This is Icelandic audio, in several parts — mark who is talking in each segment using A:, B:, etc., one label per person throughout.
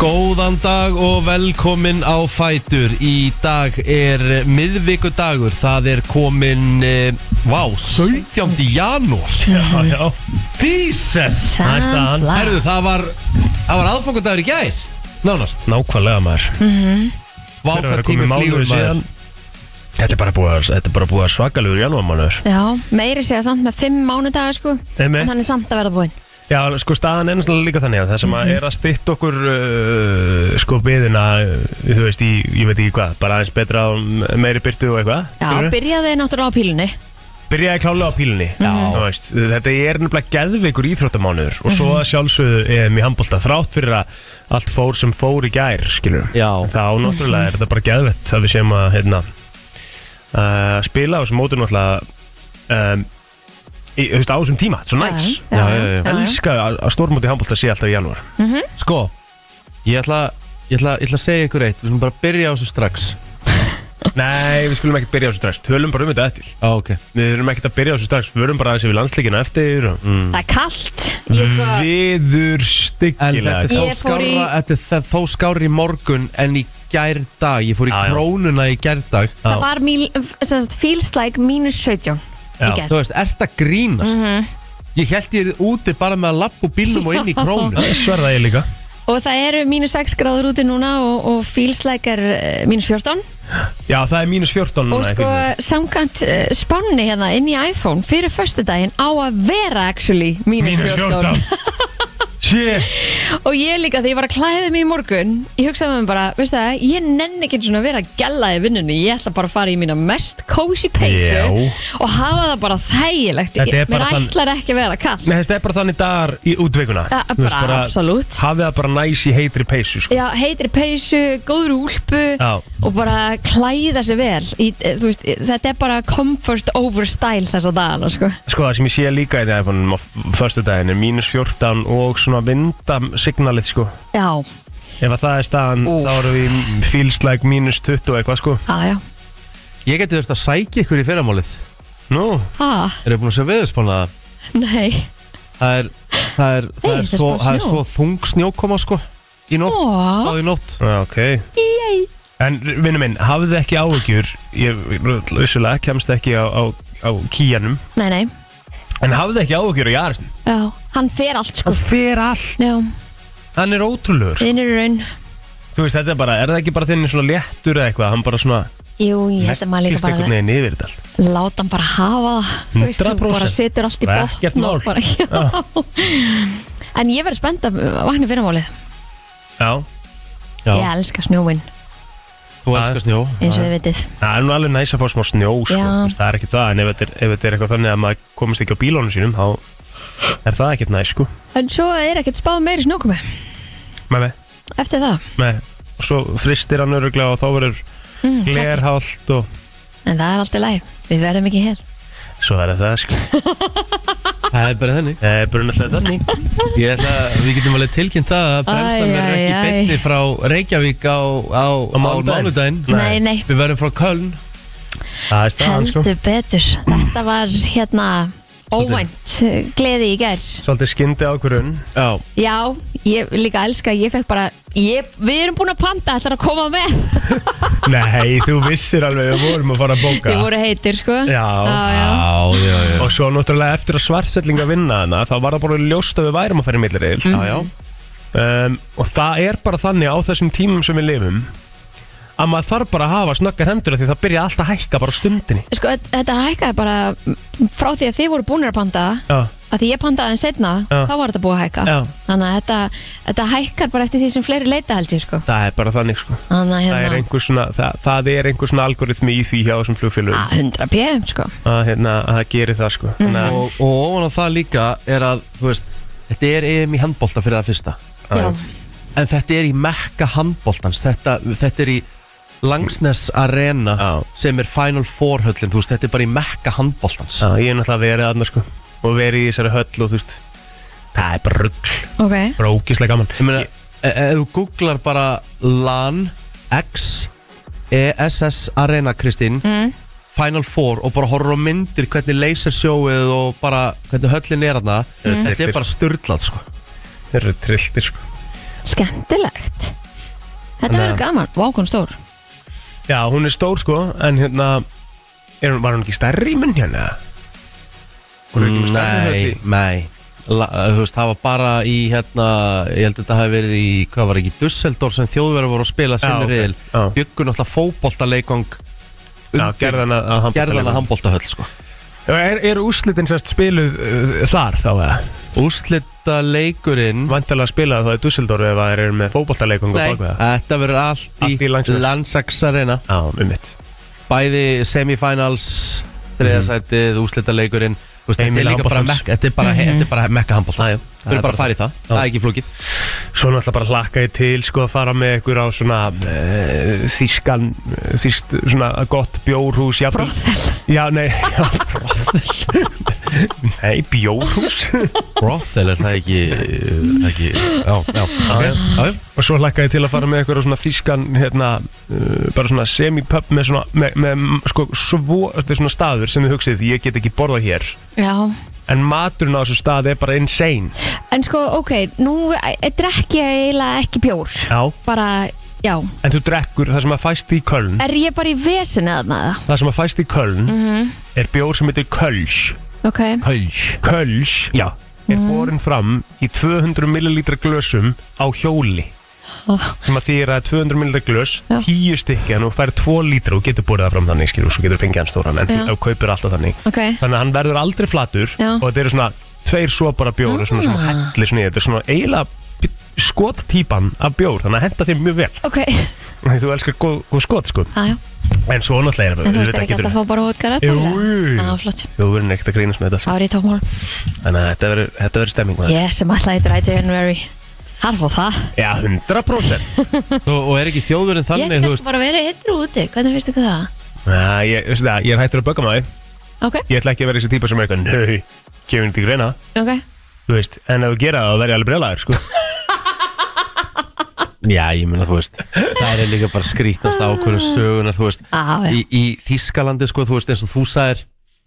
A: Góðan dag og velkomin á Fætur Í dag er miðvikudagur Það er komin, eh, vá, 17. janúar
B: Já, já Jesus Það er staðan
C: flag.
A: Herðu, það var, það var aðfangudagur í gær Nánast
B: Nákvæmlega maður
A: Vá,
B: Þegar
A: hvað
B: það
A: Mm. tími
B: komið
A: flýgur
B: mánuður
A: maður
B: síðan Þetta er bara búið að, þetta er bara búið að svakalugur janúar mannur
C: Já, meiri segja samt með fimm mánudagar sko
B: Einmitt.
C: En hann er samt að verða búinn
B: Já, sko staðan er náttúrulega líka þannig að það sem
A: Mhm.
B: að er að stytta okkur uh, sko byðina, þú veist, í, ég veit ekki hvað bara aðeins betra á meiri byrtu og eitthvað
C: Já,
B: skilurðu?
C: byrjaði náttúrulega á pílunni
B: byrjaði klálega á pílunni Mhm. Þú veist, þetta er nefnilega geðveikur íþróttamánuður og
C: Mhm.
B: svo að sjálfsögðu EM í handbólta þrátt fyrir að allt fór sem fór í gær skilur,
A: Já.
B: þá
C: Mhm.
B: náttúrulega er þetta bara geðveitt að við séum að hérna, uh, spila á þessum mótum náttúrulega um, í, þú veist, á þessum tíma, þetta er svo næs
C: Já, já, já, já.
B: elska að, að stórmóti handbólta sé alltaf í janúar
A: Sko, ég ætla, ég, ætla, ég ætla að segja ykkur eitt Við skulum bara byrja á þessu strax
B: Nei, við skulum ekkert byrja á þessu strax, tölum bara um þetta eftir
A: Á, ok
B: Við þurfum ekkert að byrja á þessu strax, við verum bara aðeins yfir landsleikina eftir og...
C: Það er kallt Ég, sko,
B: Viður
A: En þetta er,
B: styggilega
A: þá
C: Ég fór
A: skárra,
C: í-
A: þetta er það, þó skárri í morgun en í gær dag Ég fór í
B: Já, já.
A: krónuna í gær dag
B: Já.
C: Það var míl, sem sagt, feels like mínus 17 í
B: Já.
C: gær
A: Þú veist, ert að grínast
C: Mhm.
A: Ég held ég er úti bara með að lappa úr bílnum og inn í krónu
B: Sverða ég líka
C: Og það eru mínus 6 gráður úti núna og, og feels like er eh, mínus 14
B: Já, það er mínus 14 núna
C: Og sko,
B: einhvern veginn.
C: samkvæmt uh, spánni hérna inn í iPhone fyrir föstudaginn á að vera actually mínus 14
B: Shit
C: Og ég líka þegar ég var að klæða mig í morgun Ég hugsaði með mér bara, veistu það, ég nenni ekki svona að vera að gæla í vinnunni Ég ætla bara að fara í mína mest cozy peysu
B: Já.
C: Og hafa það bara þægilegt
B: Þetta er
C: Mér
B: bara þann-
C: ætlar ekki að vera kall
B: Nei, þetta er bara þannig dagar í útveikuna
C: Ja,
B: Þú veist,
C: bara absolutt.
B: Hafið það bara næs í heitri peysu sko.
C: Já, heitir peysu, góður úlpu
B: Já.
C: Og bara klæða sig vel í, eh, þú veist, Þetta er bara comfort over style þessa dagana sko.
B: sko, það sem ég sé líka í það á förstu daginn er mínus 14 og svona vindamsignalið sko.
C: Já,
B: Ef að það er staðan,
C: Úff.
B: þá erum við í feels like mínus 20 og eitthvað sko.
C: já, já
A: Ég geti þurft að sækja ykkur í fyrramálið
B: Nú,
C: Ha,
A: Erum búin að segja veðurspána það?
C: nei
A: Það er, það er, það
C: Hey,
A: er,
C: það er
A: svo,
C: bara
A: það er
C: snjó.
A: svo þung snjókoma sko Í nótt,
C: Ó.
A: spáð í nótt
B: Já, ok
C: Yay.
B: En vinnu minn, hafið ekki áhugjur Ég vissulega kemst ekki á, á, á kíjanum
C: Nei, nei,
B: En hafið ekki áhugjur á Jarðsson
C: já, hann fer allt sko
B: Hann fer all,
C: Já,
B: hann er ótrúlegur
C: þinn eru raun
B: Þú veist, þetta er bara, er það ekki bara þinn svona léttur eða eitthvað, hann bara svona
C: Jú, ég held að maður líka
B: Leggist
C: bara
B: einhvern veginn yfir þetta allt
C: láta hann bara hafa það þú veist, þú
B: 100%.
C: bara setur allt í
B: Það er
C: botn
B: ekkert mál.
C: og bara, já. en ég verð spennt að vakna fyrir málið
B: Já,
A: Já,
C: ég elska snjóin
A: þú elskar snjó
C: eins og þið vitið
B: það er nú alveg næs að fá smá snjó sko.
C: Já.
B: Þú veist, Það er ekkert það, en ef þetta er, ef þetta er eitthvað þannig að maður komist ekki á bílónu sínum þá er það ekkert næs sko
C: en svo er ekkert spáð meiri snjókomi
B: Með með,
C: eftir það,
B: með Og svo fristir hann öruglega og þá verður
C: Mm,
B: glerhált og
C: en það er alltaf læg við verðum ekki hér
B: Svo er það sko
A: Það er bara þannig
B: Það er bara náttúrulega þannig
A: Ég ætla að við getum alveg tilkynnt það að brennslan
C: Æ,
A: verður
C: æ,
A: ekki
C: æ.
A: betni frá Reykjavík á, á, á
B: mánudaginn.
A: mánudaginn
B: Nei.
C: nei, nei,
A: Við verðum frá Köln
B: Það er staðan sko
C: heldur betur þetta var hérna óvænt eh, gleði í gær
B: Svolítið skyndi á hverjum
A: Já,
C: já, ég líka elska ég fekk bara, ég, við erum búin að panta ætlar að koma með,
B: Nei, þú vissir alveg, við vorum að fara að bóka
C: þið voru heitir sko
B: Já. Ah.
C: já.
A: já, já, já.
B: Og svo náttúrulega eftir að svartfelling að vinna hana þá var það bara ljóst að við værum að fara í millirriðil
A: Já, já.
B: um, og það er bara þannig á þessum tímum sem við lifum að maður þarf bara að hafa snöggar hendur af því það byrja alltaf að hækka bara á stundinni
C: Sko, þ- þetta hækkaði bara mm, frá því að þið voru búinir að panta
B: Já,
C: að því ég pantaði en setna,
B: Já.
C: þá var þetta búið að hækka
B: Já.
C: þannig að þetta, þetta hækkar bara eftir því sem fleiri leita held ég sko
B: það er bara þannig sko
C: þannig að
B: það er
C: hérna,
B: einhver svona, það, það er einhver svona algoritmi í því hjá þessum flugfélugum
C: að 100 pm sko
B: að, hérna, að það gerir það sko mm -hmm.
A: og, og ofan á það líka er að þú veist, þetta er EM í handbolta fyrir það fyrsta
C: Já,
A: en þetta er í mekka handboltans þetta, þetta er í Langsnes Arena
B: Já.
A: sem er Final Four höllin, þú veist, þetta er bara í mekka handboltans
B: að, ég er náttúrulega verið aðna sko og verið í þessari höll og þú veist það er bara rugg,
C: ok,
B: bara ógislega gaman
A: ég meina, e- ef þú googlar bara LAN X ESS Arena Kristín
C: Mm.
A: Final Four og bara horfur á myndir hvernig lasersjóið og bara hvernig höllin er hana
B: Mm.
A: þetta er bara styrlað sko
B: Þeir eru trilltir sko
C: skemmtilegt Þetta
B: Þannig
C: verður
B: að-
C: gaman, vákon stór
B: Já, hún er stór sko, en hérna er, hún- Var hún ekki stærri í munn hérna? Hún er ekki með stærri
A: Nei,
B: hérna
A: nei La, eh, Þú veist, það var bara í hérna Ég held að þetta hafi verið í, hvað var ekki Dusseldorf sem þjóðverður voru að spila sinni
B: ok,
A: riðil
B: já.
A: Bjuggu náttúrulega fótboltaleikong
B: Já, gerðan að, að handbolta
A: Gerðan að handbóltahöll sko
B: Er, er úslitin sérst spiluð uh, þar þá eða?
A: Úslita leikurinn
B: Vandalega að spila það í Dusseldorf ef það er með fótboltaleikung og
A: Nei,
B: bakveða
A: þetta verður allt í,
B: Allt í Langsess.
A: landsaksarena
B: Já, um mitt
A: Bæði semifinals þriðasætið, mm. úslita leikurinn Þú veist, Þetta er
B: Mhm. Heimili
A: líka bara
B: handboltans. Mhm.
A: mekka Þetta er bara, mm -hmm. bara mekka handbólta
B: Já, já.
A: Við erum bara að fara í það,
B: Já.
A: það er ekki flókið
B: Svo náttúrulega bara hlakka ég til sko að fara með ykkur á svona uh, þýskan, eh, þýst, svona gott bjórhús jafnvel-
C: Brothel.
B: Já, nei, já, brothel Nei, bjórhús
A: Brothel er það ekki, það ekki Já, já, ok
B: já.
A: já, já.
B: Og svo hlakka ég til að fara með ykkur á svona þýskan hérna, uh, bara svona semi-pub með svona, með, með sko, svo, þetta er svona staður sem þið hugsið ég get ekki borðað hér
C: Já
B: en maturinn á þessu stað er bara insane
C: En sko, ok, nú eh, drekk ég eiginlega ekki bjór
B: Já, Mm.
C: Bara, já
B: en þú drekkur það sem að fæst í Köln
C: Er ég bara í vesinu að maður?
B: það sem að fæst í Köln
C: Mm. Mhm.
B: er bjór sem heitir Kölsch
C: Ok
A: Hauð
B: Kölsch
A: Já.
B: er
C: Mm.
B: borin fram í 200 millilítra glösum á hjóli sem að þýra 200 millilítra glös
C: Já.
B: 10 stykki en þú fær 2 lítra og getur borið það fram þannig skilur og svo getur þú fengið hann stóran en
C: Já.
B: þú kaupir alltaf þannig
C: Ok
B: þannig að hann verður aldrei flatur
C: Já. Ah.
B: og þetta eru svona tveir sopar af bjór og svona, svona hellir svona í þetta er svona eiginlega skottýpan af bjór þannig að henda þér mjög vel
C: Ok,
B: Nei, þú elskar góð, góð skot sko
C: aðjá,
B: en svo náttúrulega er
C: en þú
B: auðvitað
C: veist ekki að
B: getur-
C: þetta fá bara hótkar að
B: Jú.
C: Já, Ah, flott,
B: Þú verður ekkert að grínast með þetta
C: það
B: sko.
C: var í tókmál
B: Þannig að þetta verður- þetta verður stemming maður.
C: Ég sem ætlaði dræti January Þar fór það
B: Já, 100%
A: og, og er ekki þjóðurinn
C: Ég
A: þannig þú
C: ætti kannski
A: veist
C: bara að vera hittur úti Hvernig finnst ykkur það?
B: Já, ég, veistu það, ég er hættur að bögga maður
C: Ok,
B: Ég ætla ekki að vera þessi típa sem er eitthvað Nau, gefur þetta ekki reyna
C: ok
B: Þú veist, en ef þú gera það, þá verður ég alveg brjálæður sko.
A: Já, ég meina þú veist Það er líka bara skrítast ákvörðum sögunar þú veist
C: Á, Ah. já.
A: í, í Þískalandi sko þú veist eins og þú sagðir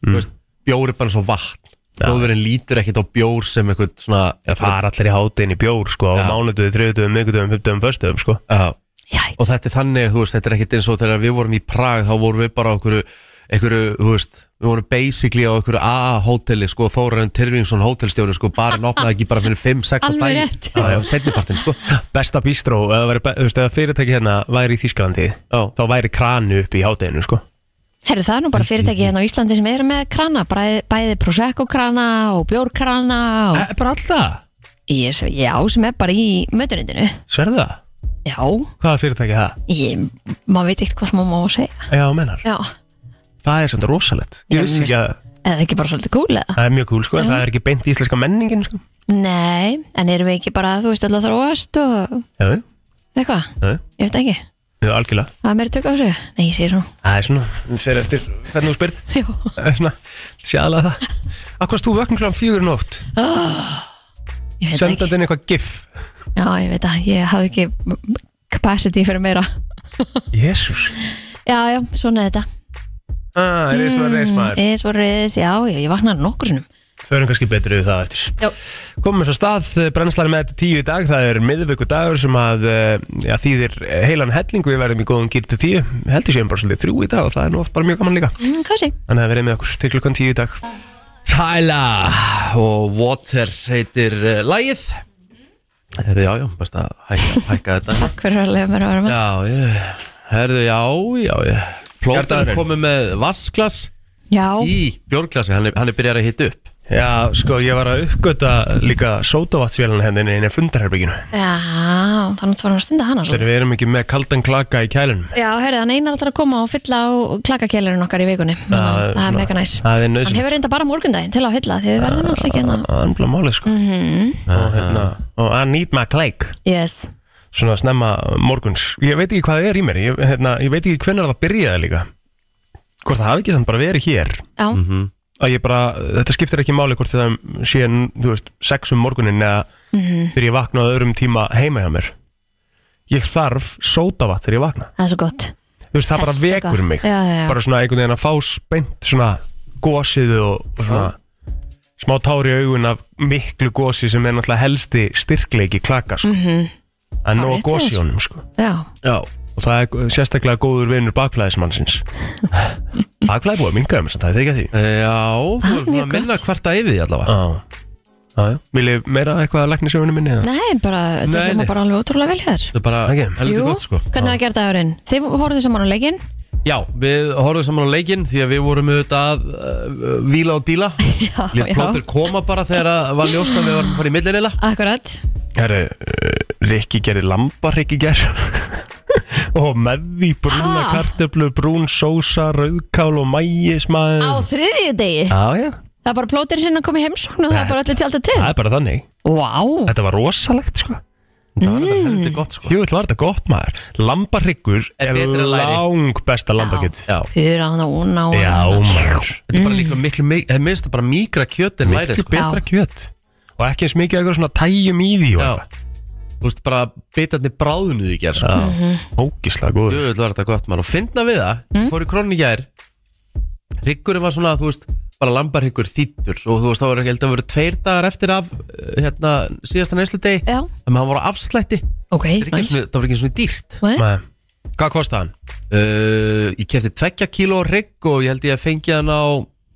A: þú veist, Bjór er bara eins og vatn Þjóðurinn lítur ekkit á bjór sem eitthvað svona
B: Það fara allir í hátinn í bjór sko, á
A: Já.
B: mánuduði, þriðutuðum, miðgutuðum, fymtuðum, föstuðum sko.
A: Já,
C: Jæ,
A: og þetta er þannig, þú veist, þetta er ekkert eins og þegar við vorum í Prag, þá vorum við bara á einhverju, einhverju, þú veist, við vorum basically á einhverju AA hóteli, sko, Þórarinn Tyrfingsson hótelstjóri, sko, barinn opnaði ekki bara fyrir 5-6 á
C: Alveg
A: daginn.
C: rétt.
A: Já, já, setnipartin, sko.
B: Besta bistró, eða væri be- þú veist, ef fyrirtæki hérna væri í Þísklandi
A: Já.
B: þá væri kranu upp í hátinu sko.
C: herru það er nú bara fyrirtæki hérna á Íslandi sem eru með krana Bæði, bæði Prosecco krana og bjórkrana og...
B: E, bara alltaf,
C: ég, svo- Já, sem er bara í mötunindinu
B: sverðu það?
C: Já,
B: Hvaða fyrirtæki er það?
C: ég, maður veit ekkert hvað sem maður má að segja
B: Já, menar,
C: Já,
B: það er svolítið rosalegt Ég
C: Já,
B: vissi
C: mér
B: ekki að
C: eða ekki bara svolítið cool eða
B: það er mjög cool sko, en það er ekki beint í íslenska menningin sko.
C: Nei, en erum við ekki bara, þú veist, alltaf þróast og
B: Já, já,
C: eitthvað
B: já,
C: Ég veit ekki,
B: já, algjörlega
C: það er meira tök á þessu Nei, ég segir svona
B: Það er svona, við fyrir eftir hvernig þú spyrð
C: Já.
B: Það er svona, sjáðlega það Akkur varst þú vöknum kláðum fjögur í nótt
C: Ég veit það ekki
B: Sendandi inn eitthvað gif
C: Já, ég veit það, ég hafði ekki m- m- capacity fyrir meira
B: Jésús
C: Já, já, svona er þetta
B: Ah, er þess að reis maður
C: Is what it is, já, já, ég vaknaði nokkur sinnum
B: Förum kannski betur yfir það eftir
C: Já,
B: Komum svo stað, brennslari með þetta tíu í dag Það er miðvöku dagur sem að eh, já, þýðir heilan helling Við verðum í góðum gýr til tíu Heldur séum um bara svolítið þrjú í dag og það er nú oft bara mjög gaman líka
C: mm, kási
B: Þannig að verið með okkur til klukkan tíu í dag
A: Tyla og Water heitir uh, lægið. Herðu, já, já, best að hækka, hækka þetta.
C: Takk fyrir að leiða mér að vera með
A: Já, ég, herðu, já, já, ég. Plótarinn
B: Hjartaðurinn.
A: komið með vasklas
C: Já,
A: í bjórglasi, hann er, hann er byrjar að hitta upp.
B: Já, sko, ég var að uppgöta líka sótavatsvélana hendinni inn í fundarherbygginu
C: já, þannig var hann að stunda hana svolítið
B: Þegar við erum ekki með kaldan klaka í kælunum
C: Já, heyrðu, hann einar alltaf að koma og fylla á klakakelurinn okkar í vikunni Þannig
B: það
C: að
B: er
C: Það er
B: svona-
C: mega næs
B: það er
C: Hann
B: nauðsynlegt.
C: hefur reynda bara morgundaginn til að fylla því við verðum alltaf ekki hérna
B: Það er umlað málið sko
C: Mhm.
B: og, hérna, og I need my cake
C: Yes,
B: Svona snemma morguns Ég veit ekki hvað það er í mér Ég, hérna, ég veit ekki hvernig það byrjaði líka Hvort það hafi ekki þannig bara verið hér
C: já,
B: Mhm. að ég bara, Þetta skiptir ekki máli hvort það sé þú veist, sex um morgunin eða
C: Mhm.
B: þegar ég vakna á öðrum tíma heima hjá mér Ég þarf sótavatt þegar ég vakna
C: það er svo gott
B: Þú veist, Það bara
C: Þess vegna.
B: vekur mig
C: Já, já, já.
B: Bara svona einhvern veginn að fá spennt svona gósið og, og svona smá tár í augun af miklu gósi sem er náttúrulega helsti styrkleiki klaka sko. en nú að
C: Hárrétt
B: gósi
C: Mhm. hjá þér.
B: honum sko.
C: Já,
A: Já,
B: og það er g- sérstaklega góður vinur bakflæðismannsins bakflæði búið að minga um þess að það er ekki að því
A: Eh, já þú
C: er
A: erum
C: Ah, mjög
A: að minna
C: gott.
A: hvarta yfir því allavega
B: á, á, já. viljið meira eitthvað að lækna sjóinu minni eða?
C: nei, bara, þetta
A: Nei,
C: er
A: nei.
C: bara alveg ótrúlega vel hér
A: Það er bara
B: Ok.
A: heldur gott sko
C: hvernig var að gera dagurinn? Þið horfðu saman á leikinn
A: Já, við horfum saman á leikinn því að við vorum auðvitað að uh, víla og díla
C: Já,
A: Létt plótur koma bara þegar að var ljóst að við varum að fara í millileila
C: Akkurat
B: Herru, uh, Rikki gerir lambarikki ger og með því brúna
C: Ha?
B: kartöflu, brún sósa, rauðkál og mæjis maður.
C: Á þriðju degi
B: Já, já,
C: Það er bara plótir sinna að koma í heimsókn og það er bara allir tjálta til
B: það er bara þannig.
C: Vá,
B: Þetta var rosalegt, sko.
A: Það var þetta heldur gott sko
B: Jú, þetta var þetta gott maður. Lambarikkur
A: Er
B: er
A: betri en læri.
B: lang besta lambakett.
A: Já,
C: fyrir að það óna og
B: Já, maður.
A: þetta er bara líka miklu, eh, miklu minnst bara mýgra kjöt en væri
B: Miklu
A: sko
B: betra
C: Já.
B: kjöt. Og ekki eins mikið eitthvað svona tæjum í því. og
A: Já,
B: eitthvað.
A: þú veist bara bitarnir bráðunuð í gerð sko
B: Já, ógislega góður.
A: Jöfnveld var þetta gott mann og finna við það mm. Fór í krónin í gær Ryggurinn var svona, þú veist, bara lambarhyggur þýttur Og þú veist, þá var ekki held að voru tveir dagar eftir af eh, Hérna, síðasta næslu deg
C: Já.
A: En hann var á afslætti Það
C: Ok,
A: er ekki einu sinni- það var ekki einu svona dýrt
C: næs. Nei.
B: Nei. Hvað kostaði hann?
A: uh, Ég kefti tveggja kíló rygg Og ég held ég að fengi hann á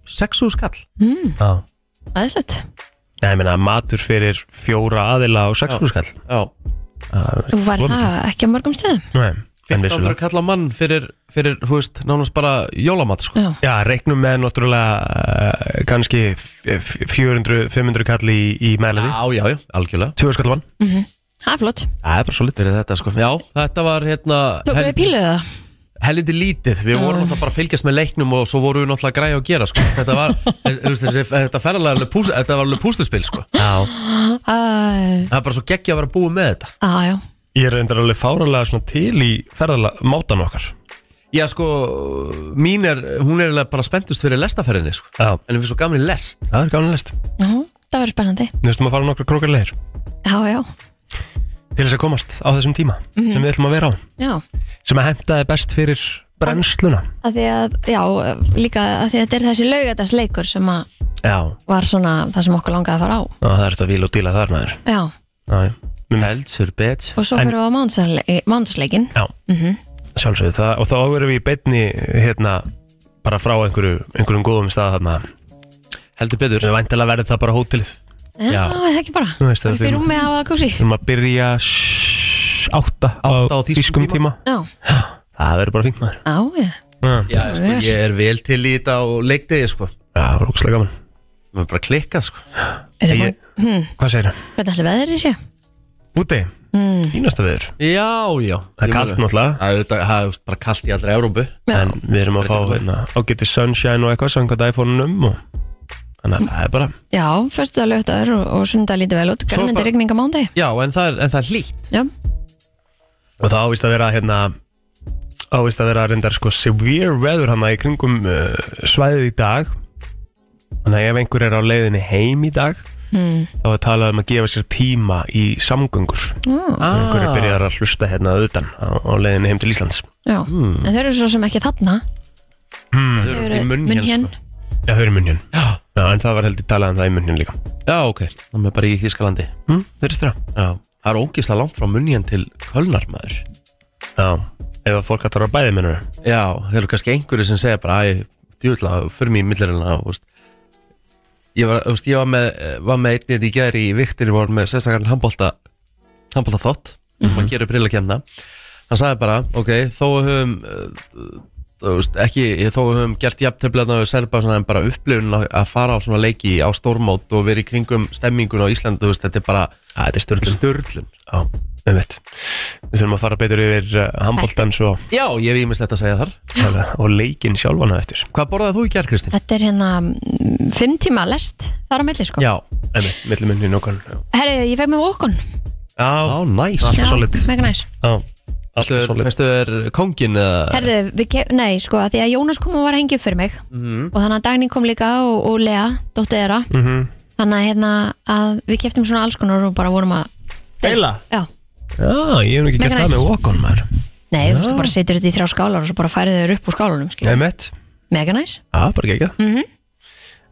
A: Sexu skall
B: Já.
C: Æðislegt.
B: Nei, ég meina, matur fyrir fjóra aðila og sex húskall.
A: Já,
C: Þú væri það ekki á mörgum stöðum
B: Nei, en
A: 1500
B: vissulega
A: kall á mann fyrir, fyrir, þú veist, nánast bara jólamat sko.
C: Já.
B: Já, reiknum með náttúrulega uh, kannski f- f- 400, 500 kall í, í meðlæði
A: Já, já, já, algjörlega
B: Tvö skall vann
C: Það er flott
B: Það er bara svolítið
A: Fyrir þetta, sko. Já, þetta var hérna
C: Tókuðu
A: hel-
C: þið píluðu það?
A: helviti lítið, við vorum náttúrulega bara að fylgjast með leiknum og svo vorum við náttúrulega að græja og gera sko. þetta var, þú veist þessi, þetta ferðalega alveg pús- þetta var alveg pústuspil sko.
B: Já
C: Æ,
A: það er bara svo geggja að vera búið með þetta
C: Á, já
B: Ég er reyndar alveg fáralega svona til í ferðalega mátan okkar
A: já sko, mín er hún er eiginlega bara spenntust fyrir lestaferðinni sko.
B: Já,
A: en við erum svo gaman í lest
B: það er gánilegt
C: Nú, það verður spennandi
B: Nú veistum að fara nokkra krókarleir
C: Já, já,
B: til þess að komast á þessum tíma
C: Mhm.
B: sem við ætlum að vera á
C: já
B: sem að hentaði best fyrir brennsluna
C: að því að, já, líka að því að þetta er þessi laugadagsleikur sem að
B: Já,
C: var svona það sem okkur langaði að fara á
B: Ná, það er þetta víl og díla þar maður
C: Já,
B: Já, já. Mér-
A: heldsur bet
C: og svo
B: En-
C: fyrir við á eh, mándagsleikin
B: Já,
C: Mhm.
B: sjálfsögðu það og þá verðum við í beinni hérna bara frá einhverju, einhverjum góðum stað þarna
A: heldur betur
B: Við væntalega verður það bara hótelið Við
C: Já,
A: Já.
C: það er ekki bara
B: Þú veist, það
C: Það
B: er-
C: fyrir rúmi að hafa kósi
B: erum að byrja s- átta
A: Átta á þýskum
B: þýskum tíma.
C: Já,
B: Það verður bara fínt maður
C: á, já
B: Já,
A: já, sko, ég er vel til í þetta og leikdegi sko.
B: það er ógustlega gaman
A: við erum bara klikkað sko.
C: Er það
B: ég,
C: búin, hm,
B: Hvað segir það?
C: hvernig ætli veðrið sé?
B: Úti?
C: Hmm.
B: Fínasta veður
A: já, já
B: Það er kallt náttúrulega
A: það er auðvitað- það er bara kallt í allra Európu
C: Já.
B: En við erum að fá hérna, ágæti sunshine og eitthvað samkvæmt iPhone-num og Þannig að það er bara
C: Já, fyrstu að lögtaður og, og sunda lítið vel út Grænandi
B: bara-
C: rigning á mándagi
A: já, en það er, en það er hlýtt
C: Já,
B: Og það ávist að vera hérna Ávist að vera reyndar sko severe weather hana í kringum uh, svæðið í dag Þannig að ef einhver er á leiðinni heim í dag
C: mm.
B: þá er talað um að gefa sér tíma í samgöngur einhver er byrjar að hlusta hérna að utan á, á leiðinni heim til Íslands
C: já. En þau eru svo sem ekki þarna
A: það
C: Þau
A: eru
C: eru
A: í munn
C: munn
A: hérna sko.
B: Já, þau eru munjun
A: Já.
B: Já, en það var heldur talað um það í munjun líka
A: Já, ok, það er bara í Þískalandi
B: hm? Þau eru það
A: Já, það er ógislega langt frá munniðan til Kölnar maður
B: Já, ef að fólk að á bæði munur
A: Já, það eru kannski einhverju sem segja bara Æ, djúðla, fyrir mig í millirina veist. Ég var, þú veist, ég var með var með einnið í gæri í viktinu var með sérstakarn handbólta handbólta þátt, mm -hmm. maður gerir brilla kemna hann sagði bara, ok, þó við höfum uh, þú veist, ekki þó við höfum gert jafntöflaðna við serba svona, en bara upplifun að- að fara á svona leiki á stórmót og verið í kringum stemmingun á Íslandi, þú veist, þetta er bara
B: Það er störlum
A: störlun
B: Já, um veit Við þurfum að fara betur yfir uh, handbóltan svo
A: Já, ég hef ímislegt að segja þar
B: og leikinn sjálfan að eftir
A: Hvað borðaði þú í gær, Kristín?
C: Þetta er hérna mm, fimm tíma lest þar á milli sko
A: Já,
B: Einmitt, milli munni nokkan Já,
C: Herri, ég fekk mig vókun
A: á,
B: Já,
A: næs
B: Allt er solid.
C: Mega næs
B: já Allt er
A: Fyrstu,
B: svolít
A: fyrstu er kongin eða
C: Herðu, við kem, nei sko, að því að Jónas kom og var að hengja upp fyrir mig
B: Mhm.
C: og þannig að Dagný kom líka og, og Lea, dóttið þeirra
B: Mhm.
C: þannig að, hérna, að við keftum svona alls konar og bara vorum að
B: Deila
C: Já,
B: Já, ég hef nú ekki
C: Mega
B: gert það
C: nice.
B: með walk-on maður
C: nei, þú veist, þú bara setur þetta í þrjá skálar og svo bara færið þeir upp úr skálunum, skil
B: Einmitt
C: Mega næs
B: Já, bara ekki ekki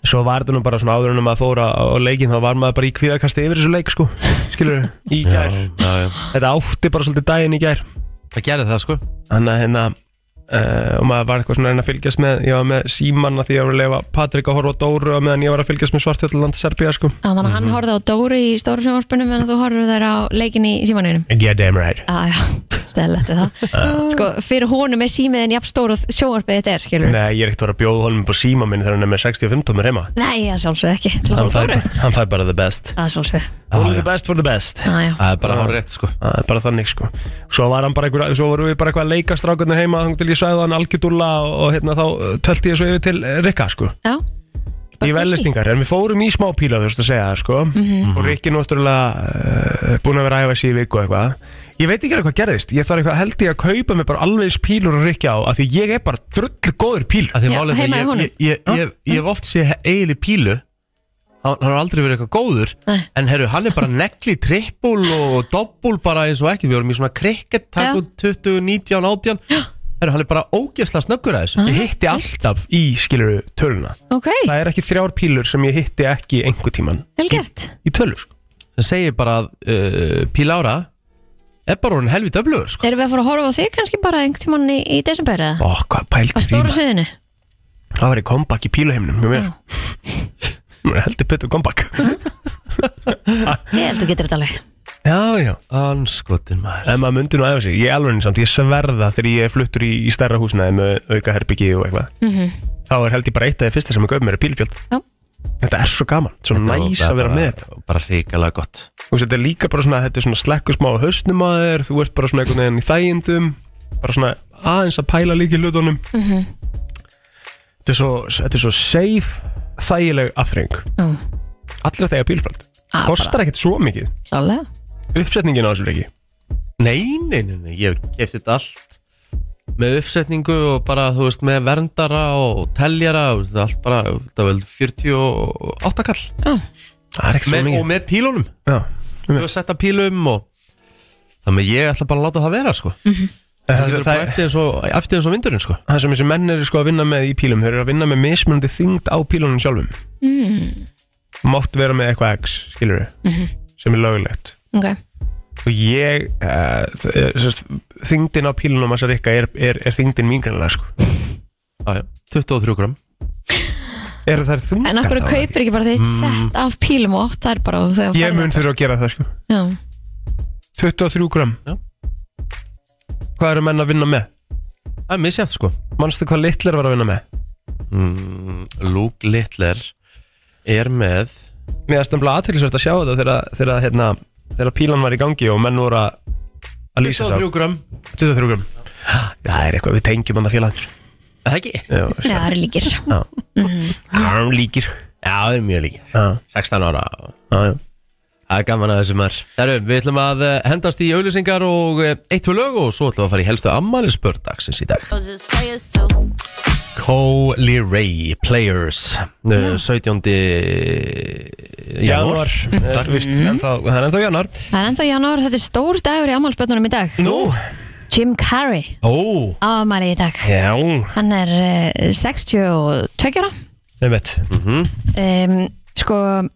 B: Svo var þetta nú bara svona áður en maður fóra á á leikinn þá var maður bara í kvíðakasti yfir þessu leik sko skilur, í gær
A: já, já.
B: Þetta átti bara svolítið daginn í gær
A: Það gerði það sko
B: Þannig að hérna uh, og maður var eitthvað svona að reyna að fylgjast með ég var með símanna því ég var að lefa Patrik að horfa á Dóru á meðan ég var að fylgjast með Svartfjöldland Serbía sko
C: Þannig að hann horfði á Dóri í stóru sjónvarpunum en þú horfður þær á leikin í símanuðinum
B: Yeah damn right
C: Já, já, stæðilegt við það Sko, fyrir honum er símiðin jafn stór og sjóarpið þetta er, skilur Nei,
B: Nei, ég er ekkert að vera að bjóða honum upp á síma minn þegar hann er með 65 tómur heima
C: það sjálfsög ekki Til að
B: hann
C: horfa á
B: fær,
C: Dóru
B: hann fær bara the best
C: Það sjálfsög
B: Only the best for the best
C: Já, já,
A: Það er bara hár rétt sko
B: Það er bara þannig sko Svo var hann bara einhver, svo voru við bara eitthvað að leika strákarnir heima Þannig til ég sæði hann algjördulla og, og hérna þá eh, tölti ég svo yfir til eh, Rikka sko
C: já Bara
B: Í
C: kósí.
B: vellistingar, en við fórum í smá píla þú veist að segja það sko
C: Mhm.
B: Og Rikki náttúrulega uh, búin að vera að æfa sig í viku og eitthvað Ég veit ekki alveg hvað gerðist, ég þarf eitthvað held ég að kaupa mig bara alveg eins pílur og Rikki á Af því ég er bara drull góður píl
A: Af því
C: Já,
A: málið er
C: heima í
A: það að
C: honum.
A: ég, ég, ég, ég, ég hef oft sé eiginlega pílu Hann hann har aldrei verið eitthvað góður
C: Nei.
A: En herru, hann er bara negli trippul og doppul bara eins og ekki Við vorum í svona krikket, takk
C: Já.
A: og 20, 19, 18 Herru, hann er bara ógeðslega snöggur að þessu
B: Ég hitti alltaf í skiluru töluna
C: Ok,
B: Það er ekki þrjár pílur sem ég hitti ekki einhver tíman
C: vel gert
B: í tölu sko
A: Það segir bara að uh, píla ára Er bara hún helvið döflugur sko
C: Erum við að fara að horfa á þig kannski bara einhvern tímann í, í desember eða?
B: Ó, hvað pælt
C: Á stóra sviðinu?
B: Það var í comeback í píluheimnum með mér Mér er heldur betur comeback
C: Ég held þú getur þetta alveg
B: Já, já
A: Anskotin maður
B: En maður myndi nú aðeins sig Ég er alveg eins samt Ég sverða þegar ég er fluttur í, í stærra húsnaði með auka herbyggi og eitthvað
C: Mhm.
B: Þá er held ég bara eitt af því fyrsta sem ég gauð mér er pílupjöld
C: Já.
B: Þetta er svo gaman Svo næs
A: Það er
B: að vera
A: bara-
B: með þetta
A: Bara hrikalega gott
B: Þú veist, Þetta er líka bara svona Þetta er svona slekkur smá á hausnum að þér Þú ert bara svona einhvern veginn í þægindum Bara svona aðeins að pæla líki hlutunum þetta, er svo, þetta er svo safe Þægileg afþreng
C: Já,
B: Allir að þegja pílupjöld
C: Ah,
B: Kostar ekkert svo mikið
C: klálega
B: uppsetningin á þessu leiki
A: Nei, nei, nei, nei, ég kefti þetta allt með uppsetningu og bara, þú veist, með verndara og teljara og þetta allt bara, þetta var vel 48 kall
B: það er ekki
A: með, og með pílunum,
B: já,
A: þú veist, setta pílum og þannig að ég ætla bara að láta það vera, sko
B: Eh, það,
A: þetta er bara eftir eins og, eftir eins og vindurinn, sko
B: það sem þessi menn eru sko að vinna með í pílum þeir eru að vinna með mismunandi þyngd á pílunum sjálfum mm. mátt vera með eitthvað X skilur
C: Mhm.
B: sem er lögulegt
C: Ok,
B: og ég uh, sérst, þyngdin á pílunum að rikka er, er, er þyngdin mín grannlega sko
A: já, já, 23 gram
B: eru þær þungar
C: en af hverju
B: þá?
C: kaupir ekki bara þitt sett af pílum og átt þær bara og þau að
B: Mm. ég
C: fara
B: mun þurfa að gera það sko
C: Já,
B: 23 gram
A: Já.
B: hvað eru menn að vinna með?
A: það er misjæft, sko
B: manstu hvað litlar var að vinna með?
A: mm, Luke Littler er með
B: mér er stemla aðtillisvært að sjá þetta þegar, þegar, hérna, þegar pílan var í gangi og menn voru að að lýsa sá
A: 23 gram,
B: 23 grum það er eitthvað, við tengjum hann að félagandur
A: Er það ekki?
C: Já, það eru líkir
B: hann líkir
A: Já, það er mjög líki,
B: Já,
A: 16 ára og
B: já, já.
A: Það er gaman að þessu maður. Herru, við ætlum að eh, hendast í auðlýsingar og eh, eitt tvö lög og svo ætlum við að fara í helstu ammælisbörn dagsins í dag.
D: Roses players too.
A: Coley Ray Players, eh, 17. janúar.
B: janúar
A: Eh, mhm.
B: það er vist, ennþá- Mm. það er ennþá januar
C: Það er ennþá janúar, þetta er stór dagur í ammálspötunum í dag
B: nú,
C: Jim Carrey
A: Ó,
C: afmæli í dag
B: já,
C: Hann er uh, 62 ára
B: ég veit
C: um, Sko,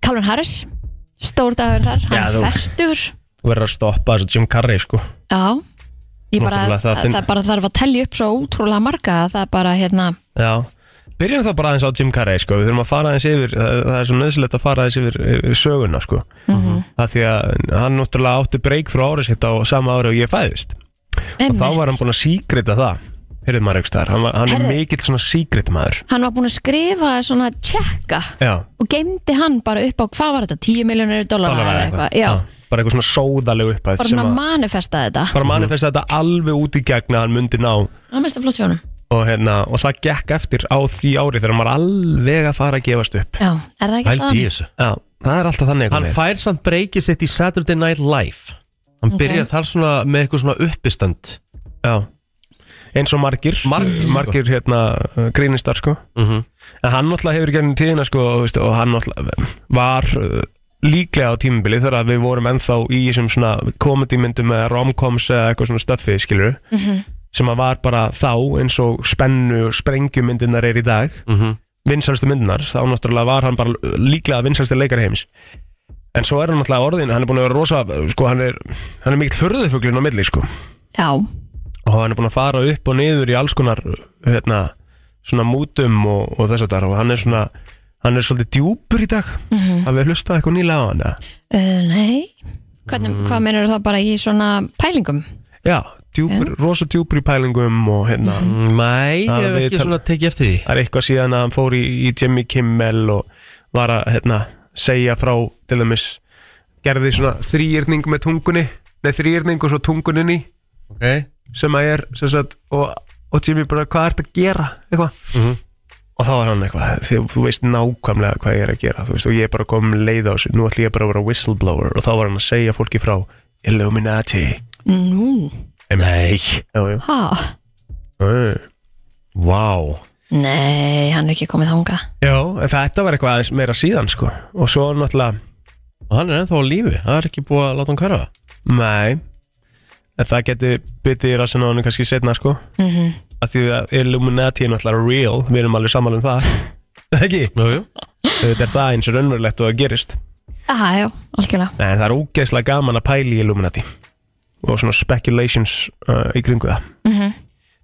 C: Calvin Harris Stór dagur þar, hann
B: Já,
C: er
B: þú-
C: færtur
B: þú verður að stoppa þessu Jim Carrey sko
C: Já Ég bara,
B: Náttúrulega, það
C: það,
B: finn-
C: bara þarf að telja upp svo ótrúlega marga að það er bara hérna
B: já Byrjum þá bara aðeins á Jim Carrey sko, við þurfum að fara aðeins yfir, það það er svo nöðsilegt að fara aðeins yfir, yfir söguna sko. Það því að hann náttúrulega átti breakthrough árið sitt á sama ári og ég fæðist. og þá var hann búinn að síkrita það heyrðu maður einhvers staðar, hann, var- hann er
C: Heyrðu.
B: mikill svona síkrit maður
C: Hann var búin að skrifa svona tjekka
B: já,
C: og geimdi hann bara upp á hvað var þetta 10 miljónir dólarar
B: dollara
C: eða eitthvað Já,
B: bara eitthvað svona sóðalegu upphæð
C: bara
B: sem
C: hann að
B: að
C: manifesta þetta
B: bara manifesta þetta alveg út í gegn að hann myndi ná og,
C: Það mest að flott hjá honum
B: hérna, og það gekk eftir á því ári þegar hann var alveg að fara að gefast upp
C: Já, er það ekki
A: held
C: alltaf
A: í
C: þannig?
A: þessu.
B: já, það er alltaf
A: Hann
B: þannig einhvern veginn.
A: fær samt breykið sitt í Saturday Night Live. Hann byrjar þar svona með eitthvað svona uppistand.
B: já. eins og margir
A: Margir, sko.
B: margir hérna, uh, grínistar sko
A: Mhm.
B: En hann náttúrulega hefur gerðin tíðina sko, og, veist, og hann náttúrulega var uh, líklega á tímubili þegar að við vorum ennþá í þessum svona komedimyndum eða romcoms eða eitthvað svona stöffi skilur sem að var bara þá eins og spennu og sprengjumyndinar er í dag
A: Mhm.
B: vinsælstu myndunar þá náttúrulega var hann bara líklega vinsælstu leikari heims en svo er hann náttúrulega orðin hann er búin að vera rosa sko, hann, er, hann er mikill förðufuglin á milli sko.
C: já,
B: og hann er búin að fara upp og niður í alls konar hérna, svona mútum og, og þess að þar og hann er svona hann er svolítið djúpur í dag mm -hmm. að við hlusta eitthvað nýlega á hann eða?
C: uh, nei Hvernig, hvað meinar það bara í svona pælingum
B: já, djúpur, rosa djúpur í pælingum og hérna
A: Mhm. Mæ, ég
B: Það
A: hef
B: við
A: ekki
B: tal-
A: svona tekið eftir því
B: það er eitthvað síðan að hann fór í, í Jimmy Kimmel og var að hérna, segja frá til dæmis gerði svona þrýjörning með tungunni nei þrýjörning og svo tunguninni
A: Ok,
B: sem að er sem sagt, og, og Jimmy bara hvað ertu að gera eitthvað og þá var hann eitthvað því, þú veist nákvæmlega hvað ég er að gera þú veist, og ég er bara kom leið á þessu nú ætlum ég bara að vera whistleblower og þá var hann að segja fólki frá Illuminati
C: nú,
A: nei
B: jú, jú.
C: ha
B: Mm.
A: Vá
C: nei, hann er ekki komið þanga
B: Já, en þetta var eitthvað aðeins meira síðan sko. og svo náttúrulega
A: Og hann er ennþá á lífi, það er ekki búið að láta hann hverfa
B: Nei En það geti byttið í rassinu á hann kannski setna sko mm
C: Mhm.
B: -hmm. Því að Illuminati er náttúrulega real Við erum alveg sammála um það Ekki?
A: Jú, jú
B: Þetta er það eins og raunverulegt og það gerist
C: aha, já, algjörlega
B: En það er ógeðslega gaman að pæla í Illuminati Og svona speculations uh, í kringu það
C: Mhm.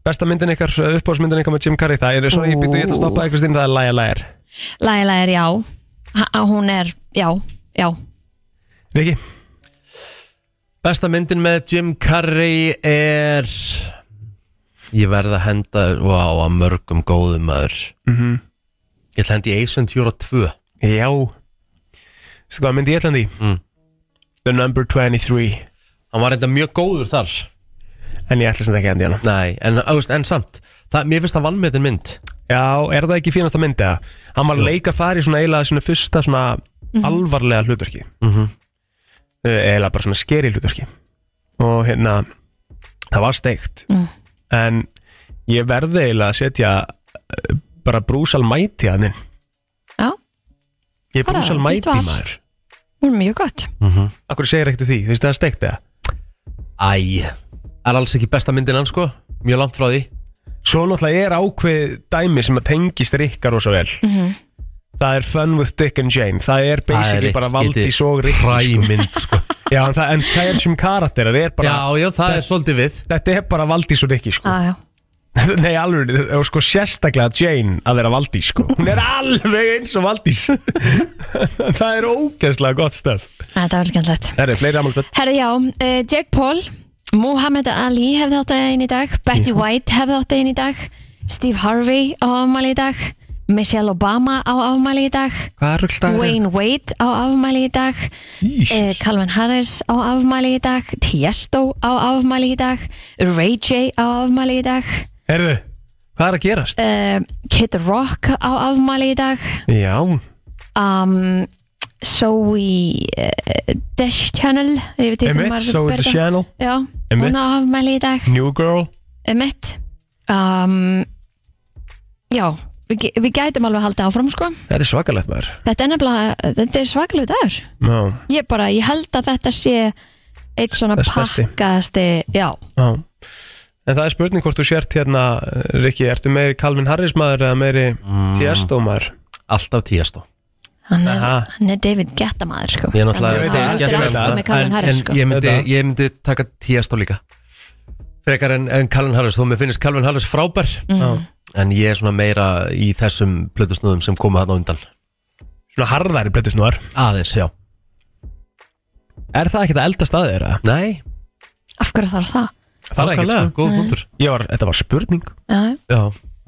B: Besta myndin ykkar, uppáðsmyndin ykkar með Jim Carrey Það er, sorry, ég byrju, ég ætla að stoppa þig Kristín, það er Læja Læjar
C: Laila er já, ha, hún er já, já,
B: Viki?
A: Besta myndin með Jim Carrey er Ég verð að henda Vá, að mörgum góðum maður
B: Mhm.
A: Ég ætla að henda í Ace Ventura 2
B: Já Veistu hvað myndi ég ætla hann í?
A: Mm.
B: The Number 23
A: Hann var enda mjög góður þar
B: En ég ætla sem ekki að enda í hana
A: Nei, en, ást, en samt það, Mér finnst það vannmetin mynd
B: Já, er það ekki fínasta myndi að hann var að leika þar í svona eiginlega svona fyrsta svona
C: Mhm.
B: alvarlega hlutverki mm
A: Mhm.
B: eiginlega bara svona skeri hlutverki og hérna það var steikt
C: Mm.
B: en ég verði eiginlega að setja eh, bara brúsal mæti að þinn
C: já
B: ég er
C: Bara,
B: brúsal
C: þitt
B: mæti
C: val.
B: maður
C: hún er mjög gott
B: Akkur segir ekkert við því, þú veist það er steikt eða
A: Æ, það er alls ekki besta myndin hann sko Mjög langt frá því
B: Svo náttúrulega er ákveð dæmi sem að tengist Rikka rosa vel
C: Mhm.
B: Það er Fun with Dick and Jane Það er basically bara valdi svo Rikki sko.
A: Ræmynd sko
B: Já, en, það, en það er sem karakterar er bara
A: Já, já, það er svolítið við
B: þetta er bara Valdís og Rikki sko.
C: já, já,
B: Nei, alveg, og sko sérstaklega Jane að vera Valdís sko. Hún er alveg eins og Valdís Það er ógeðslega gott stöf
C: þetta var skemmtilegt
B: Það er fleiri ammálspöld
C: Herði já, uh, Jake Paul Muhammad Ali hefði átt einn í dag Betty White hefði átt einn í dag Steve Harvey á afmæli í dag Michelle Obama á afmæli í dag
B: Hvað er rullstæður?
C: Wayne Wade á afmæli í dag uh, Calvin Harris á afmæli í dag Tiesto á afmæli í dag Ray J á afmæli í dag
B: Herðu, hvað er að gerast?
C: uh, Kid Rock á afmæli í dag
B: Já,
C: um, Zoe uh, Dash Channel ég veit ekki hvernig
B: Emmett,
C: maður
B: so
C: ber
B: the
C: það.
B: channel
C: Já,
B: Emmett. Mm.
C: hún á afmæli í dag
B: New girl
C: Emmett um, Já, við, ge- við gætum alveg að halda áfram sko.
B: Þetta er svakalegt maður
C: Þetta er nefnilega, þetta er svakalegu dagur
B: Já,
C: Ég bara, ég held að þetta sé eitt svona
B: Það stærsti.
C: pakkaðasti Já,
B: já En það er spurning hvort þú sért hérna Rikki, ertu meiri Calvin Harris maður eða meiri mm. Tiesto maður?
A: Alltaf tíastó
C: hann er,
B: Aha.
C: hann er David Gettamaður sko.
A: Ég er náttúrulega
C: Hann er
B: Ég
A: Ég-
B: veit ekki um
C: aldrei aftur
B: þetta,
C: með Calvin
A: en-
C: Harris
A: en
C: sko.
A: ég, myndi,
B: Þetta.
A: ég myndi taka tíastó líka Frekar en, en Calvin Harris Þó mér finnst Calvin Harris frábær
B: Já.
A: En ég er svona meira í þessum plötusnúðum sem koma þarna á undan
B: Svona harðari brettusnúar
A: Aðeins, já
B: Er það ekkert að elda staðið þeirra?
A: Nei,
C: Af hverju þarf það?
B: Það er ekkert
A: ákvæmlega,
B: sko.
A: góð punktur
B: Ég var, þetta var spurning
C: Já,
A: Mm. Já,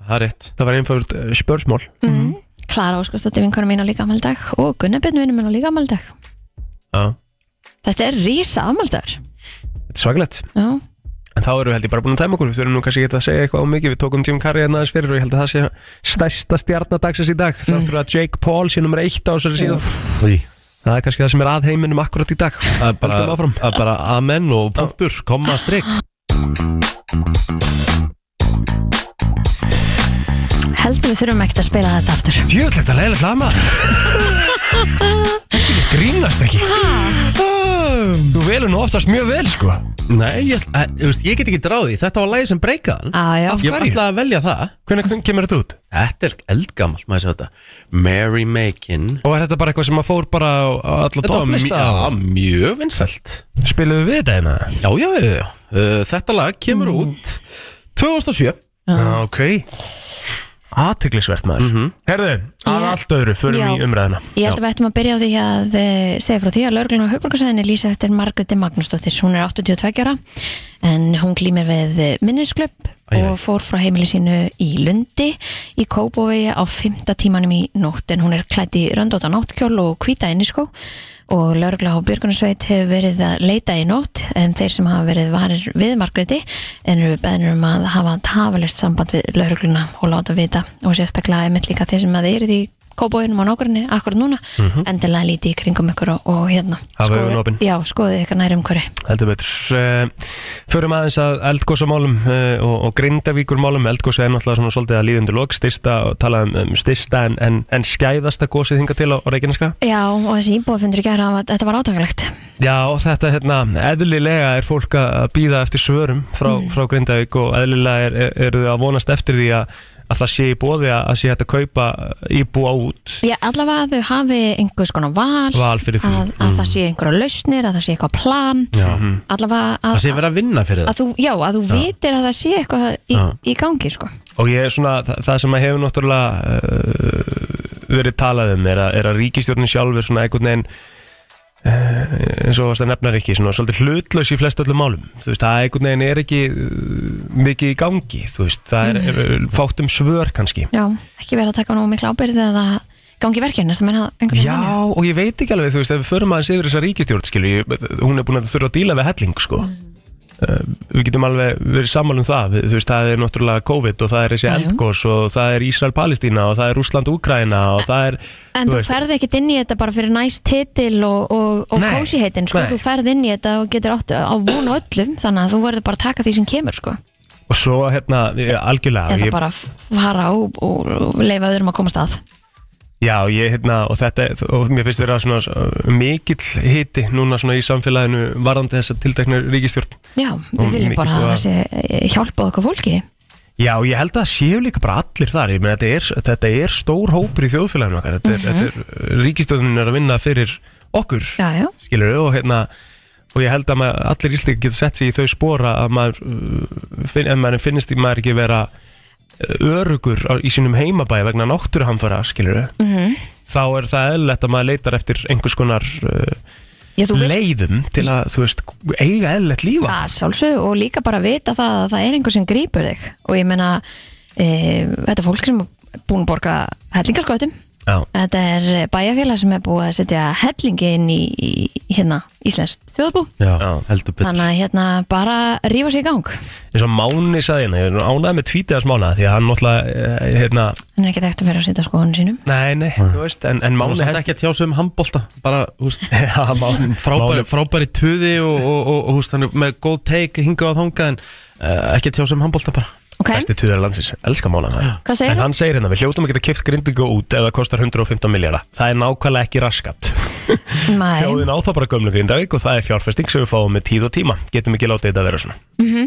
A: það er rétt
B: Það var einhverjum uh, spörsmál
C: mhm. Klara Óskarsdóttir vinkona mín á líka afmældag og Gunnar Björn vinnur minn á líka afmældag
B: Já
C: Þetta er rísa afmældagur
B: Þetta er svaglegt
C: Já,
B: En þá erum við held ég bara búin að tæma okkur Við þurfum nú kannski ekki að segja eitthvað á mikið Við tókum Jim Carrey hérna aðeins fyrir Og ég held að það sé stærsta stjarnadagsins í dag Þáttur að Jake Paul sé nummer eitt á þessari síðan
A: Því
B: Það er kannski það sem er að heiminum akkurat í dag
A: Það er bara,
B: Höldum áfram.
A: það er bara amen og punktur, komma strik
C: heldur við þurfum ekkert að spila þetta aftur
B: Djöðlegt að leiðilegt lama Grínast ekki Þú velur nú oftast mjög vel sko
A: Nei, ég, ætla- að, þú veist, ég get ekki dráði Þetta var lagið sem breykaðan
C: Á, já.
A: Ég var
B: hverju?
A: alltaf að velja það
B: Hvernig kemur þetta út?
A: Þetta er eldgamalt, maður sé þetta Mary Makin
B: Og er þetta bara eitthvað sem að fór bara á, á alla
A: Þetta var mj-
B: topplista?
A: ja, mjög vinsælt
B: Spiluðu við þetta hérna?
A: Já, já, já, já Uh, Þetta lag kemur
B: Mm.
A: út 2007
B: Já, ok Aðtiklisvert maður Herðu, að
C: Já.
B: allt öðru, förum
C: Já.
B: í umræðina
C: Ég held að við ættum að byrja á því að eh, segja frá því að lögreglun á höfbrukarsæðinni lýsa eftir Margréti Magnúsdóttir. Hún er 82 ára en hún glýmir við minnisklöpp
A: Æ, æ.
C: og fór frá heimili sínu í Lundi í Kópói á fymta tímanum í nótt en hún er klætt í röndóta náttkjól og hvíta inniskó og lögregla á Björgunarsveit hefur verið að leita í nótt en þeir sem hafa verið varir við Margréti en eru beðnir um að hafa tafalist samband við lögregluna og láta vita og sérstaklega einmitt líka þeir sem að þeir eru því kópóinum á nákvæmni akkur núna endilega lítið í kringum ykkur og, og hérna
B: Mhm. Hafa
C: skoðið-
B: augun opin.
C: já, skoðið ykkar nærum hverju
B: Heldur betur uh, Förum aðeins að eldgósamálum uh, og, og grindavíkurmálum Eldgósa er náttúrulega svona svolítið að líðundu lok Styrsta, talað um, um styrsta en, en, en skæðasta gósið hinga til á, á Reykjaneska
C: já, og þessi íbúafundur í gæra þetta var átakalegt
B: Já, og þetta hérna, eðlilega er fólk að að bíða eftir svörum frá, frá Grindavík og eðlilega er, er, eru þau að vonast eftir því að, að það sé í bóði að, að sé hægt að kaupa íbúa út
C: já, allavega að þau hafi einhvers konar val,
B: Val fyrir því. Mm.
C: að, að það sé einhverja lausnir að það sé eitthvað plan
A: Já.
C: allavega að,
A: Það sé verið að vinna fyrir
C: að
A: það
C: þú, já, að þú vitir að það sé eitthvað í,
A: Já.
C: í gangi, sko
B: Og ég er svona, það, það sem að hefur náttúrulega uh, verið talað um er að, er að ríkistjórnin sjálfur svona einhvern veginn uh, eins og varst að nefna ekki, svona svolítið hlutlaus í flest öllum málum, þú veist, það einhvern veginn er ekki uh, mikið í gangi, þú veist það er, er, er fátt um svör kannski
C: já, ekki verið að taka nógu mikla ábyrði að það gangi verkefni, það menna einhvern
B: Já, og ég veit ekki alveg, þú veist, ef við förum aðeins yfir þessa ríkistjórn, skilju, ég- hún er búin að þurfa að díla við helling, sko.
C: Mhm.
B: Uh, við getum alveg verið sammála um það, við, þú veist, það er náttúrulega COVID og það er þessi
C: Já, já.
B: eldgós og það er Ísrael-Palestína og það er Rúsland-Úkraina og það er...
C: En þú ferð ekkert inn í þetta bara fyrir næst titil og, og, og
B: Nei,
C: kósi heitin sko.
B: nei.
C: Þú ferð inn í þetta og getur átt á vonu öllum Þannig að þú verður bara að taka því sem kemur sko.
B: Og svo, hérna, ég- algjörlega...
C: Eða
B: ég-
C: bara f- fara og, og, og leifa öðrum að komast að
B: Já, ég hérna, og þetta, og mér finnst vera svona uh, mikill hiti núna svona í samfélaginu varðandi þessa tiltekna ríkistjórn.
C: Já,
B: Og
C: við viljum
B: mikið
C: bara að
B: góða-
C: þessi eh, hjálpa okkur fólki
B: Já, ég held að það séu líka bara allir þar Ég meina, þetta er, þetta er stór hópur í þjóðfélaginu okkar Þetta er, mm er ríkistöðunin er að vinna fyrir okkur
C: Mhm. Já, já,
B: Skilur og hérna Og ég held að maður, allir íslík geta sett sig í þau spora að maður, uh, finn, en maður finnist ekki maður ekki vera uh, örugur á, í sínum heimabæði vegna náttúruhamfara, skilur
C: Mhm.
B: þá er það eðlilegt að maður leitar eftir einhvers konar uh,
C: já þú veist
B: leiðum til að, þú veist, eiga eðlilegt lífa
C: að sjálfsög og líka bara vita það að það er einhver sem grýpur þig og ég meina e, þetta er fólk sem er búin að borga hellingarskautum
B: Já,
C: þetta er bæjarfélag sem er búið að setja hellingi inn í, í hérna Íslands þjóðbú
A: Já,
B: Já.
A: heldur betur
C: þannig að hérna bara rífa sig í gang hann
B: eins og Máni saði hérna, ég ánaði með tvítið að smána því að hann náttúrulega, eh, hérna,
C: er ekki þekkt að fyrir að setja skoðunum sínum
B: nei, nei, þú veist, en, en
A: Það
B: Máni
A: er ekki að tjá sig um handbolta Bara, þú veist
B: Já, Máni,
A: frábæri,
B: Máni-
A: frábæri tuði og, og, og, og húst, hann er með góð teik hingað að þangað en uh, ekki að tjá sem handbólta bara
C: ok,
B: Besti tuðar landsins, elska Mána það
C: Hvað
B: En
C: segir hann?
B: hann segir hérna, við hljótum að geta kipt grindingu út ef það kostar 115 miljardar Það er nákvæmlega ekki raskat
C: mæ
B: Þjóðin á það bara gömlu grindavík og það er fjárfesting sem við fáum með tíð og tíma Getum ekki látið þetta að vera svona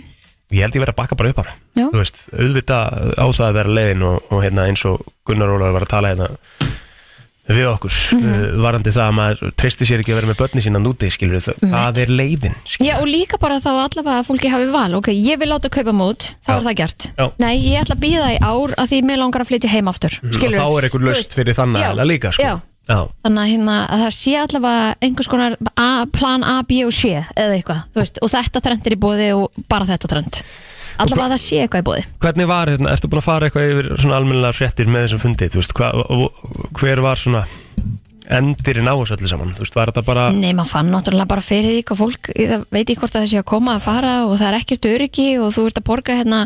B: Ég held ég verið að bakka bara upp hana
C: Já.
B: Þú veist, auðvitað á það að vera leiðin og, og hérna eins og Gunnar Ólaður var að tala hérna við okkur
C: Mhm.
B: uh, varandi það að maður treysti sér ekki að vera með börni sína núti skilur það, það er leiðin skilurðu.
C: Já og líka bara þá allavega að fólki hafi val ok, ég vil láta kaupa mót, þá
B: Já.
C: er það gert
B: Já.
C: nei, ég ætla að býða í ár að því mér langar að flytja heim aftur
B: Mhm. og
C: Skilurðu?
B: þá er einhver
C: Þú
B: löst
C: veist,
B: fyrir þannig
C: já,
B: aðeila líka sko.
C: já.
B: Já.
C: þannig að, hérna, að það sé allavega einhvers konar a, plan A, B og C eða eitthvað, þú veist, og þetta trend er í bóði og bara þetta trend allavega að það sé eitthvað í bóði
B: Hvernig var, hérna, ertu búin að fara eitthvað yfir svona almennilega fréttir með þessum fundi þú veist, hva, hver var svona endirinn á þessu öllu saman þú veist, var þetta bara
C: Nei, maður fann náttúrulega bara fyrir því hvað fólk, það veit ég hvort að það sé að koma að fara og það er ekkert öryggi og þú ert að borga hérna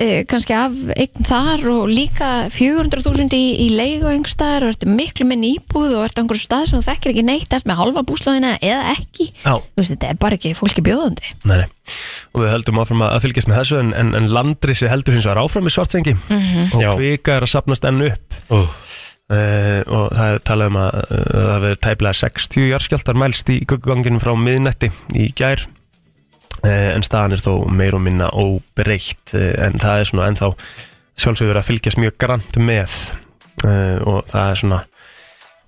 C: eh, kannski af eign þar og líka 400.000 í, í leigu engstaðar og ert miklu minni íbúð og ert á einhverju stað sem þú þekkir ekki neitt ert með halva búslaðina eða ekki
B: Já.
C: þú veist, þetta er bara ekki fólki bjóðandi
B: Nei, nei. Og við höldum áfram að að fylgjast með þessu en, en, en landrisi heldur hins vegar áfram í svartsengi
A: Já.
B: og kvika er að sapnast enn upp
A: oh.
B: uh, og það er talað um að uh, það verður tæplega 60 jarskjaldar mælst í ganginum frá miðnetti í gær Eh, en staðan er þó meir og minna óbreytt eh, en það er svona ennþá sjálfsögur að fylgjast mjög grant með eh, og það er svona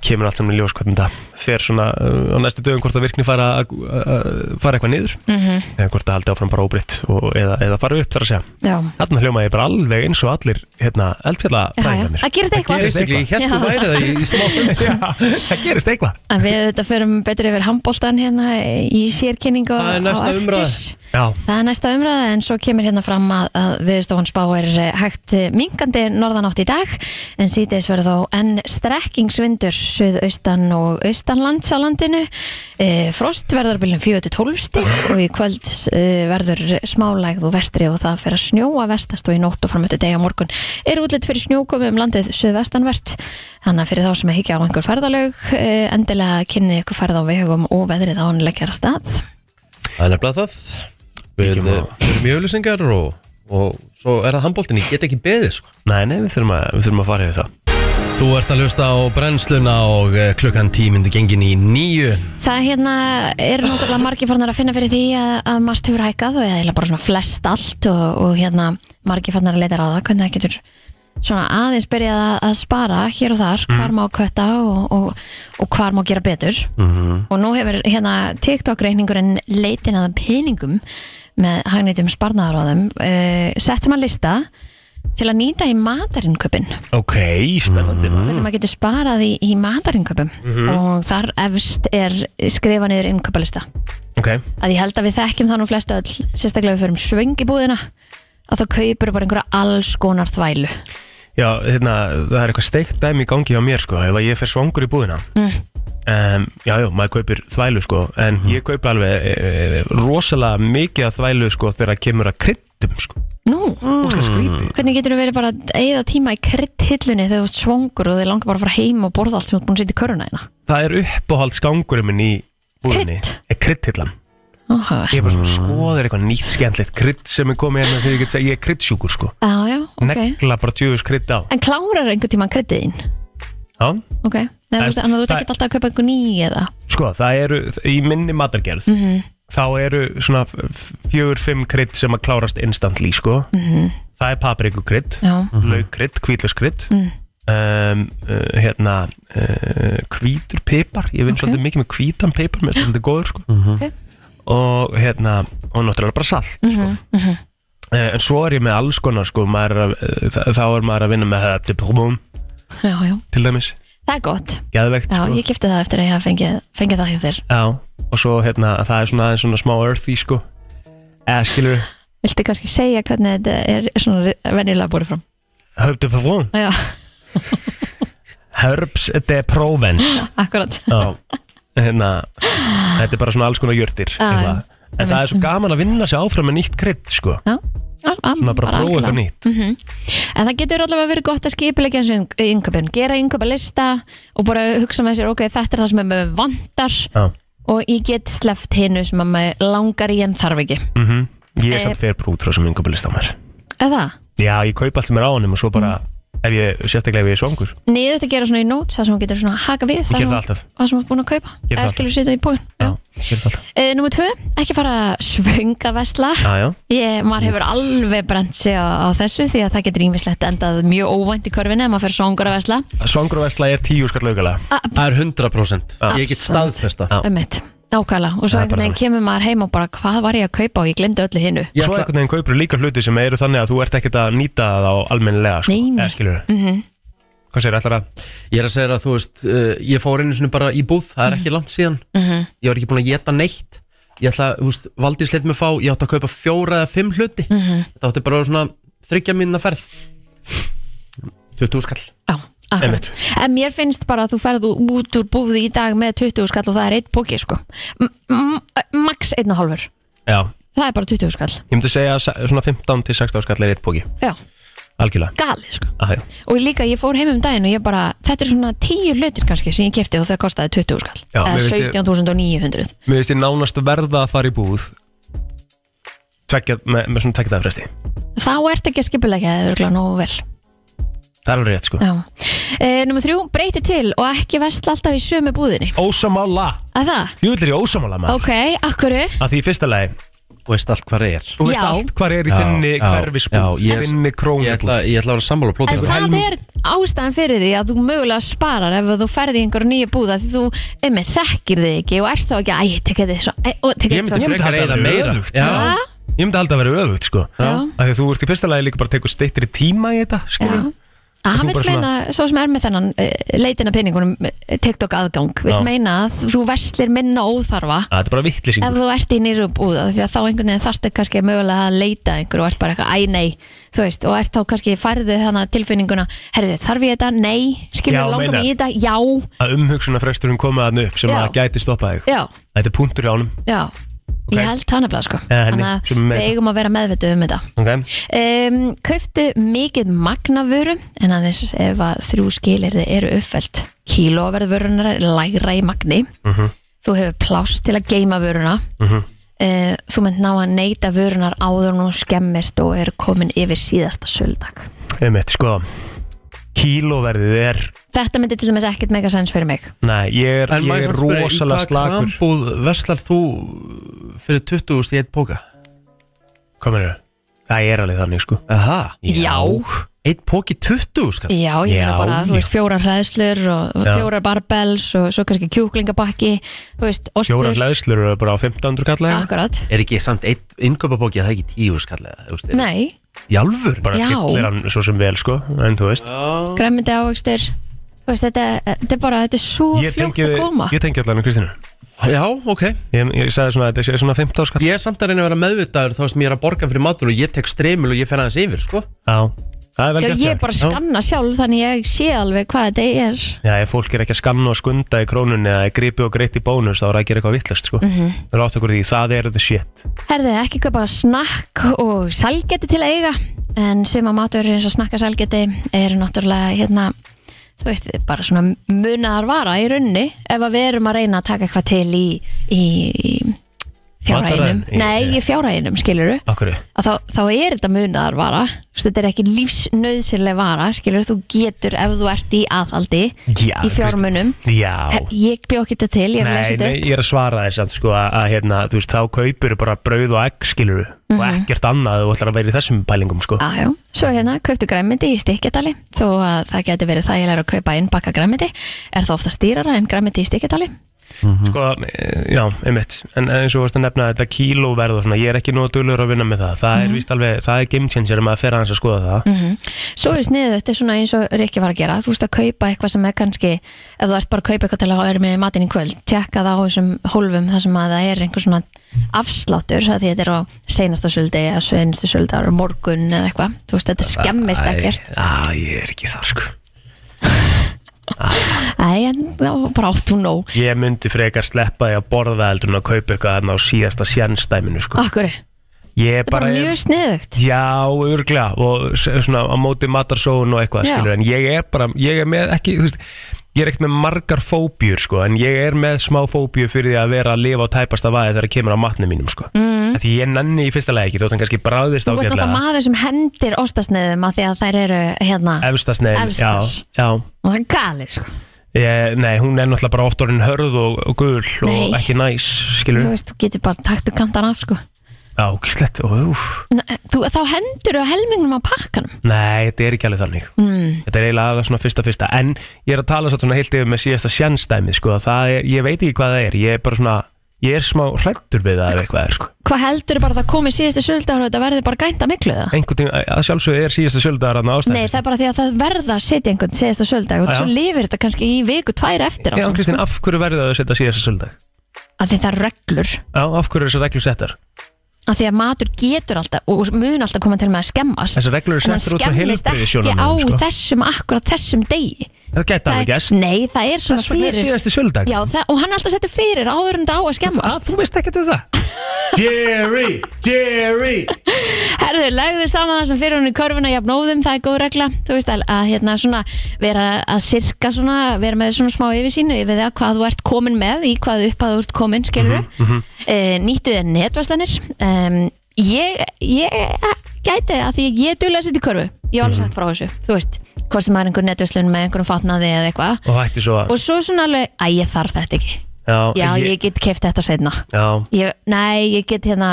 B: kemur alltaf með ljós hvernig það fer svona eh, á næstu dögum hvort það virkni fara að að fara eitthvað niður eða hvort það haldi áfram bara óbreytt og, eða, eða fara upp þar að segja
C: Já,
B: þarna hljóma ég bara alveg eins og allir hérna, eldfjalla fræðingarnir
C: að gera þetta eitthvað
A: Basically, ég held þú væri það í, í smá fund
B: það gerist eitthvað
C: En við þetta förum betur yfir handbóltan hérna í sérkynningu
A: Það er
C: á
A: næsta
C: eftir.
A: umræða.
B: já,
C: Það er næsta umræða en svo kemur hérna fram að, að viðstofan spá er eh, hægt mingandi norðanátt í dag en síðdeis verður þó enn strekkingsvindur suðaustan og austanlands á landinu e, frost verður byrjum 4-12 stík og í kvöld e, verður smálægð og vestri og það fer að snjóa vestast og í nótt og framötu degi á morgun er útlitt fyrir snjókomi um landið suðvestanvert þannig að fyrir þá sem er higgja á einhver ferðalög e, endilega kynni ykkur ferð á vegum og veðrið ánleikjara stað
A: Það er nefnilega það Við
B: Kíkjum á-
A: eh, förum í auðlýsingar og, og svo er það handbóltin, ég get ekki beðið sko.
B: nei, nei, við þurfum að, við þurfum að fara yfir það
A: Þú ert að hlusta á brennsluna og eh, klukkan tímyndu gengin í nýju
C: Það hérna er náttúrulega margir farnar að finna fyrir því að, að margt hefur hækkað og eða bara svona flest allt og, og hérna margir farnar að leita ráða hvernig það getur svona aðeins byrjað að, að spara hér og þar, hvar má kötta og, og, og hvar má gera betur -hmm. og nú hefur hérna TikTok reyningurinn leitin að peningum með hagnýtum sparnaðaráðum uh, sett sem að lista til að nýta í matarinköpinn
B: ok, spennandi
C: hvernig maður getur sparað í, í matarinköpum
B: Mhm.
C: og þar efst er skrifa niður innköpalista
B: ok,
C: að ég held að við þekkjum það nú flestu öll sérstaklega við förum svöng í búðina að þá kaupir bara einhverja alls konar þvælu
B: Já, hérna, það er eitthvað steikt dæmi í gangi á mér sko, ef að ég fer svangur í búðina mm. Já, já, maður kaupir þvælu sko, en ég kaupi alveg e, e, rosalega mikið af þvælu sko þegar kemur að kryddum sko
C: Nú,
B: Óslega skrítið
C: hvernig getur við verið bara að eigða tíma í kryddhillunni þegar þú ert svongur og þið langar bara að fara heim og borða allt sem þú ert búin að setja í köruna þína
B: Það er uppáhaldskangurinn minn í búðinni Eh,
C: Krydd?
B: Er kryddhillan
C: Áhugavert.
B: Ég er bara
C: Ah.
B: svona skoður eitthvað nýtt skemmtlegt krydd sem er komið hérna þegar ég get að ég er kryddsjúkur sko
C: Já, já, ok
B: Negla bara tjöfus krydd á
C: En klárar einhver tíma kryddið þín?
B: Já,
C: Ok, Nei, þú veist- þannig að þú ert
B: það-
C: ekki alltaf að kaupa einhver ný eða
B: sko, það eru, í minni matargerð
C: Mhm.
B: þá eru svona fjögur-fimm krydd sem að klárast instantly, sko
C: Mhm.
B: það er paprikukrydd,
C: Já,
B: laukrydd, hvítlaskrydd
C: Mm.
B: um, uh, hérna uh, hvítur pipar ég vinn
C: Ok. Mhm.
B: svolítið mikið með hvítan pipar mér er svolítið góður, sko
C: ok
B: og hérna, og náttúrulega bara salt
C: Mhm,
B: sko. Eh, en svo er ég með alls konar, sko, maður er að, eh, þa- þá er maður að vinna með þetta diplomum,
C: Já, já,
B: til dæmis
C: það er gott
B: geðvegt,
C: Já,
B: sko
C: ég gifti það eftir að ég hafa fengið, fengið það hjá þér
B: Já, og svo hérna, það er svona, aðeins svona smá earthy, sko Eh, eða skilur
C: Viltu kannski segja hvernig þetta er svona venjulega búið fram?
B: Herb de Provence
C: Já,
B: Herbs de Provence
C: akkurat
B: Já hérna, Þetta er bara svona alls konar jörtir
C: Já,
B: eitthvað. En það er svo gaman að vinna sér áfram með nýtt krydd sko.
C: Já, al, al,
B: Svona bara prófa eitthvað nýtt
C: En það getur allavega verið gott að skipilegja eins og yngöpun Gera yngöpalista og bara hugsa með sér Ok, þetta er það sem er með vantar
B: Já,
C: Og ég get sleft hinnu sem að maður langar í en þarf ekki
B: mm Ég er
C: Eh.
B: samt fyrir brútrá sem yngöpulist á mér
C: Eða?
B: Já, ég kaup allt sem er á honum og svo bara
C: Mm.
B: ef ég, sérstaklega ef ég er svangur
C: Nei, þú ert að gera svona í notes Það sem þú getur svona að haka við
B: Ég
C: það
B: ger
C: sem-
B: það alltaf.
C: það sem þú ert búin að kaupa
B: Ger það
C: Eða
B: alltaf.
C: skilur sýta í búin
B: Já, ég er það alltaf
C: e, Númer tvö, ekki fara að svönga vesla
B: Já, já,
C: Ég, maður hefur alveg brent sig á, á þessu því að það getur ímislegt endað mjög óvænt í körfinu ef maður fer svongur að vesla
B: svangur og vesla er tíu skall aukala
A: Það er 100% Ég get staðfesta
B: Já.
C: um mitt, ákvæðlega og svo
B: Það er bara
C: einhvern veginn kemur maður heim og bara hvað var ég að kaupa og ég glemdi öllu hinnu
A: Ég
B: Svo
A: ætla-
B: einhvern veginn kaupur líka hluti sem eru þannig að þú ert ekkert að nýta það á almennilega sko.
C: Nei, nei. Mhm.
B: Eða skilur Hvað segir ætlar að
A: Ég er að segja þér að þú veist uh, Ég fór einu sinni bara í búð, það er
B: Mhm.
A: ekki langt síðan Ég var ekki búin að geta neitt Ég ætla, þú veist, Valdís leitt mig fá Ég átti að kaupa fjóra eða fimm hluti
B: Mhm.
A: Þetta átti bara að vera svona þryggja mínna ferð 20 skall
C: Já, akkurat
B: Einmitt.
C: En mér finnst bara að þú ferðu út úr búði í dag með 20 skall og það er eitt póki sko M- m- Max einn og hálfur
B: Já,
C: Það er bara 20 skall
B: Ég myndi segja að se- svona 15 til 16 skall er eitt póki
C: Já,
B: Algjörlega
C: galið sko
B: Aha, já.
C: Og líka ég fór heim um daginn og ég bara Þetta er svona 10 hlutir kannski sem ég kefti og það kostaði 20 skall
B: Já, mér
C: Eða
B: finnst ég-
C: 17.900
B: Mér veist ég nánast verða að fara í búð tvekja, með, með svona tvekja fresti
C: Þá ert ekki að skipulegja það örgulega nógu vel
B: Það er alveg rétt sko
C: Já e, Númer þrjú, breytu til og ekki vestla alltaf í sömu búðinni
B: Ósamála
C: Að það?
A: Ah.
B: Jú vil er ég ósamála maður
C: Ok, akkurru
B: Af því í fyrsta lagi
A: og veist allt hvað það er
B: Þú veist
C: Já.
B: allt hvað er í
A: Já,
B: þinni
A: já,
B: hverfisbúð,
A: já, ég-
B: þinni
A: Ég
B: krónubúð
A: ætla, ég ætla að vera sammála
C: En
A: plótið
C: það
B: helm-
C: er ástæðan fyrir því að þú mögulega sparar ef þú ferði í einhverju nýju búða því þú emmi þekkir þig ekki og ert þá ekki æ, tekja þið svo, æ, og
A: Ég
C: tekja þið
A: myndi
C: svo
B: myndi
A: frekar
B: halda
A: eða
B: að vera
A: meira
B: öfugt.
A: Já,
C: Já,
B: Ég myndi alltaf að vera öfugt sko
C: Já.
B: Af því að þú ert í fyrsta lagi líka bara að tekur steyttir í tíma í þetta
C: já
B: skilur.
C: Að
B: Þú
C: hann vil
B: bara
C: meina, svo sem er með þennan eh, leitin að peningunum eh, TikTok aðgang vil
B: Já.
C: meina að þú verslir minna óþarfa
B: Að Þetta er bara
C: ef
B: vittlýsingur
C: þú ert í nýru búða því að þá einhvern veginn þarftu kannski mögulega að leita að einhverju og ert bara eitthvað, æ nei, þú veist og ert þá kannski færðu hana tilfinninguna herðu, þarf ég þetta, nei,
B: Já,
C: skilur langar
B: meinar.
C: mig í þetta, já,
B: Að umhugsuna fresturinn koma þarna upp sem
C: Já.
B: að gæti stoppað þig
C: já
B: Þetta er punktur í ánum
C: Já, ég held hann nefnilega sko
B: Eh, henni,
C: Þannig að
B: sem er-
C: við eigum að vera meðvitið um þetta
B: okay.
C: um, Kauftu mikið magnavöru en aðeins ef að þrjú skilirði eru uppfælt Kílóverðvörunar er lægra í magni
B: Mhm.
C: Þú hefur pláss til að geima vöruna uh Þú mynd ná að neyta vörunar áður nú skemmist og er komin yfir síðasta söldag
B: Einmitt, sko Kílóverðið er
C: Þetta myndi til dæmis ekkert megasens fyrir mig
B: Nei, ég er,
A: En
B: ég er
A: maður spyrir, í
B: rosalega
A: hvað
B: slakur
A: krambúð verslar þú fyrir 20.000 í einn póka?
B: Hvað meður Það er alveg þannig sko
A: Aha,
C: Já.
A: Einn póki 20 skall
C: Já, ég meina
B: Já,
C: bara, þú
B: já.
C: veist, fjórar hlæðslur og
B: Já.
C: fjórar barbells og svo kannski kjúklingabakki, þú veist, ostur
B: Fjóra hlæðslur eru bara á 1500 kallega
C: Akkurat,
A: Er ekki samt einn innkaupapóki að það er ekki 10 skall eða, þú veist, er-
C: nei,
A: Í alvör?
B: Bara
C: Já.
B: fyllir hann svo sem vel sko En þú veist
C: græmindi ávegstir Þú veist, þetta, þetta er bara, þetta er svo
B: Ég
C: fljótt
B: tengi,
C: að koma
B: ég tengi allan um Kristínu
A: Já, ok
B: ég, ég sagði svona að þetta sé svona 15 skall
A: Ég er samt að reyna að vera meðvitaður þá sem ég er að borga fyrir matun og ég tek streymul og ég fer aðeins yfir, sko
B: Já, það er vel
C: Já,
B: gert hjá
C: ég
B: þér.
C: bara skanna sjálf þannig ég sé alveg hvað þetta er
B: Já, ef fólk er ekki að skanna og skunda í krónunni eða gripi og greitt í bónus þá er það að gera eitthvað vittlust sko. mm
C: Mhm.
B: -hmm. Það er átt okkur á því, það er the shit
C: Herðu, ekki kaupa snakk og salgeti til að eiga en sem að matur eins og snakka salgeti eru náttúrulega hérna þú veist, bara svona munaðar vara í runni ef að við erum að reyna að taka eitthvað til í, í, í fjárhæginum
B: Mataræðinu?
C: Nei, í fjárhæginum, skilurðu
B: Akkur,
C: að þá, þá er þetta munaðar vara þetta er ekki lífsnauðsynlega vara skilur þú getur ef þú ert í aðhaldi
B: Já,
C: í fjármunum
B: Já
C: Her, ég bjó ekki þetta til, ég er að
B: Nei,
C: lesa þetta
B: nei, ég er að svara þess að, sko, að, að hérna, þú veist, þá kaupir bara brauð og egg skilur og
C: Mhm.
B: ekkert annað og ætlar að vera í þessum pælingum sko.
C: Já, já, svo er hérna, kauptu græmiti í stikkjadali þó að það geti verið þægilega að kaupa innbakka græmiti, er það ofta stýrara en græmiti í stikkjadali?
B: sko, eh, já, einmitt en eins og varst að nefna þetta kílóverð og svona ég er ekki nóg dölur að vinna með það það
C: Mhm.
B: er víst alveg, það er game changer ef maður fer aðeins að skoða það
C: Svo er sniðið, þetta er svona eins og Rikki var að gera, þú veist að kaupa eitthvað sem er kannski, ef þú ert bara að kaupa eitthvað til að vera með í matinn í kvöld, tjekka það á þessum hólfum þar sem að það er einhver svona afsláttur, það því þetta er á seinasta söldi eða sveinasta söldi ára morgun eða eitthvað, þú veist þetta skemmist ekkert
B: Æ, á, ég er ekki þar sko
C: Æ, en þá bara átt hún nóg
B: Ég myndi frekar sleppa því að borða heldur en að kaupa eitthvað þarna á síðasta sjænstæminu sko.
C: Akkur, Ah, þetta
B: Ég
C: er bara mjög sniðugt
B: Já, örglega og s- svona á móti matarsóun og eitthvað
C: Já.
B: skilur, en ég er bara, ég er með ekki þú veist, ég er ekkert með margar fóbjur sko, en ég er með smá fóbjur fyrir því að vera að lifa á tæpasta vaði þegar það kemur á matnum mínum sko. mm. því ég nenni í fyrsta lagi ekki, þótt hann kannski bráðist
C: Mhm. Þú veist náttúrulega
B: ágætlega
C: maður sem hendir ostasneiðum að því að þær eru hérna
B: efstasneið,
C: Efstar.
B: já, já
C: og það er galið sko
B: Ég, nei, hún er náttúrulega bara oft orðin hörð og, og gul og
C: Nei.
B: ekki næs, skilur
C: Þú veist, þú getur bara taktu kantan af sko
B: Já, kíslegt, úf
C: N- þú, Þá hendur þú helmingnum á pakkanum Hmm.
B: Nei, þetta er ekki alveg þannig mm. Þetta er eiginlega aðeins svona fyrsta fyrsta En ég er að tala satt svona heilt yfir með síðasta sjænstæmi sko. Það er, Ég veit ekki hvað það er Ég er bara svona Ég er smá hrættur við það ef eitthvað er sko.
C: Hvað heldur þú bara að það komið síðustu söldagur og þetta verði bara grænta miklu það?
B: Einhvern tíma, að sjálfsögðu er síðasta sjöldagar að ástæmi
C: Nei, það er bara því að það verða að setja einhvern síðasta söldag og
B: Já, já.
C: svo lifir þetta kannski í viku tvær eftir á
B: Já,
C: svona,
B: Kristín, af hverju verður það að setja síðasta sjöldag?
C: Af því það er reglur
B: Já, af hverju er þessar reglur settar?
C: Af því að matur getur alltaf og mun alltaf koma til með að skemmast
B: Þessar reglur eru
C: Og hann
B: settar út frá
C: skemmist ekki á
B: heilbrigðissjónarmiðum, sko.
C: þessum, akkurat þessum degi
B: Það geta alveg
C: Það er-
B: gæst
C: Nei, það er svona
B: Þess vegna er
C: fyrir
B: síðasti sjöldag
C: Já, það, og hann alltaf setur fyrir áður en þetta á að
B: að,
C: skemmast
B: Þú veist ekkert um það
A: Jerry, Jerry
C: Herðu, legðu saman það sem fyrir hún í körfuna jafn óðum, það er góð regla þú veist að, að hérna svona vera að sirka svona, vera með svona smá yfirsýnu yfir það hvað þú ert komin með í hvað upp að þú ert komin, skilur mm nýttu þér netvæslanir um, ég, ég eh, gæti að því ég duðlega að setja í körfu ég hef alveg sagt frá þessu, þú veist hvort sem er einhver netvæslun með einhverjum fatnaði eða eitthvað
B: Og hætti svo að
C: og svo svona alveg, að ég þarf þetta ekki
B: Já,
C: já, ég, get keft þetta setna
B: já,
C: ég, nei, ég get hérna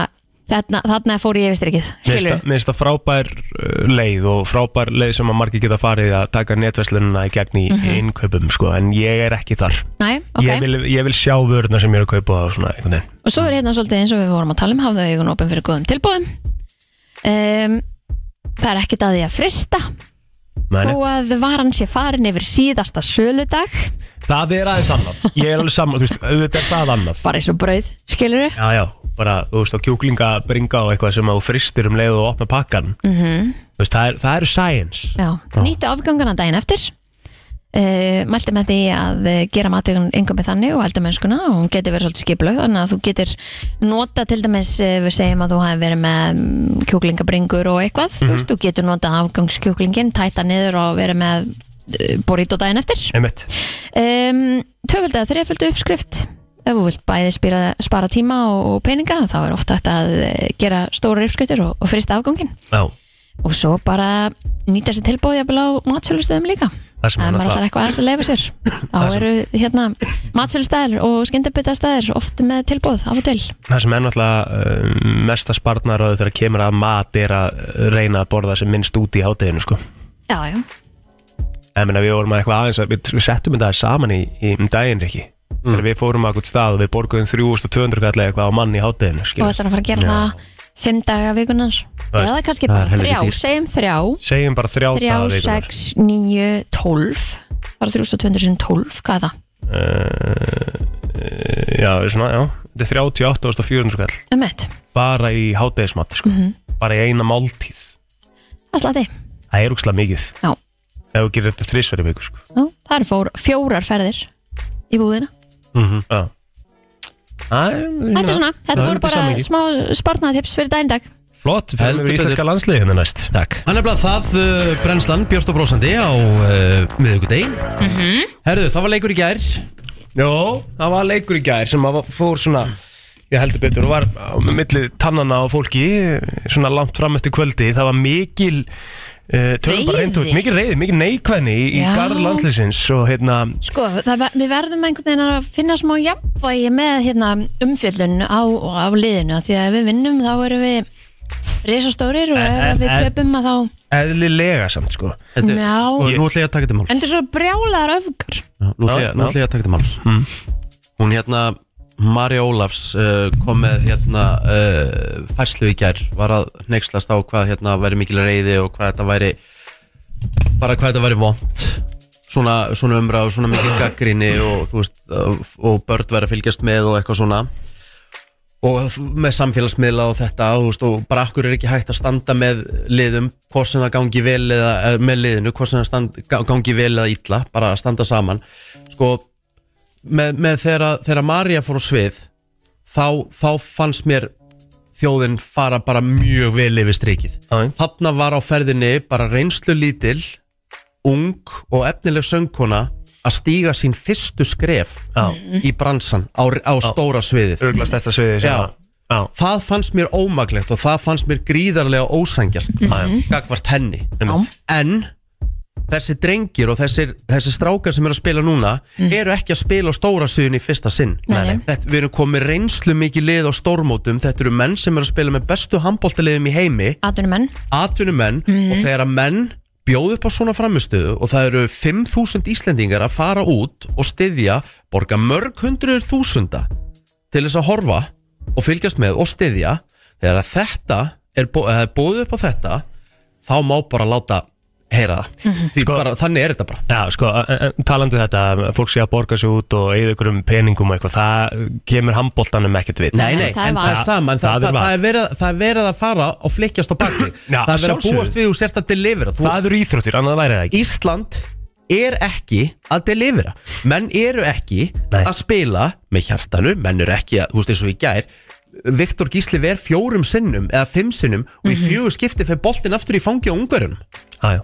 C: Þarna, þarna fór ég yfir strikið,
B: Mér
C: skilur
B: finnst það- mér finnst það frábær uh, leið og frábær leið sem að margir geta farið að taka netverslunina í gegn í innkaupum sko, en ég er ekki þar
C: Næ, ok,
B: ég, vil, ég vil sjá vörðna sem ég er að kaupa og svona einhvern veginn
C: og svo er hérna svolítið eins og við vorum að tala um hafðu augun opin fyrir góðum tilbúðum um, Það er ekkit að því að frista
B: Nei,
C: þó
B: nei.
C: að varan sé farin yfir síðasta söludag
B: Það er aðeins annað Ég er alveg saman, þú veist, auðvitað er það annað
C: bara eins og brauð, skilur
B: Já, já, bara, þú veist, á kjúklinga bringa og eitthvað sem að þú fristir um leið og opna pakkan -hmm. Þú veist, það, er, það eru science
C: Já, nýttu afgangana daginn eftir uh, mælti með því að eh, gera matugun yngum með þannig og elda mennskuna og hún getur verið svolítið skipluð þannig að þú getur nota til dæmis eh, við segjum að þú hafi verið með mm, kjúklingabringur og eitthvað þú, veist, þú getur nota afgangskjúklingin, tæta niður og verið með eh, burrito daginn eftir
B: Einmitt,
C: um, Tvöfald eða þreföldu uppskrift Ef þú vilt bæði spýra, spara tíma og, og peninga þá er ofta hægt að eh, gera stóra uppskriftir og, og frista afgangin
B: já
C: og svo bara nýta sér tilbúið jafnvel á matsölustöðum líka
B: Það sem
C: að
B: er
C: maður ætlar
B: náttúrulega
C: eitthvað aðeins að leifa sér þá
B: Það sem-
C: eru hérna matsölustæðir og skyndabitastæðir oft með tilbúð af og til
B: Það sem er náttúrulega uh, mesta spartnaröðu þegar kemur að mat er að reyna að borða sem minnst út í hátæðinu sko.
C: já, já,
B: Ég meina við vorum að eitthvað aðeins að við settum þetta saman í, í um daginn ekki Þegar við fórum að eitthvað stað og við borguðum 3200 kallið eitthvað á mann í hátæðinu
C: og ætlar að fara að gera
B: Já.
C: það fimm daga vikunans
B: Það
C: eða
B: er-
C: kannski
A: það er
C: bara
A: helviti
C: þrjá,
A: dýrt.
C: segjum þrjá
B: Segjum bara þrjá
C: þrjá,
B: daga vikunnar.
C: sex, níu, tólf bara 3212, hvað er það?
B: Eh, Já, svona, já Þetta er 38.400 kall
C: um eitt,
B: Bara í hátæðismat, sko
C: Mhm.
B: Bara í eina máltíð
C: það slati
B: Það er úkslega mikið
C: já,
B: Ef þú gerir þetta þrísverju viku, sko
C: já, þar fór fjórar ferðir í búðina
B: Já Það er-
C: þetta er svona,
B: það
C: þetta
B: er
C: voru bara
B: samhengi.
C: smá spartnaðatips fyrir daginn dag
B: Flott, við
A: Heldur
B: erum í íslenska landsliðinu næst
A: Takk Hann er bara það uh, brennslan Björst og brósandi á uh, miðugudegin mm
C: Mhm.
A: Herðu, það var leikur í gær
B: Jó, það var leikur í gær sem að fór svona Ég heldur betur, var á milli tannana á fólki Svona langt fram eftir kvöldi Það var mikil uh, tölum bara hreint út,
C: Reiði.
B: Mikil reyði, mikil neikvæðni í, í
C: Já.
B: garð landsliðsins Og hérna,
C: Sko, það, ver- við verðum einhvern veginn að finna smá jafnvægi með hérna, umfjöldun á, á liðinu af því að ef við vinnum þá erum við risastórir og
B: En-
C: ef
B: en-
C: við
B: en-
C: töpum að þá
B: eðlilega samt, sko
A: Þetta,
C: Já.
A: Og nú ætla ég að taka þetta máls
C: en þetta er svo brjálaðar öfgar
A: Já, Nú ætla ég,
B: Já,
A: nú
B: já. Mm.
A: ætla ég að taka þetta máls Hún hérna Marja Ólafs uh, kom með hérna uh, færslu í gær var að neykslast á hvað hérna væri mikil reyði og hvað þetta væri bara hvað þetta væri vond svona, svona umra og svona mikil gaggrinni og þú veist uh, og börn væri að fylgjast með og eitthvað svona og með samfélagsmiðla og þetta þú veist, og bara akkur er ekki hægt að standa með liðum, hvort sem það gangi vel eða eh, með liðinu, hvort sem það stand, ga- gangi vel eða illa, bara að standa saman sko, með, með þegar, þegar Marja fór á svið þá, þá fannst mér þjóðin fara bara mjög vel yfir strikið.
B: Já.
A: Þarna var á ferðinni bara reynslu lítil ung og efnileg söngkona að stíga sín fyrstu skref
B: Já.
A: í bransan á, á stóra sviðið
B: örgulega stærsta sviði sem
A: Já.
B: að- Já,
A: það fannst mér ómaglegt og það fannst mér gríðarlega ósangjart
C: Mhm.
A: gagvart henni
B: Mhm. einmitt.
A: en þessi drengir og þessir, þessir strákar sem eru að spila núna eru ekki að spila á stóra sviðin í fyrsta sinn
C: Nei, nei.
A: þetta, við erum komið reynslu mikið lið á stórmótum þetta eru menn sem eru að spila með bestu handbóltaliðum í heimi
C: atvinnumenn,
A: atvinnumenn og
B: Mhm.
A: þegar að menn bjóð upp á svona framistuðu og það eru 5.000 Íslendingar að fara út og styðja, borga mörg hundruður þúsunda til þess að horfa og fylgjast með og styðja þegar að þetta er, bó eða er bóðið upp á þetta þá má bara láta heyra það Því
B: Sko-
A: bara, þannig er þetta bara
B: Já, sko, en- en talandi þetta að fólk sé að borga sig út og eigða ykkur um peningum og eitthvað, það kemur handbóltanum ekkert við
A: Nei, nei,
C: Það er
A: en
C: val.
A: það er sama en það,
B: Það er
A: það,
B: val.
A: það, er verið, það er verið að fara og flikjast á bakni
B: Já,
A: það er verið að
B: sjálfsögðu.
A: búast við og sérst að delivera þú,
B: Það eru íþróttir, annað væri það ekki
A: Ísland er ekki að delivera menn eru ekki
B: Nei.
A: að spila með hjartanu, menn eru ekki að, þú veist eins og í gær Viktor Gísli verð fjórum sinnum eða fimm sinnum og í
B: Mhm.
A: fjögur skipti fyrir boltin aftur í fangi á ungarum
B: Já, já,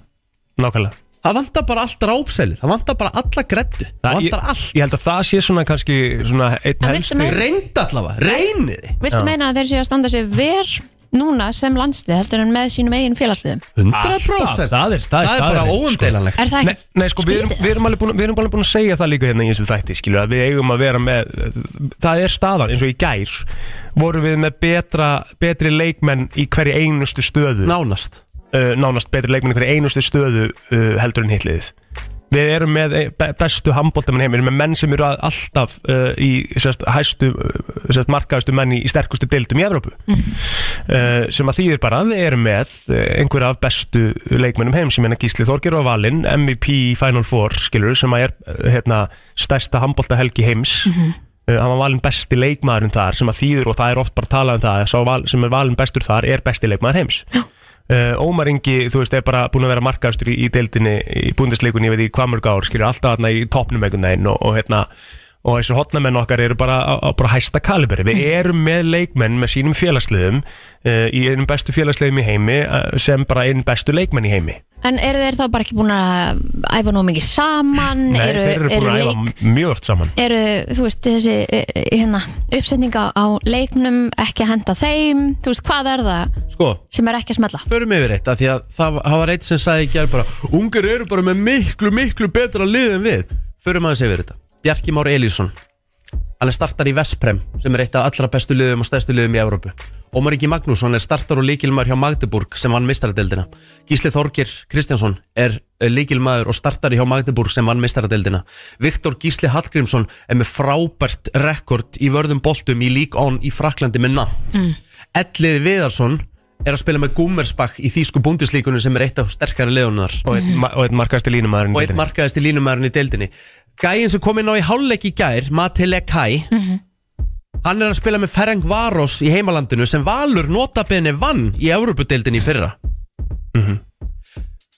B: nákvæmlega
A: það vantar bara allt rápsæli, það vantar bara alla grettu, það
B: ég,
A: vantar allt
B: ég held að það sé svona kannski svona einn
C: Það viltu
B: helstu
C: meina-
A: reynda allavega, reyniði
C: viltu meina að þeir séu að standa sér ver núna sem landslið heldur en með sínum eigin félagsliðum
A: 100%
B: Alltaf, það er- það er
A: bara
B: staðreynd, sko.
A: óumdeilanlegt
C: Er það
B: Nei,
C: ekki?
B: nei, sko, við erum, við, erum alveg búin, við erum alveg búin að segja það líka hérna í þessum þætti, skilur að við eigum að vera með, það er staðan eins og í gær, vorum við með betra, betri leikmenn í hverju einustu stöðu,
A: Nánast
B: uh, nánast betri leikmenn í hverju einustu stöðu uh, heldur en hitliðið. Við erum með eh, be- bestu handbóltamenn heim, við erum með menn sem eru að- alltaf uh, í sérst, hæstu, uh, sérst, markaðustu menn í, í sterkustu deildum í Evrópu uh, sem að þýðir bara að við erum með uh, einhverja af bestu leikmönnum heims sem hérna Gísli Þorgir og Valin, MVP í Final Four skilur, sem að er uh, hérna, stærsta handbólta helgi heims uh, hann var valin besti leikmaðurinn þar sem að þýðir og það er oft bara talað um það að sá val, sem er valin bestur þar er besti leikmaður heims Uh, Ómar Ingi, þú veist, er bara búin að vera markaðustur í, í deildinni, í búndisleikunni ég veit ekki hvað mörg ár, skilur alltaf hérna í topnum einhvern veginn og, og hérna og þessu hotnamenn okkar eru bara á, á bara hæsta kaliberi. Við erum með leikmenn með sínum félagsliðum uh, í einum bestu félagsliðum í heimi uh, sem bara einn bestu leikmenn í heimi.
C: En eru þeir þá bara ekki búin að æfa nóg mikið saman?
B: Nei, þeir eru búin að
C: leik-
B: æfa m- mjög oft saman.
C: eru, þú veist, þessi eh, eh, hérna, uppsetninga á leiknum ekki að henda þeim, þú veist, hvað er það
A: Sko,
C: sem er ekki að smella?
A: förum yfir eitt af því að það, það var eitt sem sagði ekki bara, ungar eru bara með miklu, miklu betra lið en við förum aðeins yfir þetta Bjarki Már Elísson hann er startar í Vesprem sem er eitt af allra bestu liðum og stærstu liðum í Evrópu Ómar Ingi Magnússon er startar og líkilmaður hjá Magdeburg sem vann mistaradeldina Gísli Þorgir Kristjánsson er eh, lykilmaður og startar hjá Magdeburg sem vann mistaradeldina Viktor Gísli Hallgrímsson er með frábært rekord í vörðum boltum í League On í Fraklandi með natt mm. Ellið Viðarsson er að spila með Gummersbach í þýsku búndislíkunum sem er eitt af sterkari leðunar
B: Og einn, ma- og einn markaðusti línumæðurinn.
A: og eitt markaðist í línumæðurinn í deildinni Gæin sem kom inn á í hálfleik í gær Matile Kai hann er að spila með Ferenc Varos í heimalandinu sem Valur notabene vann í Európa-deildinni í fyrra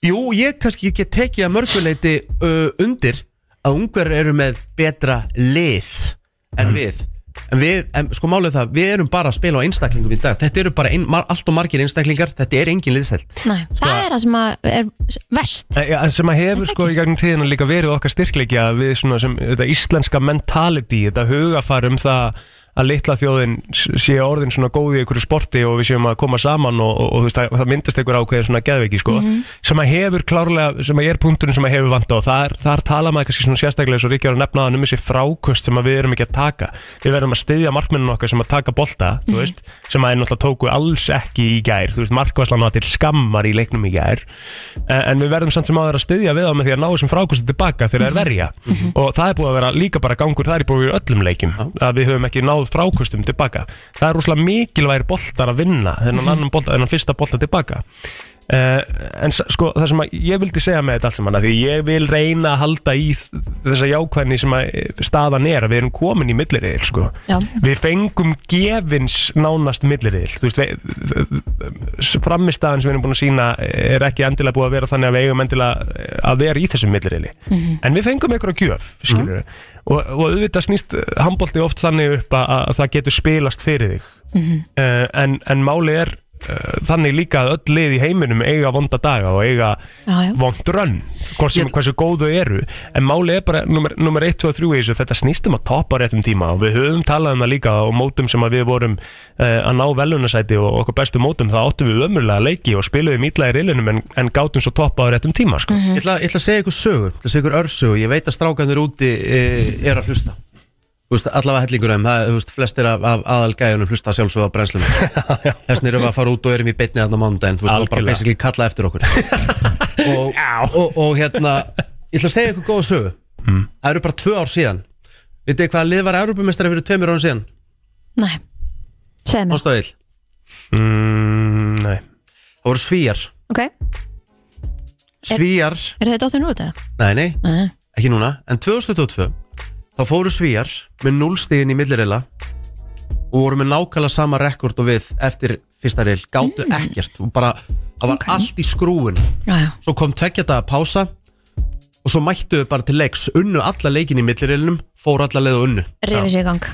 A: Jú, ég kannski get tekið að mörguleiti uh, undir að ungar eru með betra lið en við En við, en, sko málið er það, við erum bara að spila á einstaklingum í dag Þetta eru bara ein, mar, allt og margir einstaklingar, þetta er engin liðselt
C: Nei, það er það sem að er vest
B: Eh, Já, en sem að hefur sko í gegnum tíðina líka verið okkar styrkleiki að við svona sem þetta íslenska mentality, þetta hugafar um það að litla þjóðin s- sé orðin svona góð í einhverju sporti og við séum að koma saman og, og, og þú veist, það, það myndast einhver ákveðin svona geðveiki sko, sem að hefur klárlega, sem að er punkturinn sem að hefur vant á þar, þar tala maður kannski svona sérstaklega svo ríkja var að nefna það um þessi frákust sem að við erum ekki að taka við verðum að styðja markmennun okkar sem að taka bolta þú veist, sem að er náttúrulega tóku alls ekki í gær, þú veist, markvæslan var til skammar í leiknum í gær en, en við verðum samt sem áður að styðja við á með því að ná þessum frákustu tilbaka þegar það er verja og það er búið að vera líka bara gangur þar í búið í öllum leikjum að við höfum ekki náð frákustum tilbaka það er rúslega mikilvægir boltar að vinna þennan annan bolta, þennan fyrsta bolta tilbaka Uh, en s- sko það sem að ég vildi segja með þetta allt saman að því ég vil reyna að halda í þ- þessa jákvæðni sem að eh, staðan er að við erum komin í milliriðil sko.
C: Já.
B: við fengum gefins nánast milliriðil þú veist við- frammistaðan sem við erum búin að sína er ekki endilega búið að vera þannig að við eigum endilega eh, að vera í þessum milliriðili
C: Mhm.
B: en við fengum einhverja gjöf skilur og, og auðvitað snýst handbólti oft þannig upp að, að það getur spilast fyrir þig
C: Mhm.
B: uh, en, en máli er uh, þannig líka að öll lið í heiminum eiga vonda daga og eiga
C: Já, já.
B: vond rönn hversu,
A: Ég-
B: hversu góð þau eru en máli er bara nummer, nummer 1, 2 og 3 í þessu þetta snýstum að toppa á réttum tíma og við höfum talað um það líka og mótum sem að við vorum uh, að ná velunarsæti og okkar bestu mótum þá áttum við ömurlega leiki og spiluðum ítla í rillinum en, en gátum svo toppa á réttum tíma sko.
A: Ég ætla, ég ætla að segja ykkur sögu, ég ætla að segja ykkur örsögu Ég veit að strákanir úti e, er að hlusta Þú veist, Allavega hellingur af þeim, það, þú veist, flestir af, af aðalgæjunum hlusta sjálfsögðu á brennslunum Þessin erum við að fara út og erum í beinni þarna á mánudaginn Þú veist, það var bara
B: Algjörlega.
A: basically kalla eftir okkur og, og, og hérna, ég ætla að segja ykkur góða sögu Það eru bara tvö ár síðan Vitið þið hvaða lið var Europamestari fyrir tveimur án síðan?
C: Nei, segðu mér
A: Ástöðil,
B: mm, nei
A: það voru svíjar
C: Ok,
A: Svíjar,
C: eru þið dóttir nú út eða?
A: nei nei,
C: Nei,
A: ekki núna, en 2022 þá fóru svíjar með 0 stíðin í millirila og voru með nákvæmlega sama rekord og við eftir fyrsta reil, gáttu ekkert og bara, það var allt í skrúin
C: já, já,
A: svo kom tveggja daga pása og svo mættu við bara til leiks unnu alla leikin í millirilnum, fóru alla leið og unnu
C: rifið sér í gang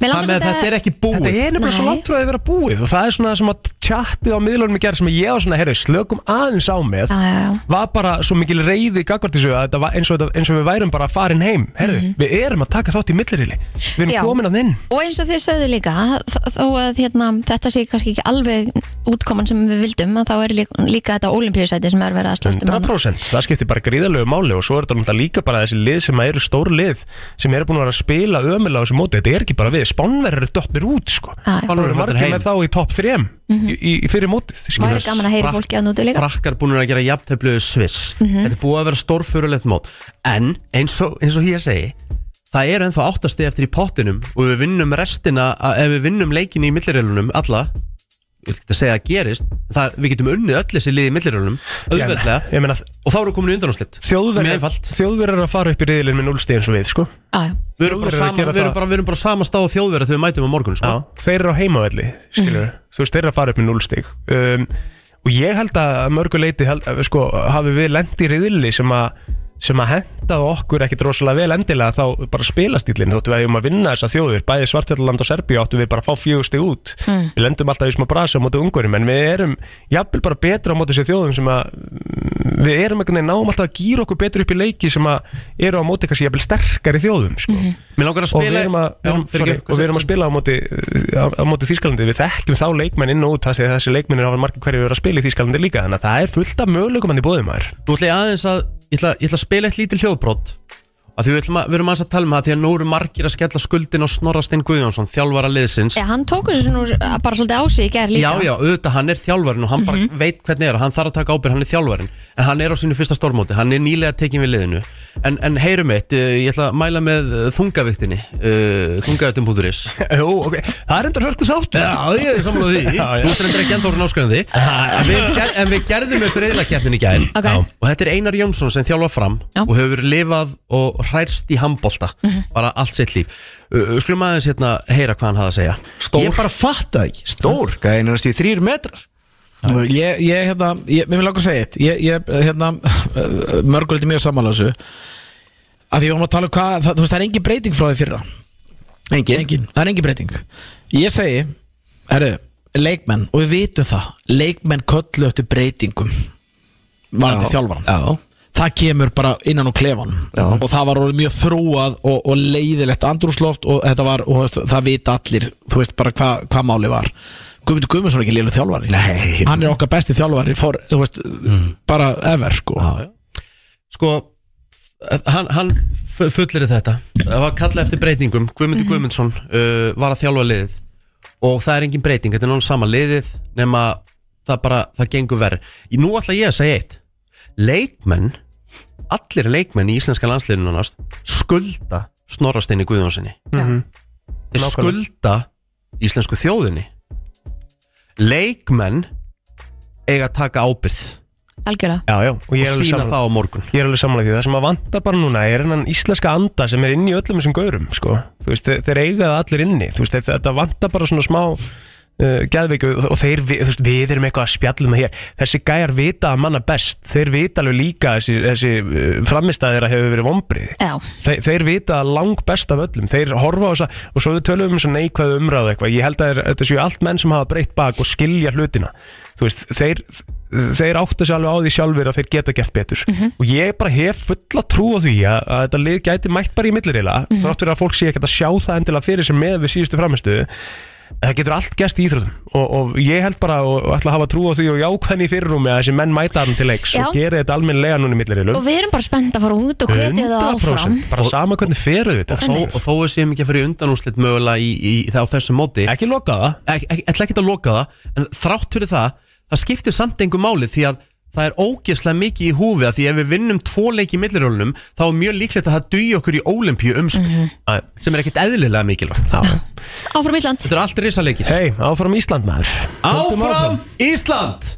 C: Mér langar
A: Þannig að
C: samt
A: þetta er ekki búið
B: Þetta er nefnilega svo
C: Nei.
B: langt frá því að vera búið og það er svona það sem að tjattið á miðlunum í gerð sem ég var svona, heyrðu, slökum aðeins á með
C: Já, já, já.
B: var bara svo mikil reyði gagvartisöðu að þetta var eins og, þetta- eins og við værum bara farin heim heyrðu, við erum að taka þátt í millirili við erum
C: Mhm. Já.
B: komin að inn
C: Og eins og þið sögðu líka, þ- þó að hérna, þetta sé kannski ekki alveg útkoman sem við vildum, að þá er líka, líka þetta olimpíusæti sem er verið að um slartum
B: 100% það skiptir bara gríðarlegu máli og svo er þetta náttúrulega líka bara þessi lið sem eru stór lið sem eru búin að vera að spila ömulega á þessu móti, þetta er ekki bara við, spánverður eru dottnir út sko,
C: Já,
A: Fá-
C: já.
B: það eru
A: Spánverjar
B: margir
A: heim.
B: með þá í topp 3 í, í, í fyrir mótið
C: Það
B: skilur.
C: Mhm. væri gaman að heyra
A: Frakk-
C: fólki að núti líka. Mhm.
A: Frakkar búinir að gera jafnteflu við Sviss Þetta er búið að vera stórfurulegt mót En eins og, eins og ég segi Það er ennþá áttasti eftir í pottinum Og við vinnum restina a- Ef við vinnum leikin í millirilunum alla Ég vil ekki að segja að gerist en það, Við getum unnið öll þessi lið í millirilunum
B: Ég meina-
A: Öðveldlega
B: ég meina,
A: Og þá erum við komin í undanúslitt Mjög
B: þjóðverðar
A: einfalt.
B: þjóðverðar að fara upp í riðilinn með 0 stíðin svo við sko.
C: Já, já.
A: Við erum bara
B: Þjóðverjar
A: sama-
B: að gera
A: við erum
B: það.
A: bara- við erum bara á sama stað og þjóðverðar þegar við mætum á morgun sko.
B: Já, þeir eru á heimavelli skilur, þú veist, þeir eru að fara upp með 0 stíg um, og ég held að að mörgu leiti held, að, sko, hafi við lendi riðli sem að sem að hendaði okkur ekkit rosalega vel endilega þá bara spilastýlinn, þóttum við að um að vinna þessa þjóðir, bæði Svartjallaland og Serbíu áttum við bara að fá fjögusti út við lendum alltaf í smá brasa á móti ungurum en við erum jafnvel bara betra á móti þessi þjóðum sem að mm, við erum einhvern veginn náum alltaf að gýra okkur betur upp í leiki sem að eru á móti kannski jafnvel sterkari þjóðum sko
A: Mér langar að
B: og
A: spila
B: við erum að,
A: Já,
B: já,
A: fyrir
B: sorry,
A: ekki-
B: og við erum að spila á móti, á, á móti Þýskalandi við þekkjum þá leikmenn inn og út þessi, þessi leikmenn hafa margir hverju verið að spila í Þýskalandi líka þannig að það er fullt af möguleikum hann í bóðum maður
A: Nú ætla ég aðeins að Ég ætla, ég ætla að spila eitt lítið hljóðbrot að Því við, ætlum að, við erum aðeins að tala um það Því að nú eru margir að skella skuldin á Snorra Stein Guðjónsson Þjálfara liðsins
C: Já, hann tók þessu nú bara svolítið á sig í gerð líka. Mhm.
A: Já, já, auðvitað, hann er þjálfarin og hann bara veit hvernig er Hann þarf að taka ábyrgð, hann er þjálfarin En hann er á sínu fyrsta stórmóti, hann er nýlega tekin við liðinu En, en heyrum eitt, eh, ég ætla að mæla með eh, þungaviktinni uh, Þungaviktin.is
B: Jú, okay. það er endur hörku þáttu
A: Já, ég er samlega því
B: Já, já.
A: Þú ert reyndar ekki ennþá orðin áskrifandi. En við ger- En við gerðum upp reyðlakeppnin í gær
C: Ok.
B: Já.
A: Og þetta er Einar Jónsson sem þjálfa fram
C: Já. Mhm.
A: og hefur lifað og hræst í handbolta bara allt sitt líf uh, uh, Skulum aðeins hérna heyra hvað hann hafði að segja
D: Ég bara fatt það ekki
B: Stór.
D: Gæði nánast í þrýr metrar
E: Ég, ég, hérna, ég, mér vil langa að segja eitt Ég, ég hérna, mörgulegt er mjög sammála þessu Af því við varum að tala um hvað, það, þú veist, það er engin breyting frá því fyrra
D: Engin
E: engin, það er engin breyting Ég segi, herru, leikmenn Og við vitum það, leikmenn köllu eftir breytingum Varandi þjálfaran
D: Já,
E: það kemur bara innan úr klefan
D: Já.
E: og það var orðið mjög þróað og, og leiðilegt andrúsloft og þetta var, og það, það vita allir þú veist bara hvað hva máli var Guðmundur Guðmundsson er ekki lélu þjálfari
D: Nei. Mm.
E: hann er okkar besti þjálfari for, þú veist, bara ever sko já,
A: sko f- hann, hann fullir þetta það var kallað eftir breytingum Guðmundur
B: Mhm.
A: Guðmundsson uh, var að þjálfa liðið og það er engin breyting, þetta er náttúrulega sama liðið nema það bara, það gengur verð nú ætla ég að segja eitt leikmenn, allir leikmenn í íslenska landsliðinu nánast skulda snorrasteinu Guðjónssoni
C: Já.
A: þeir
B: Mhm. Nákvæmlega.
A: skulda íslensku þjóðinni leikmenn eiga að taka ábyrð
C: Algjörlega.
B: Já, já, og ég er
A: og
B: alveg
A: sína
B: saman
A: það á morgun
B: Ég er alveg samanlega því, það sem að vanda bara núna er hennan íslenska anda sem er inni í öllum þessum gaurum, sko, þú veist, þeir, þeir eiga það allir inni, þú veist, þeir- þetta vanda bara svona smá uh, geðveiku og, og þeir, vi- þú veist, við erum eitthvað að spjallum það hér, þessi gæjar vita að manna best, þeir vita alveg líka að þessi, þessi framistæðir að hefur verið vombriði
C: Já.
B: Þe, þeir vita lang best af öllum þeir horfa á þessa og svo við tölum um þessa neikvæðu umræðu eitthvað, ég held að þeir, þetta séu allt menn sem hafa breytt bak og skilja hlutina þú veist, þeir, þeir áttu sér alveg á því sjálfur að þeir geta gert betur og ég bara hef fulla trú á því að, að þetta lið gæti mætt bara í millirila mm -hmm. þráttur að fólk sé ekkert að sjá það endilega fyrir sem með við síðustu framistuðu það getur allt gerst í íþrótum og, og ég held bara og, og ætla að hafa trú á því og jákvæðin í fyrirrúmi að þessi menn mæta hann til leiks
C: Já.
B: og gera þetta almennilega núna í millirilu
C: Og við erum bara spennt að fara út og hvetja það áfram.
B: 100% bara sama hvernig feru þetta
A: og þó, og þó við séum ekki að fyrir undanúslit mögulega í, í, í, á þessu móti
B: ekki loka það
A: Ek- ek- ætla ekki að loka það en þrátt fyrir það, það skiptir samt engu máli því að það er ógeðslega mikið í húfi að því ef við vinnum tvo leik í millirólunum þá er mjög líklegt að það dugi okkur í ólimpíu umspil
B: Æ.
A: sem er ekkert eðlilega mikilvægt
C: Áfram Ísland.
A: þetta er allt risaleikir
B: hei, áfram Ísland maður Höldum
A: Áfram Ísland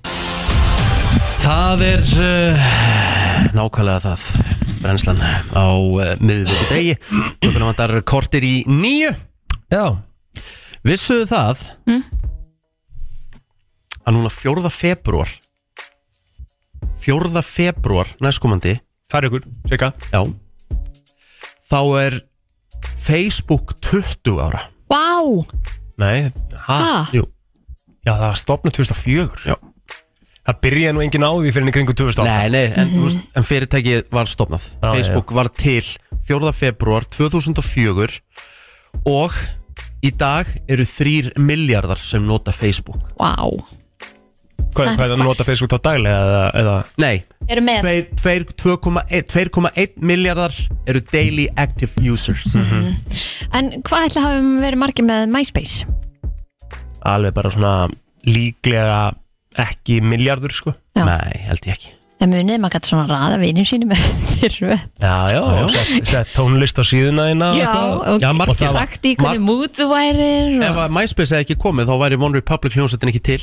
A: Það er uh, nákvæmlega það brennslan á uh, miðvöku degi Klukkan vantar kortir í nýju
B: já,
A: Vissuðu það að núna 4. februar 4. februar næstkomandi
B: færi ykkur, seka
A: já þá er Facebook 20 ára
C: Ó, Vá,
B: Nei, ha?
C: ha?
A: Jú,
B: Já, það var stopnað 2004
A: Já.
B: Það byrjaði nú engin á því fyrir henni kringu 2008
A: nei, nei, en, mm -hmm. en fyrirtækið var stopnað
B: Já,
A: Facebook var til 4. februar 2004 og í dag eru þrýr miljardar sem nota Facebook
C: Vá
B: Hvað hvað er það að nota Facebook þá daglega eða, eða
A: Nei,
C: Eru með
A: tveir- tveir- 2,1 2,1 miljardar eru daily active users
C: En hvað ætla hafum verið margir með MySpace?
B: alveg bara svona líklega ekki miljardur sko
C: Já.
A: Nei, held ég ekki
C: En munið maður gætt svona raða vinum sínum eftir röð.
B: Já, já,
A: Já, já.
B: og sett- sett tónlist á síðuna þína og
C: Já,
B: eitthvað.
C: og
A: Já, margir.
C: getur sagt í hvernig
A: Mar-
C: mút þú værir
A: Ef
C: og...
A: að MySpace hefði ekki komið þá væri One Republic hljómsveitin ekki til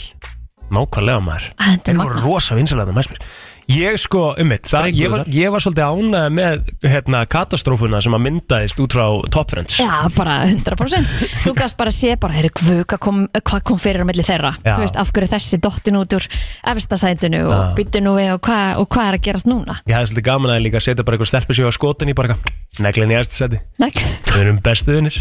B: Nákvæmlega maður
C: Æ, Þetta er
B: Þeir voru
C: magna
B: rosa vinsalega með MySpace Ég sko, um mitt, það, ég, var, ég var svolítið ánægð með hérna, katastrófuna sem að myndaðist út frá Top Friends
C: Já, bara 100% Þú gafst bara að sé bara, heyrðu, guð, hvað kom, hvað kom fyrir á milli þeirra
B: Já.
C: Þú veist, af hverju er þessi dottin út úr efstasætinu
B: Já.
C: og byttu nú við og hvað og hvað er að gerast núna
B: Ég hafði svolítið gaman að líka setja bara eitthvað stelpu sér á skotin í bara eitthvað Neglinn í æðstu seti,
C: Nei,
B: við erum bestu vinnir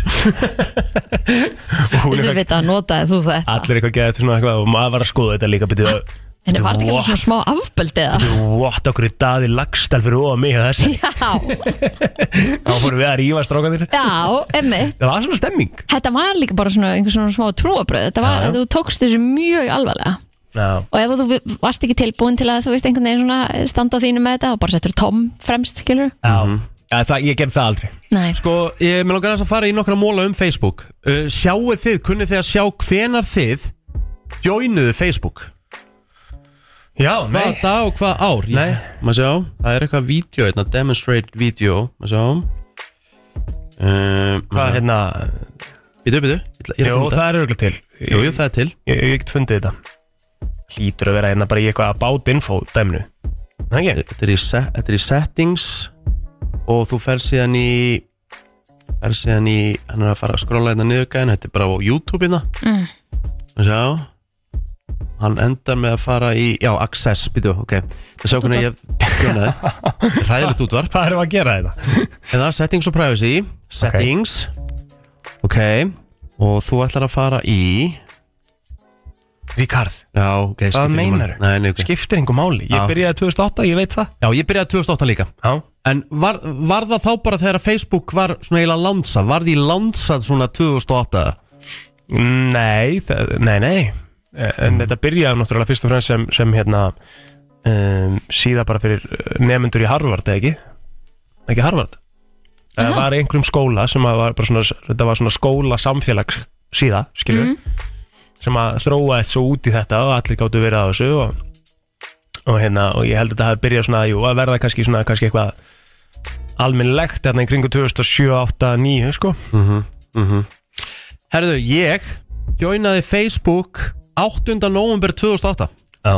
B: Og hún
C: þú
B: er eitthvað,
C: veit að notaði þú þetta
B: allir eitthvað geða svona eitthvað og maður var að skoða þetta líka byrjuð
C: En það var þetta ekki alveg svona smá afböldið eða?
B: What, okkur er daði lagstel fyrir óa mig og þessi
C: Já,
B: Þá fórum við að rífa strákanir
C: já, emmi
B: Það var svona stemming
C: Þetta var líka bara svona einhvers svona smá trúabröð Þetta
B: Já,
C: var
B: já.
C: að þú tókst þessu mjög alvarlega
B: Já,
C: og ef þú varst ekki tilbúin til að þú veist einhvern veginn svona standa á þínu með þetta og bara settur Tom fremst, skilur
B: já,
A: Mhm.
B: Já, það, ég gerði það aldrei
C: Nei,
A: Sko, ég mér langar aðeins að fara í nokkra móla um Facebook uh, Sjáuð þið, kunnið þið að sjá hvenar þið joinuðu Facebook
B: Já,
A: Hvaða dag og hvaða ár
B: Nei.
A: Maður sjá, það er eitthvað vídeo hérna, demonstrate video Maður sjá um,
B: Hvað hérna,
A: Býtu, býtu, ég ætla- ég er
B: jú,
A: að finna
B: það er auðvitað til
A: þetta Jú, jú, það er til
B: Ég hef ekkert fundið þetta Lítur að vera hérna bara í eitthvað about info dæmnu Það ekki?
A: Þetta er í, se þetta er í settings Og þú fer síðan í Fer síðan í Hann er að fara að skrolla hérna niður gæðin Þetta er bara á YouTube hérna
C: Mm.
A: Maður sjá Hann endar með að fara í, já, Access, býtu, ok Það sjá hvernig ég joinaði Ræðilegt útvarp
B: Hvað erum við að gera hérna? þetta?
A: Eða settings og privacy Settings Ok, Og þú ætlar að fara í
B: Ríkard,
A: Já, ok
B: hvað
A: skiptir ekki máli.
B: meinar
A: Nei, nei, ok
B: Skiptir engu máli Ég
A: Já.
B: byrjaði 2008, ég veit það
A: Já, ég byrjaði 2008 líka
B: Já,
A: En var, var það þá bara þegar Facebook var svona eiginlega lansað Var því lansað svona 2008
B: Nei, það, nei, nei En þetta byrjaði náttúrulega fyrst og fremst sem, sem hérna um, síða bara fyrir nefnendur í Harvard, eða ekki? Ekki Harvard? Það var í einhverjum skóla sem að var bara svona, þetta var svona skóla samfélags síða, skilju sem að þróa þessu út í þetta og allir gáttu verið á þessu og, og hérna, og ég held að þetta hafi byrjað svona jú, að verða kannski svona, kannski eitthvað almennlegt þarna í kringu 2007, 8, 9, sko
A: Herðu, ég joinaði Facebook 8. november 2008
B: Já,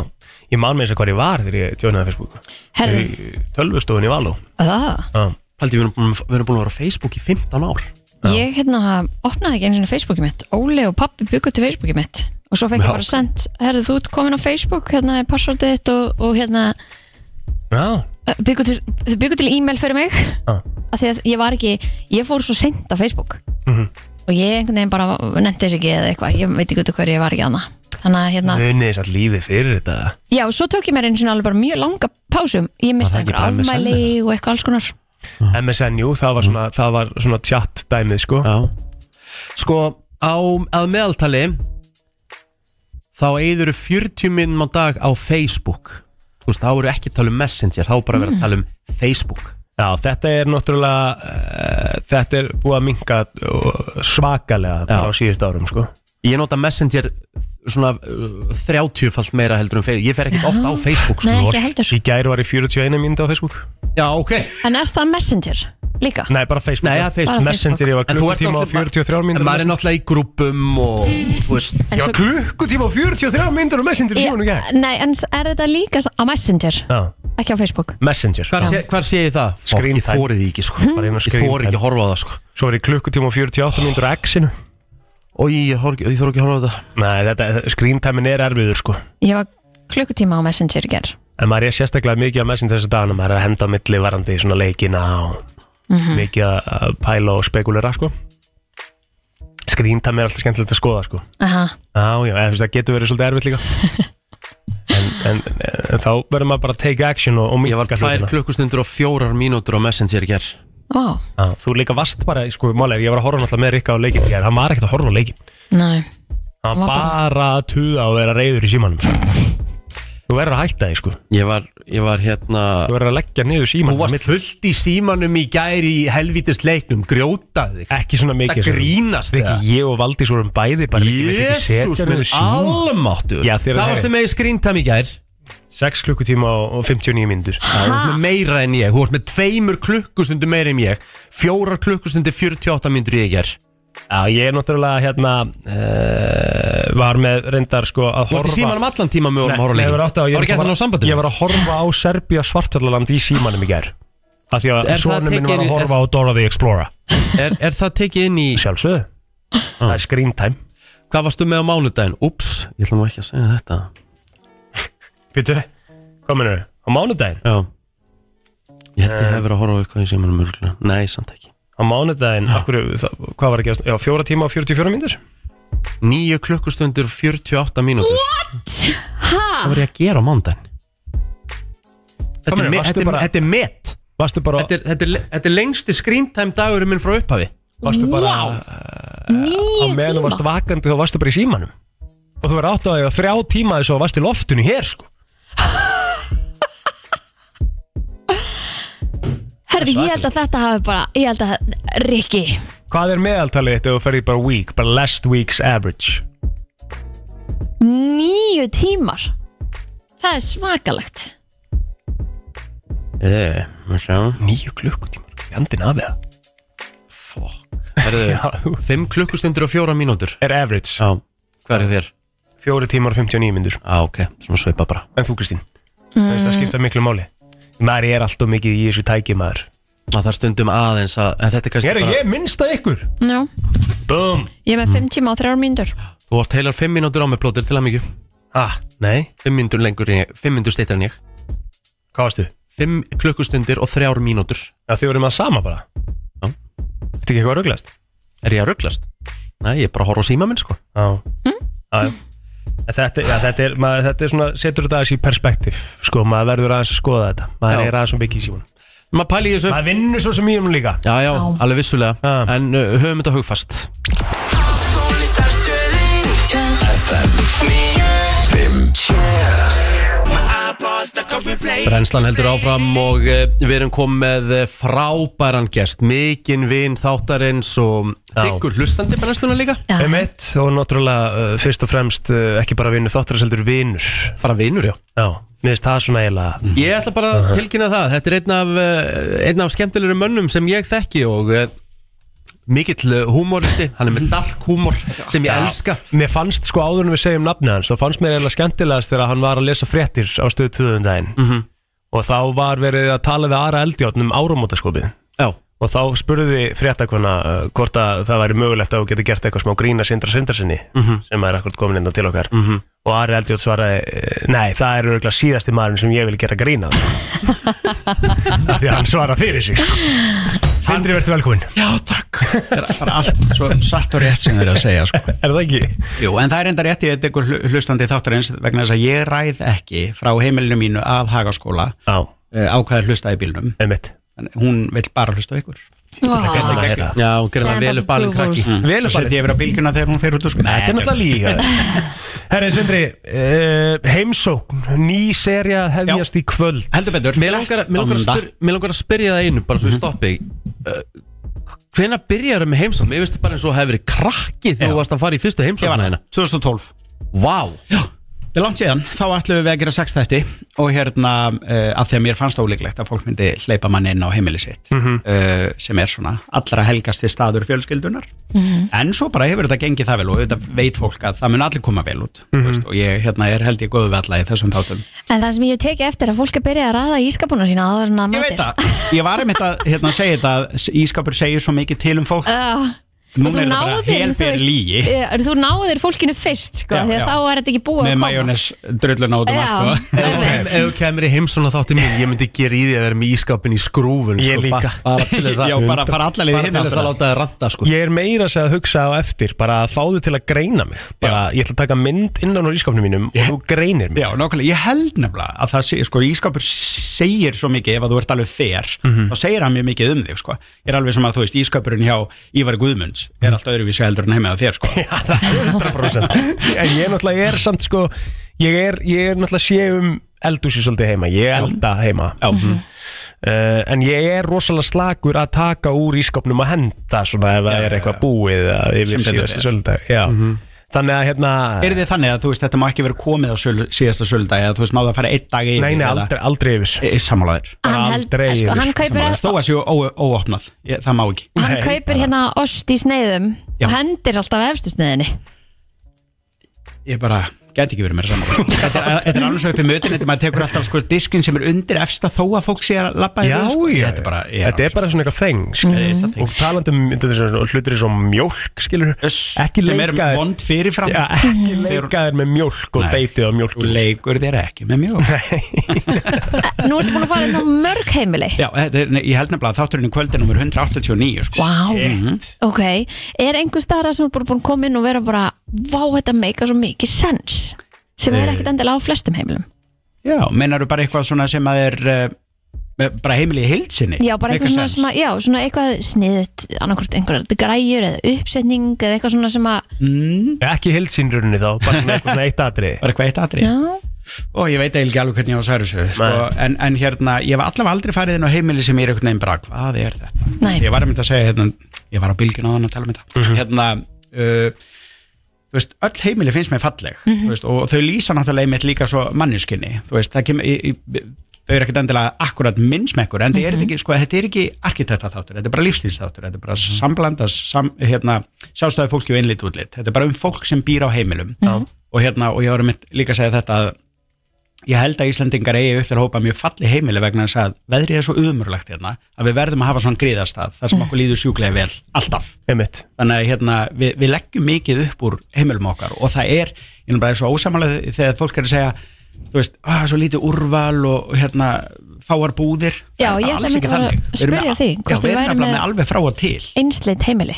B: ég man með þess að hvað ég var þegar ég tjónaði Facebook
C: herri,
B: Í tölvustofun í Való
C: það
B: Já,
A: Haldi, við erum búin að- við erum búin að vera á Facebook í 15 ár
C: Ég hérna opnaði ekki einu sinni Facebookið mitt Óli og pappi byggu til Facebookið mitt og svo fekk
A: Já,
C: ég bara
A: ok.
C: sendt Herðu, þú ert komin á Facebook, hérna er passvordið þitt og, og hérna,
B: já,
C: eh, byggu til, þau byggu til e-mail fyrir mig
B: já,
C: af því að ég var ekki, ég fór svo seint á Facebook
A: Mhm.
C: og ég einhvern veginn bara nefndi þess ekki eða eitthvað, ég veit ekki út af hverju ég var ekki annað Þannig að
A: Mhm.
C: hérna,
B: munið þess að lífið fyrir þetta
C: Já, svo tók ég mér einu sinni alveg bara mjög langa pásum Ég misti
A: Var það ekki
C: einhver
A: bara MSN
C: afmæli og eitthvað alls konar
B: MSN, jú, það var svona, það var svona chat dæmið, sko
A: Já Sko, á, að meðaltali þá eigður 40 minnum á dag á Facebook Þú veist, þá eru ekki að tala um Messenger þá er bara að
C: Mm.
A: vera að tala um Facebook
B: Já, þetta er náttúrulega uh, þetta er búið að minka uh, svakalega
A: Já.
B: á síðust árum, sko
A: Ég nota Messenger svona uh, 30 falt meira heldur um Facebook Ég fer ekkert oft á Facebook sko.
C: Nei, ekki heldur
B: Í gær var ég 41 mínúti á Facebook
A: Já, ok
C: En er það Messenger líka?
B: Nei, bara Facebook
A: Nei, það er
C: Bara
A: Facebook
B: Messenger, ég var
A: En þú ert
B: klukkutíma á
A: náttúrulega-
B: 43
A: En
B: mínútur
A: maður er náttúrulega í grúpum og þú veist
C: En
B: Ég var klukkutíma á 43 mínútur á Messenger í símanum í
C: ég,
B: gær.
C: Nei, en s- er þetta líka s- á Messenger?
B: Já,
C: Ekki á Facebook
B: Messenger
A: Hvar sé, hvar sé ég það? Fólk,
B: Screen
A: ég
B: time.
A: þórið því ekki sko
B: Bara inn á
A: Ég
B: screen
A: þórið ekki
B: time.
A: að horfa á það sko
B: Svo var ég klukkutíma á 48 mínútur á X-inu
A: Og ég, ég, horf- ég þór ekki að horfa á það
B: Nei, þetta, skríntamin er erfiður sko
C: Ég var klukkutíma á Messenger í ger
B: En maður er sérstaklega mikið að messin þessu dagana Maður er að henda á milli varandi í svona leikina og mikið að- að pæla og spekulera sko skríntam er alltaf skemmtilegt að skoða sko
C: Aha.
B: Já, já, eða þú veist, það getur verið svolítið erfitt líka en, en, en þá verður maður bara að take action og, og
A: Ég var
B: minnka
A: tvær
B: hlutina.
A: klukkustundur og fjórar mínútur á Messenger í gerð
C: Vá,
B: Já, Þú líka vast bara, sko, málega, ég var að horfa náttúrulega með Rikka á leikin hér, hann var ekkert að horfa á leikin
C: næ
B: hann
C: Hann var
B: var
C: bara-
B: bara að tuða og vera reyður í símanum sko. Þú verður að hætta því, sko
A: Ég var, ég var hérna
B: Þú verður að leggja niður
A: Þú
B: símanum
A: varst
B: mitt,
A: fullt í símanum í gæri í helvítist leiknum, grjótaði þig
B: ekki svona mikið
A: Það
B: sko.
A: grínast
B: Rikki,
A: eða?
B: ég og Valdís vorum bæði bara Rikki, vill ekki
A: Jésús
B: setja
A: minn
B: niður símann.
A: almáttur
B: Já, þér er
A: Það
B: það-
A: varstu með í skríntam í gær
B: 6 klukkutíma og og 59 mínútur
A: Það þú ert með meira en ég, þú ert með tveimur klukkustundu meira en ég Fjórar klukkustundu 48 myndur ég ger
B: Já, ég er náttúrulega hérna uh, var með reyndar sko að
A: Þú varst í símanum allan tíma með vorum að horfa
B: Nei,
A: leiknum
B: ég var átti á-
A: Það
B: ég
A: var ekki hægt að ná
B: var-
A: sambandi
B: Ég var að horfa á Serbía svartfjallaland í símanum í gær Af því að
A: Er það
B: sonum minn var
A: tekið-
B: að horfa á Dora the Explorer
A: er, er það tekið inn í,
B: Sjálfsögðu
A: Ah.
B: Það er screen time
A: hvað varstu með á mánudaginn? Úps, ég ætla nú ekki að segja þetta
B: Býtu, hvað mennur þau? Á mánudaginn?
A: Já Ég held ég hef verið að horfa á eitthvað í símanum mörgulega Nei, samt ekki
B: Á mánudaginn, akkur, það, hvað var að gerast? Já, fjóra tíma og 44 mínútur
A: Níu klukkustundur 48 mínútur What? Hvað var ég að gera á mánudaginn? Þetta
B: meinar,
A: er met-
B: varstu
A: þetta er-
B: bara-
A: þetta er met
B: Varstu bara,
A: Þetta er- þetta er le- Þetta er lengsti screentime dagurinn minn frá upphafi
B: varstu bara á
C: Nýju
B: meðan þú varst vakandi þá varstu bara í símanum og þú verður átt á því að þrjá tíma þess að varstu í loftinu hér sko
C: Herri, ég held að þetta hafi bara Ég held að, Rikki
B: Hvað er meðaltalið þetta ef þú ferði bara week, bara last week's average?
C: Nýju tímar Það er svakalegt
A: Eh, maður sjá
B: Nýju klukkutímar, jandinn af það
A: Herðu,
B: Já, þú-
A: Fimm klukkustundur og fjóra mínútur
B: Er average,
A: Já, hvað er þér?
B: fjóri tímar og 59 myndur
A: Já, ok, svona sveipa bara
B: En þú Kristín, mm. það skipta miklu máli Maður er alltaf mikið í þessu tæki maður
A: að það er stundum aðeins að en þetta er kannski
B: Er ég minnst að ykkur?
C: Já,
B: Bum
C: ég er með 5 tíma og 3 mínútur
A: þú varst heilar 5 mínútur á mig plótir til að mikið
B: Ah, nei,
A: 5 mínútur lengur en ég, 5 mínútur steytar en ég
B: hvað varstu?
A: 5 klukkustundir og 3 mínútur
B: Það þið voru maður sama bara
A: Já.
B: Þetta ekki eitthvað rugglast?
A: er ég að rugglast? Nei, ég er bara að horfa á síma minn sko
B: Já mm. þetta, já, þetta, er, maður, þetta er svona setur þetta aðeins í perspektíf sko, maður verður aðeins að skoða þetta maður
A: Já.
B: er aðeins svo mikið í símanum
A: maður pæli í þessu
B: maður vinnur svo sem í um líka
A: já, já, alveg vissulega
B: Já.
A: en uh, höfum þetta hugfast Brennslan heldur áfram og uh, við erum komið með eh, frábæran gest mikinn vin þáttarins og
B: Já.
A: ykkur hlustandi brennsluna líka
C: Já.
B: Emitt og náttúrulega uh, fyrst og fremst uh, ekki bara vinnu þáttarins heldur vinur
A: bara vinur já
B: já, mér finnst það svona eiginlega
A: Ég ætla bara að tilkynna það Þetta er einn af, eh, einn af skemmtilegur mönnum sem ég þekki og eh, mikill eh, húmoristi, hann er með dark húmor sem ég elska
B: Mér fannst sko áður en við segjum nafni hans þá fannst mér eiginlega skemmtilegast þegar hann var að lesa fréttir á stöðu tvöðundaginn mm
A: Mhm.
B: -hmm. og þá var verið að tala við Ara Eldjárn um áramótaskopið
A: Já,
B: og þá spurði fréttakona uh, hvort að það væri mögulegt að þú geti gert eitthvað smá grína sindra sindarsinni mm -hmm. sem er akkurat komin innan til okkar -hmm. og Ari Eldjótt svaraði eh, nei, það er örgulega síðasti maðurinn sem ég vil gera grína því að hann svaraði fyrir sig Sindri, verður velkomin
F: Já, takk Það er bara allt svo satt og rétt sem þeir eru að segja sko.
B: Er það ekki?
F: Jú, en það er enda rétt í þetta ykkur hlu- hlustandi þáttarins vegna þess að ég ræð ekki frá heimilinu mínu af hagaskóla
B: Já,
F: ákvæði hlusta í bílnum
B: einmitt
F: Þannig, hún vill bara hlusta á ykkur
C: Vá.
B: heyra.
A: já, gerðan
C: Stand
A: vel
C: up
A: upp alveg
C: for
A: krakki
F: Vel Svo setjum ég verið á bílgjuna þegar hún fer út úr sko
B: Þetta er náttúrulega líka Herri, Sindri, uh, heimsókn ný serja að hefjast í kvöld
F: Heldur betur
A: Mér langar, mér, langar að
F: Anda.
A: spyr, mér langar að spyrja það einu bara svo ég stoppi uh, Hvenær byrjar það með heimsókn? Ég veist bara eins og það hefur verið krakki þegar
F: Já.
A: þú varst að fara í fyrstu
F: Ég var
A: heimsókn hérna
F: hana 2012
A: Vá,
F: Það er langt síðan, þá ætlum við að gera sex þætti og hérna uh, af því að mér fannst ólíklegt að fólk myndi hleypa manni inn á heimili sitt
A: Mhm.
F: uh, sem er svona allra helgasti staður fjölskyldunar
C: Mhm.
F: en svo bara hefur þetta gengið það vel og þetta veit fólk að það mun allir koma vel út
A: Mhm.
F: mm veist, og ég hérna, er held ég góðu við alla í þessum þáttum
C: En það sem ég hef tekið eftir að fólk er byrjað að ræða ískapuna sína áður en að
F: Ég
C: mætir
F: veit það, ég var einmitt að hérna, segja þetta að ískapur segir svo mikið til um fólk
C: uh, Og þú
F: Núna er það bara
C: náðir, þú
F: helfer
C: veist,
F: lígi
C: eh, Þú náðir fólkinu fyrst sko,
F: Já,
C: Því
F: já.
C: að þá er þetta ekki búið
F: með
C: að koma
F: majónes drullun átum
C: Já,
F: að sko
A: Ef
C: einmitt.
A: ef þú kemur í heimsóna þátti mín Ég myndi gera í því að vera með ískapin í skrúfun sko,
B: Ég líka.
A: bara, bara til þess að
F: Já, bara fara alla leið
A: Bara
F: hina
A: til þess að láta það ranta sko
B: Ég er meira að segja að hugsa á eftir bara að fá þau til að greina mig bara, ég ætla að taka mynd innan úr ískapnum mínum og þú greinir mig
F: Já, nákvæmlega, ég held nefnilega að það segir, sko, ískapur segir svo mikið ef að þú ert alveg fer,
B: Mhm.
F: þá segir hann mjög mikið um þig, sko. Ég er alveg sem að, þú veist, ískapurinn hjá Ívar Guðmunds er allt öðruvísi heldur en heima á þér, sko.
B: Já, það er 100% En ég náttúrulega er samt sko Ég er, ég er náttúrulega sé um eldúsi svolítið heima Ég elda heima
F: Já,
B: uh, En ég er rosalega slagur að taka úr ískapnum og henda svona ef það er eitthvað búið eða yfir
F: Sem síður
B: síðasta
F: er.
B: söludag. Já. Þannig að hérna
F: er þið þannig að, þú veist, þetta má ekki vera komið á söl, síðasta söldagi, að þú veist, má það fara einn dag yfir.
B: Nei, nei, aldrei, aldrei yfir
F: aldrei. Samálaðir.
C: Hann, held,
B: Aldrei
C: sko, hann
B: yfir
C: kaupir,
F: Samálaðir. Þó að séu ó- óopnað, ég, það má ekki.
C: hann
B: Nei,
C: kaupir hérna ost í sneiðum
F: Já.
C: og hendir alltaf efstu sneiðinni
F: Ég bara, gæti ekki verið meira samálaðir. þetta, er- þetta er alveg svo upp í mötin, þetta maður tekur alltaf, sko, diskin sem er undir efsta þó að fólk sé að labba í
B: Já,
F: röð, sko.
B: já,
F: Þetta er bara, sko. Mm. ég
B: þetta er bara svona eitthvað þeng skilur. og talandi um þetta er svona- hlutir eins og mjólk skilur,
F: Uss,
B: ekki
F: sem er
B: leikaðir
F: vond fyrirfram
B: Já, ekki
F: Þeir-
B: leikaðir með mjólk og
F: Nei.
B: deitið á mjólk
F: Þú leikur þér ekki með mjög
C: Eh, Nú ertu búin að fara inn á mörg heimili
F: Já, þetta er, nei, ég held nefnilega að þátturinn í kvöld er nummer 189 sko.
C: Vá,
F: Mhm.
C: ok Er einhver staðar sem er bara búin að koma inn og vera bara Vá, þetta meika svo mikið sens sem
F: Eh.
C: er ekkert endilega á flestum heimilum
F: Já, meinaru bara eitthvað svona sem að er uh, bara heimili í heilsinni
C: Já, bara eitthvað svona sem að, já, svona eitthvað sniðut, annarkvort einhverjar græjur eða uppsetning eða eitthvað svona sem að
F: mm,
B: ekki hildsýnrunni þá, bara með eitthvað svona eitt atrið
F: Bara eitthvað eitt atrið
C: Já,
F: Og ég veit eiginlega ekki alveg hvernig ég á að særa þessu sko,
B: Nei.
F: en, en hérna, ég hef allavega aldrei farið inn á heimili sem ég er eitthvað nefn bara Hvað er þetta?
C: Nei.
F: Ég var að mynda að segja, hérna, ég var á bylgjun á þannig að tala um þetta Hérna, uh, þú veist, öll heimili finnst mér falleg þú veist, og þau lýsa náttúrulega einmitt líka svo manniskinni Þú veist, það kemur, í, í, þau eru ekkert endilega akkurat minnsmekkur En mm er ekki, sko, þetta er ekki arkitekta þáttur, þetta er bara lífstílsþáttur Þetta er bara samblandas, sam, hérna, sjálfstæði fólki og innlit útlit Þetta er bara um fólk sem býr á heimilum Og hérna, og ég var einmitt líka að segja þetta að ég held að Íslandingar eigi upp til að hópa mjög falli heimili vegna þess að veðrið er svo umurlegt hérna að við verðum að hafa svona gríðarstað þar sem okkur líður sjúklega vel, alltaf
B: einmitt,
F: þannig að hérna, við, við leggjum mikið upp úr heimilum okkar og það er ég er bara svo ósamalega þegar fólk er að segja þú veist, ah, svo lítið úrval og hérna, fáar búðir
C: Já,
F: Það er
C: ég ætla
F: alls
C: einmitt
F: ekki
C: að fara að
F: þannig. Við erum
C: spyrja
F: með-
C: þig
F: Já, við
C: hvort við
F: erum
C: værum
F: nefnilega
C: með-
F: með alveg frá og til
C: einsleitt heimili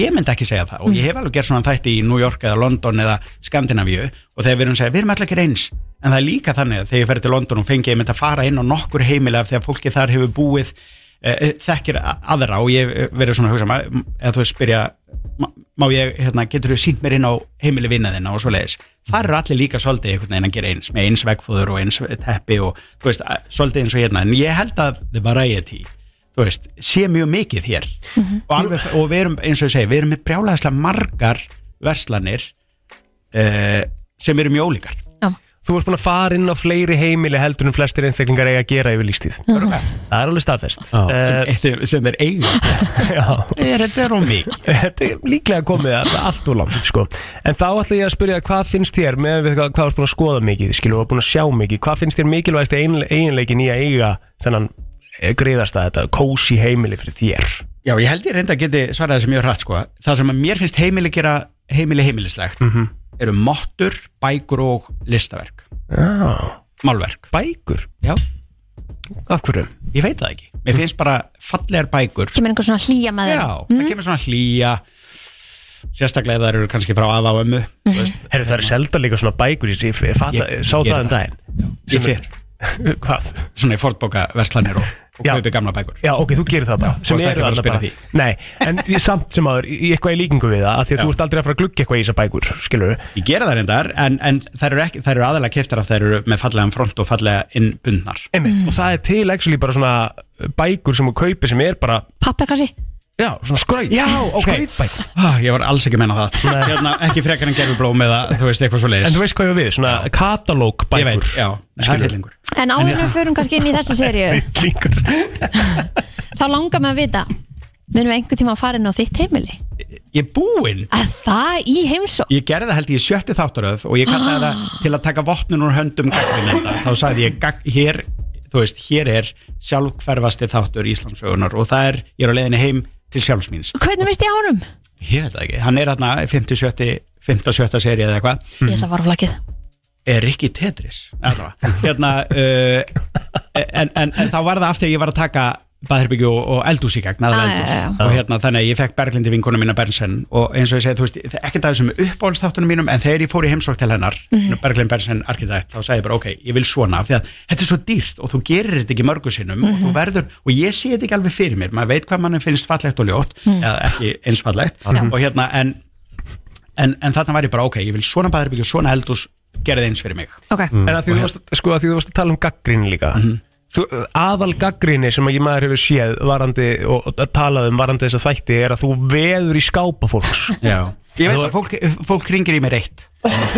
F: ég myndi ekki segja það og ég hef alveg gert svona þætti í New York eða London eða Skandinavíu og þegar við erum að segja, við erum allir ekki eins en það er líka þannig að þegar ég ferði til London og fengi ég myndi að fara inn á nokkur heimili af því að fólki þar hefur búið eh, þekkir a- aðra og ég hef verið svona að hugsa ma- eða þú veist spyrja ma- má ég, hérna, getur þú sínt mér inn á heimili vinnaðina og svoleiðis þar eru allir líka svolítið einhvern veginn að gera eins með eins vegfóður og eins teppi og þú veist, a- svolítið eins og hérna en ég held að the variety þú veist, sé mjög mikið hér og, alveg, og við erum, eins og ég segi, við erum með brjálæðislega margar verslanir uh, sem eru mjög ólíkar
B: þú ert búin að fara inn á fleiri heimili heldur en flestir einstaklingar eiga að gera yfir lístíð það er alveg staðfest
A: Já.
B: Eh,
F: sem, sem er eigin
B: já
F: er þetta er of mikið
B: Þetta er líklega komið að- allt úr langt sko. En þá ætla ég að spyrja hvað finnst þér með við hvað, hvað þú ert búin að skoða mikið skilu, og búin að sjá mikið, hvað finnst þér mikilvægst eiginleikin í að eiga þennan greiðast að þetta kósi heimili fyrir þér
F: Já, ég held ég reynda að geti svarað þessu mjög hratt sko. Það sem að mér finnst heimili gera heimili heimilislegt eru mottur, bækur og listaverk
B: Já,
F: málverk.
B: bækur
F: Já,
B: Af hverju?
F: ég veit það ekki. Mér finnst bara fallegar bækur
C: Kemur einhver svona hlýja með þeim
F: Já, það kemur svona hlýja sérstaklega ef þær eru kannski frá afa og ömmu þú veist.
B: Herru, það er selda líka svona bækur Ég, ég, ég, fatta,
F: Ég-
B: ég sá
F: ég
B: það
F: geri það.
B: en daginn
F: Ég
B: Sem er-
F: fer.
B: Hvað?
F: svona í fortbóka verslanir og, og
B: Já.
F: kaupi gamla bækur
B: Já, ok, þú gerir það bara sem
F: varst ekki að
B: eru
F: fara að
B: þarna
F: spyrja
B: bara- Nei, en ég- samt sem aður í í eitthvað í líkingu við það af Því
F: Já.
B: að þú ert aldrei að fara að glugga eitthvað í þessar bækur Skilur
F: Ég gera það reyndar, en, en þær eru, ekki, þær eru aðalega keftar af þær eru með fallegan front og fallega innbundnar
B: Einmitt, og það er til actually bara svona uh, bækur sem þú kaupir sem er bara
C: Pappa kannski
B: Já, svona skraut
F: Já, ok
B: Skrautbækur
F: ah, Ég var alls ekki að meina það hérna, Ekki frekar en gerfi blóm eða þú veist eitthvað svo leiðis
B: En þú veist hvað ég á við, svona katalóg
F: Ég veit,
B: bækur
F: já, það er hellingur
C: En áður en við förum kannski inn í þessa seríu
B: Líkur
C: þá langar mig að vita Verðum við einhvern tíma að fara inn á þitt heimili
F: Ég er búinn
C: Að það í heimsó
F: Ég gerði það held ég í sjötti þáttaröð og ég kallaði það til að taka vopnun úr höndum gagnvinenda. Þá sagði ég, gag, hér, þú veist, hér er sjálfhverfasti þáttur Íslandsögunar og það er, ég er á leiðinni heim til sjálfsmýns.
C: Hvernig veist ég á honum?
F: ég veit það ekki, hann er hérna 50-70 serið eða eitthvað
C: Ég ætla að fara á flakið
F: er Rikki Tetris allavega. hérna uh, en, en, en þá var það af því að ég var að taka baðherbyggju og, og eldús í gegn ah,
C: Ah,
F: eldús.
C: já, já,
F: og hérna þannig að ég fekk Berglindi vinkona mína Bernsen og eins og ég segi, þú veist, það er ekkert af þessum uppáhaldstáttunum mínum en þegar ég fór í heimsók til hennar
C: Mhm.
F: hérna, Berglind Bernsen arkitekt, þá sagði ég bara ok, ég vil svona af því að þetta er svo dýrt og þú gerir þetta ekki mörgu sinnum og
C: Mhm.
F: þú verður, og ég sé þetta ekki alveg fyrir mér maður veit hvað mann finnst fallegt og ljótt
C: Mhm.
F: eða ekki eins fallegt og hérna en, en, en þarna var ég bara ok, ég vil svona baðherbyggju og svona eldús gerði eins fyrir mig
C: Ok,
B: En að því, þú varst, sko, að því þú varst að tala um gaggrín líka þú, Aðal gaggríni sem ekki maður hefur séð varandi og og talað um varandi þessa þætti er að þú veður í skápa fólks
F: Já. Ég veit að fólk, fólk ringir í mér eitt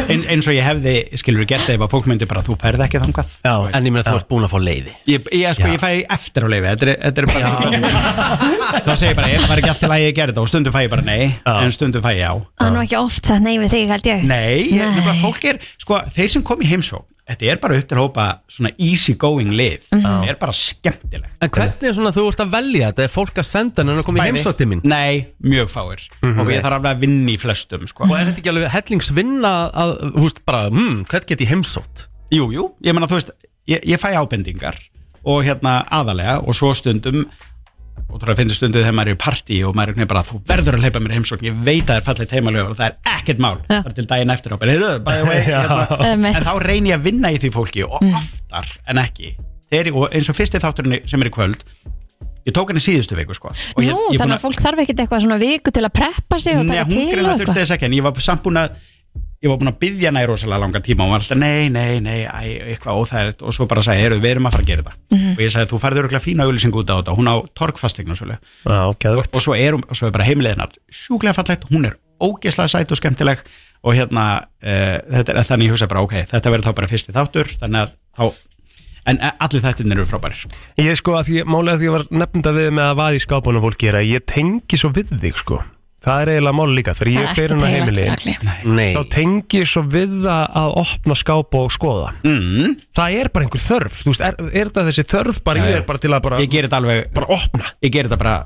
F: Ein, eins og ég hefði, skilur, gert það ef að fólk myndi bara, þú ferð ekki þangað
A: En ég meina þú ert búin að fá leiði
F: Ég, ég, sko, ég fæ eftir á leifi þetta er, þetta er bara þá segir ég bara, ég var ekki alltaf að ég gerði það og stundum fæ ég bara nei, en stundum fæ ég já
C: það er nú ekki oft að neyfi þig held
F: Nei,
C: ég Nei.
F: Nefnilega, fólk er, sko, þeir sem kom í heimsók þetta er bara upp til hópa svona easy going lið, það er bara skemmtilegt
A: En hvernig er svona þú ert að velja þetta? Er fólk að senda henni að koma í
F: Bæði.
A: heimsótt til mín?
F: Nei, mjög fáir og ég þarf alveg að vinna í flestum sko.
A: Mhm. Og er þetta ekki alveg hellingsvinna að, þú veist, bara, hmm, hvern get ég heimsótt?
F: Jú, jú, ég meina þú veist ég, ég fæ ábendingar og hérna aðalega og svo stundum og þú finnir stundið þegar maður er í partí og maður er einhvern veginn bara þú verður að leipa mér í heimsókn ég veit að það er fallið teimalög og það er ekkert mál
C: Já.
F: bara til daginn eftir á bara, "Heyrðu, by the way," hérna.
C: Einmitt. Mm.
F: en þá reyni ég að vinna í því fólki og oftar en ekki Þeir, og eins og fyrsti þátturinn sem er í kvöld ég tók hann í síðustu viku sko, og ég,
C: Nú,
F: ég búin
C: þannig að fólk þarf ekkert eitthvað svona viku til að preppa sig og
F: Nei,
C: taka
F: hún
C: til
F: greinlega
C: og
F: þurfti
C: eitthvað
F: þess ekki en ég var samt búin að ég var búin að byggja hana í rosalega langa tíma og hún var alltaf nei, nei, nei, æ, eitthvað óþægilegt og svo bara sagði, heyrðu, við erum að fara að gera þetta
C: Mhm.
F: og ég sagði, þú farður örgulega fína auðlýsing út á þetta hún á torkfastegn og svoleið
B: Já, geðvægt
F: og svo er, hún- og svo er bara heimiliðinar sjúklega fallegt, hún er ógeðslega sæt og skemmtileg og hérna uh, þetta er þannig ég hugsa bara, ok, þetta verður þá bara fyrsti þáttur, þannig að þá en eh, allir þættin eru frábærir
B: Ég sko að því, málega því ég var nefnda við með að vaða í skápunum fólki er að ég tengi svo við þig sko Það er eiginlega máli líka, þegar ég fer
C: Það
B: hann á
C: er ekki
B: heimili
C: teygilegt fyrir allir.
A: Nei.
B: þá tengi ég svo við það að opna skápa og skoða
F: mm,
B: Það er bara einhver þörf, þú veist, er, er það þessi þörf bara ég er bara til að bara,
F: ég ger þetta alveg,
B: bara opna
F: ég ger þetta bara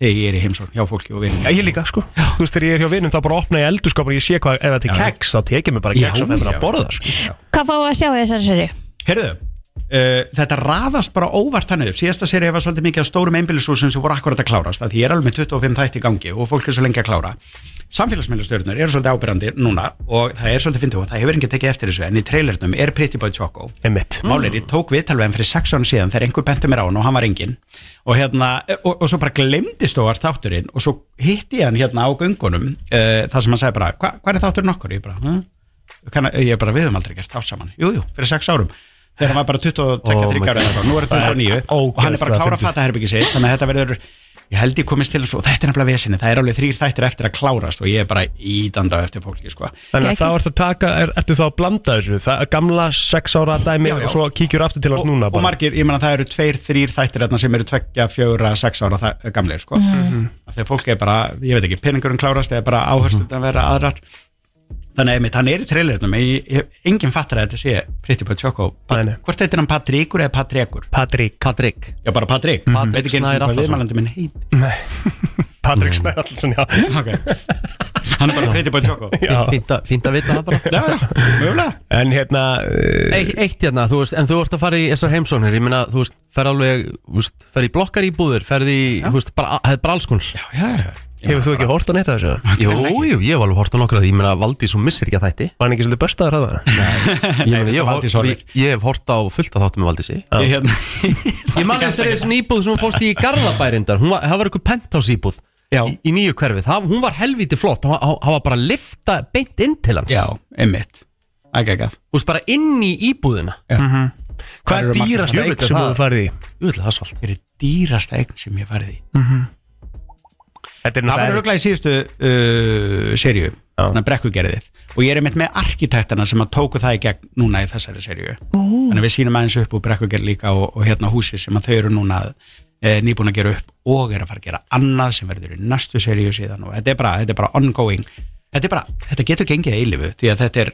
F: þegar ég er í heimsókn hjá fólki og vinum
B: Já, ég líka, sko. Þú veist, þegar ég er hjá vinum, þá bara opna ég eldurskapur og ég sé hvað, ef þetta er keks, þá tek ég mér bara
F: Já,
B: keks og fæ mér
F: já.
B: að borða, sko.
C: Hvað fáum við að sjá í þessari seri?
F: Herðu, uh, þetta raðast bara óvart þannig upp. Síðasta serið var svolítið mikið af stórum einbýlishúsum sem voru akkurat að klárast. af Því ég er alveg með 25 þætti í gangi og fólk er svo lengi að klára. Samfélagsmiðlustjörnur eru svolítið ábyrrandi núna og það er svolítið fyndið og það hefur enginn tekið eftir þessu en í trailernum er Pretty Boy Choco.
B: Einmitt.
F: Málið, er, ég tók viðtalveðan fyrir sex ára síðan þegar einhver benti mér á hann og hann var enginn og hérna, og, og svo bara glemdist óvart þátturinn og svo hitti ég hann hérna á göngunum uh, þar sem hann sagði bara, Hva, hvað er þátturinn okkur? Ég bara, hm? kann, ég bara, við höfum aldrei gert þátt saman, jújú, jú, fyrir sex árum þegar hann var bara 22-23
B: Oh my
F: ára eða eitthvað, nú er þetta 29 og hann er bara að klára
B: Ógeðslega
F: að fata herbyggi sitt þannig að þetta verður, ég held ég komist til þessu og þetta er nefnilega vesinni, það er alveg þrýr þættir eftir að klárast og ég er bara ídanda á eftir fólki sko.
B: Þannig að
C: Gekk.
B: þá ertu að taka, er, ertu þá að blanda þessu, það, gamla sex ára dæmi
F: Já, já.
B: og svo kíkjur aftur til hans
F: og,
B: núna
F: og
B: bara.
F: margir, ég meina það eru tveir, þrýr þættir þarna sem eru tveggja, fjögra, sex ára þa- gamlir sko. af því að fólk er bara, ég veit ekki peningurinn klárast eða bara áhersluðan vera aðrar þannig að einmitt, hann er í trailernum en ég, ég, enginn fattar að þetta sé Pretty Boy Choco,
B: Nei, nei.
F: Pat, hvort þetta er hann Patríkur eða Patrekur?
B: Patrik.
A: Patrik
F: Já, bara Patrik,
A: Patrik
F: veit ekki eins og hvað
A: Snær Atlason.
F: viðmælandi minn heit Mm.
B: Patrik Snæðarsson, já.
F: okay. hann er bara Pretty Boy Choco
B: já.
A: Fínt að- fínt að vita það bara
F: Já, já, mögulega
B: En hérna, eh,
A: Eitt, eitt hérna, þú veist, en þú ert að fara í þessar heimsóknir, ég meina, þú veist, fer alveg, þú veist, fer í blokkar í búður, ferði í, þú veist, bara, það er bara alls konar.
F: Já, já, já
B: hefur þú ekki hort á neitt af þessu?
A: Jú, jú, ég hef alveg hort á nokkra því, ég meina, Valdís, hún missir ekki að þætti.
B: Var hann ekki svolítið bestaður að það?
A: Ég, meina,
F: veistu,
A: ég, hef
F: Valdís horfir.
A: hort- ég, ég hef hort á fullt að þáttum með Valdísi.
F: Ég, hérna,
A: Ég man eftir þessu íbúð sem hún fórst í í Garðabærindar, hún var, það var eitthvað penthouse íbúð
F: Já.
A: í, í nýju hverfið, það, hún var helviti flott, hún, hún, hún var bara að lifta beint inn til hans,
F: já, einmitt Ægæg, ægæg
A: þú veist, bara inn í íbúðina.
F: eru
B: Hvað er
F: margir-
B: dýrast
A: Jú,
B: eign
A: veitir
B: sem
A: það.
B: þú farið í?
A: Jú, ætli það er svalt.
F: Þetta er dýrasta eign sem ég farið í
B: Þetta er
F: Það var
B: náttúrulega...
F: röglega í síðustu uh, serju Þannig að brekkugerðið Og ég er einmitt með arkitektana sem að tóku það í gegn núna í þessari serju Þannig að við sýnum aðeins upp úr brekkugerð líka og, og hérna húsi sem að þau eru núna e, nýbúin að gera upp og er að fara að gera annað sem verður í næstu serju síðan og þetta er bara, þetta er bara ongoing Þetta, er bara, þetta getur gengið eilifu því að þetta er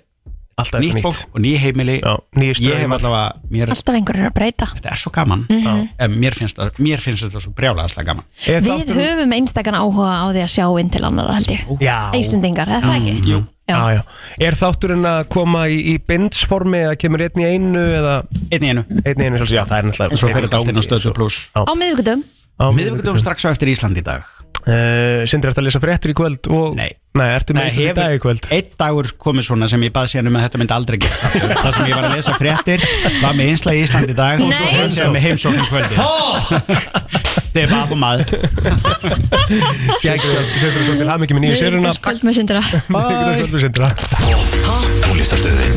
B: Alltaf eitthvað
F: nýtt
B: nýtt.
F: fólk og ný heimili
B: Já, nýir
F: ég hef
B: straumar.
F: allavega, mér,
C: Alltaf einhverjur er að breyta
F: þetta er svo gaman en mér finnst það- mér finnst þetta svo brjálaðislega gaman
B: Er
C: Við
B: þátturinn-
C: höfum einstakann áhuga á því að sjá inn til annara held ég
B: Já.
C: Íslendingar, er það ekki?
F: Mm, jú.
C: Já.
B: Já, já. Er þátturinn að koma í, í bindsformi eða kemur einn í einu eða
F: einn í einu,
B: einn í einu sjálfsög, já það er náttúrulega
F: svo fyrir þetta allt inn á stöðu pluss
C: Á miðvíkudum
B: á
F: miðvikutum strax á eftir Ísland í dag
B: uh, Sindri, ertu að lesa fréttir í kvöld og...
F: Nei.
B: Nei, ertu með
F: hefur
B: Íslandi í dag í kvöld
F: einn dagur komið svona sem ég baði síðan um að þetta myndi aldrei gera það sem ég var að lesa fréttir var með einsla í Ísland í dag og
C: Nei.
F: svo sem með heimsókn í kvöldi þetta er bara maður
B: Sindri, Sindri, svo til hamingi með nýju séruna
C: Miðvíkudagskvöld með sindra
B: Miðvikudagskvöld við Sindra
G: Tónlistarstöðin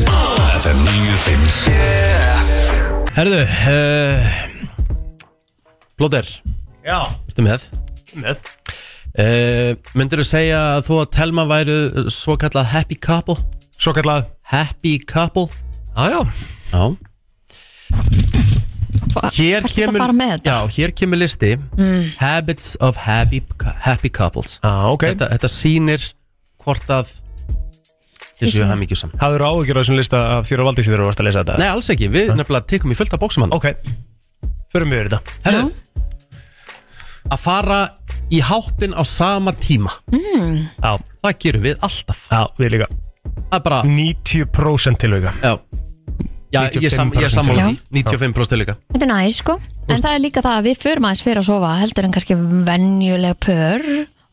G: FM 957
A: Herðu uh, Blóter,
B: Já,
A: ertu með?
B: með
A: Uh, myndirðu segja að þú að Telma væru svo kallað happy couple?
B: Svo kallað
A: Happy couple?
B: Já, já,
A: Já
C: Hvert er þetta að fara með þetta? Mm.
A: Já, hér kemur listi Habits of happy, happy couples
B: já, ok
A: þetta, þetta sýnir hvort að þið séu hamingjusam
B: Hafður áhugjur á þessum lista af þér og Valdís þegar þú varst að lesa þetta
A: Nei, alls ekki, við nefnilega tekum í fullt af bóksum hann
B: Ok, förum við yfir þetta
A: Herðu, að fara í háttin á sama tíma
B: Já,
A: Það gerum við alltaf
B: já, við líka
A: Það er bara,
B: 90% tilvika
A: já Já, ég, sam, ég
B: 95%
A: sammála
C: Já.
A: því, 95% til líka
C: Þetta er næs sko En það er líka það að við förum aðeins fyrir að sofa heldur en kannski venjuleg pör